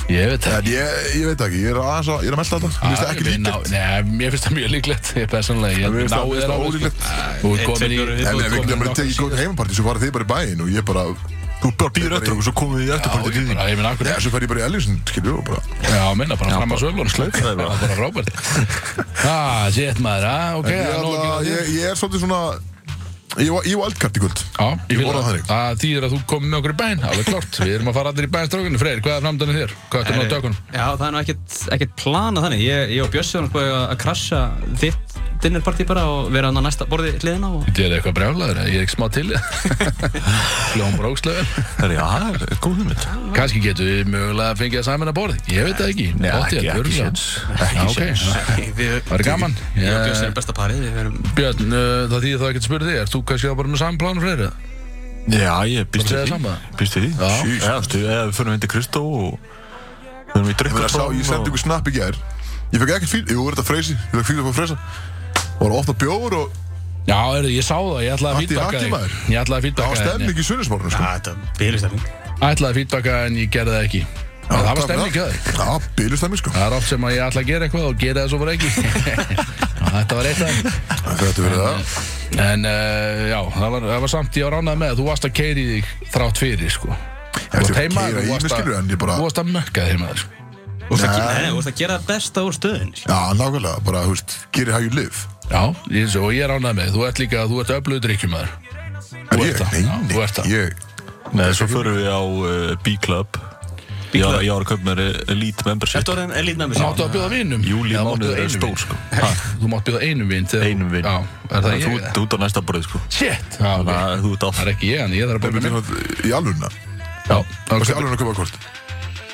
Ég veit það En ég, ég veit það ekki, ég er aðeins að, ég er að melda þetta Mér finnst það Ah, Ég ekki ná- líka Nei, mér finnst það mjög líklegt, ég persónulega Ég Mér finnst það- mér nái finnst þér það alveg, sko. ólíklegt. Þú er Einn, komin í tveir, fjórir, En þú ef er hérna við komin í getum bara nokkra tekið góð heimapartí, svo farið þið bara í bæinn Og ég bara, Þú bara býður eftir okkur, svo komum við í eftirpartið til síðan. því Já, ég meina, akkur já, svo fer ég bara í Ellingson, skilju, og bara Já, minna, bara fram að svöglun slaufa Það það er bara. bara Robert Ah, shit maður, ah, ok En ég, það er nóg að ætla, gera. ég, ég er svolítið svona, ég var- ég var aldkart í kvöld Já, ég vil orða það að þannig. það þýðir að þú komið með okkur í bæn Alveg klart, við erum að fara allir í bænstrákunni Freyr, hvað er framdanir þér? Hvað ertu nú að Já, tökunum? það er nú ekkert, ekkert planað þannig Ég, ég og Bjössi var náttúrulega að krasja þitt dinnerpartí bara og vera hann á næsta borði hliðina og Þetta er eitthvað brjálaður, ég er ekki smá til Hljón brókslega Það er, já, það er góð hugmynd. Kanski getum við mögulega að fengja það saman að borði Ég veit það ekki Nei, Pottþétt, ekki- ekki örugglega. séns. Já, ok. Við Það er gaman Ég og Eh, Björns er besta parið Við verum Björn, uh, það þýðir þá ekki að spyrja þig Ert þú kannski þá bara með saman plánum fyrir það? Já, ég býst Það við er því. sama. Býst við því. Já. Jeez. Já, veistu, eða við fyrir hindi Kristó og við erum í Ég meina, sá, drikkartón ég sendi ykkur snapp í gær Ég fekk ekkert fíl, jú, er þetta freysi Ég fekk fíl upp á freysa Og var að opna bjóður og Já, er, ég sá það, ég ætlaði að Matti feedbacka Haki, maður. þig Ég ætlaði að það var feedbacka þig en stemning í sunnismorgunum sko. Þetta er bílustefning ég ætlaði að feedbacka en ég gerði það ekki En Það var stemning að þig Já, bílustemning sko Það er oft sem að ég ætla að gera eitthvað og gera það svo bara ekki Já, Þetta var eitt af þeim. Þetta verið það En uh, já, það var, það var samt ég var ránað með að þú varst að keiri þig þrátt fyrir sko Ég Þú varst var að heima, keyra þú í varst mig, skilurðu, en að- ég bara- þú varst að mökka þér maður sko. Þú veist að ge- nei, þú veist að gera það besta úr stöðin Já, nákvæmlega, bara, þú veist, gerir how you live Já, ég, og ég er ránað með, þú ert líka, þú ert öflugur drikkjumæður En Þú ég, ert það. nei, Já, þú ert nei, það. ég Nei, svo förum við á uh, B-Club Ég var ég var að köpa mér Elite Membership Þetta orðin er lítið með Máttu að bjóða vinum Júlí Eða mánuður máttu er einum stór, vin? sko. Ha, Þú mátt bjóða einum vin þegar- Einum vin. Já, er það Þú ég? ert út á næsta borðið, sko Shit Já, ok. Þannig að þú ert Það áfram er ekki ég, en ég þarf að Ég borga myndi minn hérna í alvunna Já, Varst í ok alvunna að köpa kort?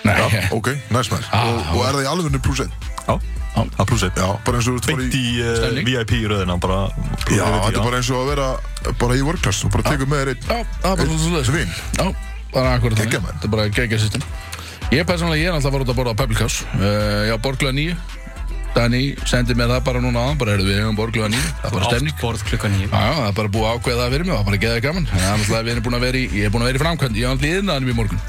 Ah, Nei, Ok, næs maður Ah, Og og er það í alvunni pluss einn? Já, það pluss eitt Já, bara eins og þú ert Beint farið í í uh, Stemning. VIP-röðina bara Já, þetta er bara eins og að vera bara í workclass og bara Ah. tekur með þér einn Já, það er bara svo leiðis Þessi vin Já, það er akkurat Geggja þannig. maður. Þetta er bara geggja system Ég persónulega, ég er alltaf að fara út að borða á Public House uh, Já, borglega nýju Dani sendi mér það bara núna áðan Bara erum við hefum borglega nýju Það er bara stemning Átt borð klukkan nýjum Já, já, það er bara búið að ákveða það fyrir mig Það er bara geðið gaman Þannig að náttúrulega við erum búin að vera í Ég er búin að vera í framkvæmd Ég er alltaf í innanum í morgun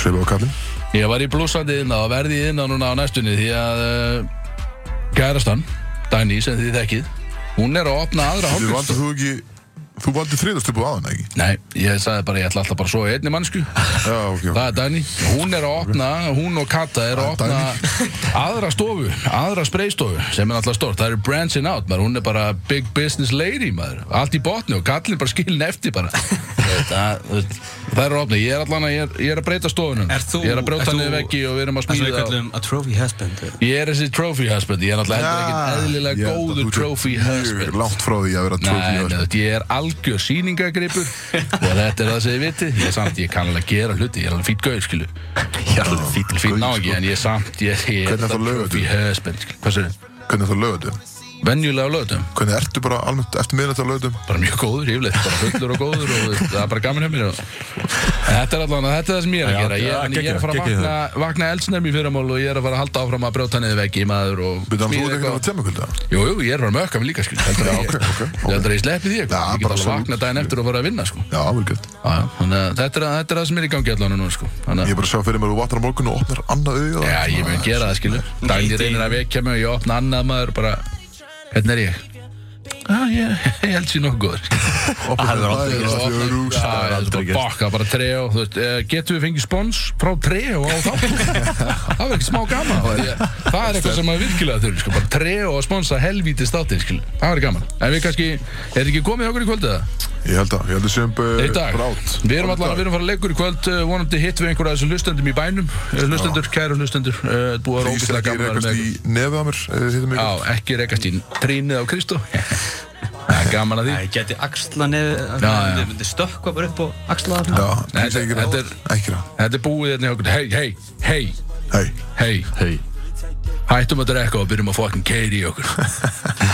Sveipa á kallin Ég var í blúsandi inna og verði í inna núna á næstunni Því að uh, Gærastan, Dani, sem þið þekkið Hún er að opna Þú aðra hálfkvöld valdi þú ekki Þú valdi þriðast upp á aðan, ekki? Nei, ég sagði bara ég ætla alltaf bara að sofa í einni mannsku Já, ok, ok Það er Dani, hún er að opna, hún og Kata er að opna aðra stofu, aðra spreystofu sem er alltaf stórt, það er branching out maður, hún er bara big business lady maður, allt í botni og kallin bara skilin eftir bara það, það, það er að opna, ég er allan að, ég er, ég er að breyta stofunum, Er þú- ég er að ert brjóta þú- niður veggi og við erum að Það sem við smíða kallum a trophy husband Ég er þessi trophy husband, ég er náttúrulega Já, heldur ekkert Ah, ég held að eðlilega þú góður sért trophy husband Mjög langt frá því að vera trophy Nei, nei, husband þetta- ég er algjör síningagripur og þetta er það sem ég viti ég er samt, ég kann alveg að gera hluti, ég er alveg fýtt gauð skilu, Ég er alveg fýtt fýtt ná ekki en ég er samt, ég, sko. ég Hvernig er það á laugardögum? í höfspinn, skilu, hvað sér Hvernig er það lögatum? venjulega á lögutum, Hvernig ertu bara almennt eftir miðnætt á lögatum? bara mjög góður yfirleitt, bara fullur og góður og það er bara gaman hjá mér og þetta er allan, þetta er það sem ég er Já, að gera ég, já, en ég er að fara að geggjað, geggjað. vakna, vakna eldsnefn í fyrramál og ég er að fara að halda áfram að brjóta niður veggi maður og Þú veit, þú ert smíða ekki að eitthvað. vera tjemmakvölda Jú, jú, ég er bara mökka mig líka, skil Heldur að ég, ok, ok, ok. heldur að ég sleppi því Já, eitthvað Ég get bara alveg absolutt. vakna daginn eftir og fara að vinna, sko Já, vel gett Já, já, Þannig að þetta er, þetta er það sem er í gangi allan núna, sko Þannig Ég að er bara að sjá fyrir mér að þú vatnar á morgun og opnar annað auða Já, ég mun gera það, skilu Dagni reynir að vekja mig og ég opna annað maður bara Hvernig er ég? Já, ég, ég held sér nokkuð góður Opnar Það er annað Ég auða opna- Það er Já, rúst ég held aldrei bara gert. Bakka, bara treo þú veist, eh, Getum við fengið spons frá treo á þá? Það var ekki smá gaman því að Það er eitthvað sem að virkilega þurfi sko, Bara treo að sponsa helvítið státtir skilu. Það var gaman En við kannski, er ekki komið okkur í kvöldið það? Ég held að, ég held að sem Í dag, brátt við erum allan að við erum að fara að leikur í kvöld uh, vonandi hitt við einhverja af þessum hlustendum í bænum uh, hlustendur, kæru hlustendur uh, búið Ég að rókislega ekki gaman að vera rekast með í ykkur. nefið að mér eh, hittu mig Já, ykkur. ekki rekast í trínið á Kristó Það er gaman að því Það geti axla nefn Já, já. Það myndi stökkva bara upp og axla það Já, Nei, ekki þetta- ráð. þetta er- Ekki ráð Þetta er búið hérna hjá okkur Hei, hei, hei, Hei, hei Hei, Hættum að drekka og byrjum að fucking keiri í okkur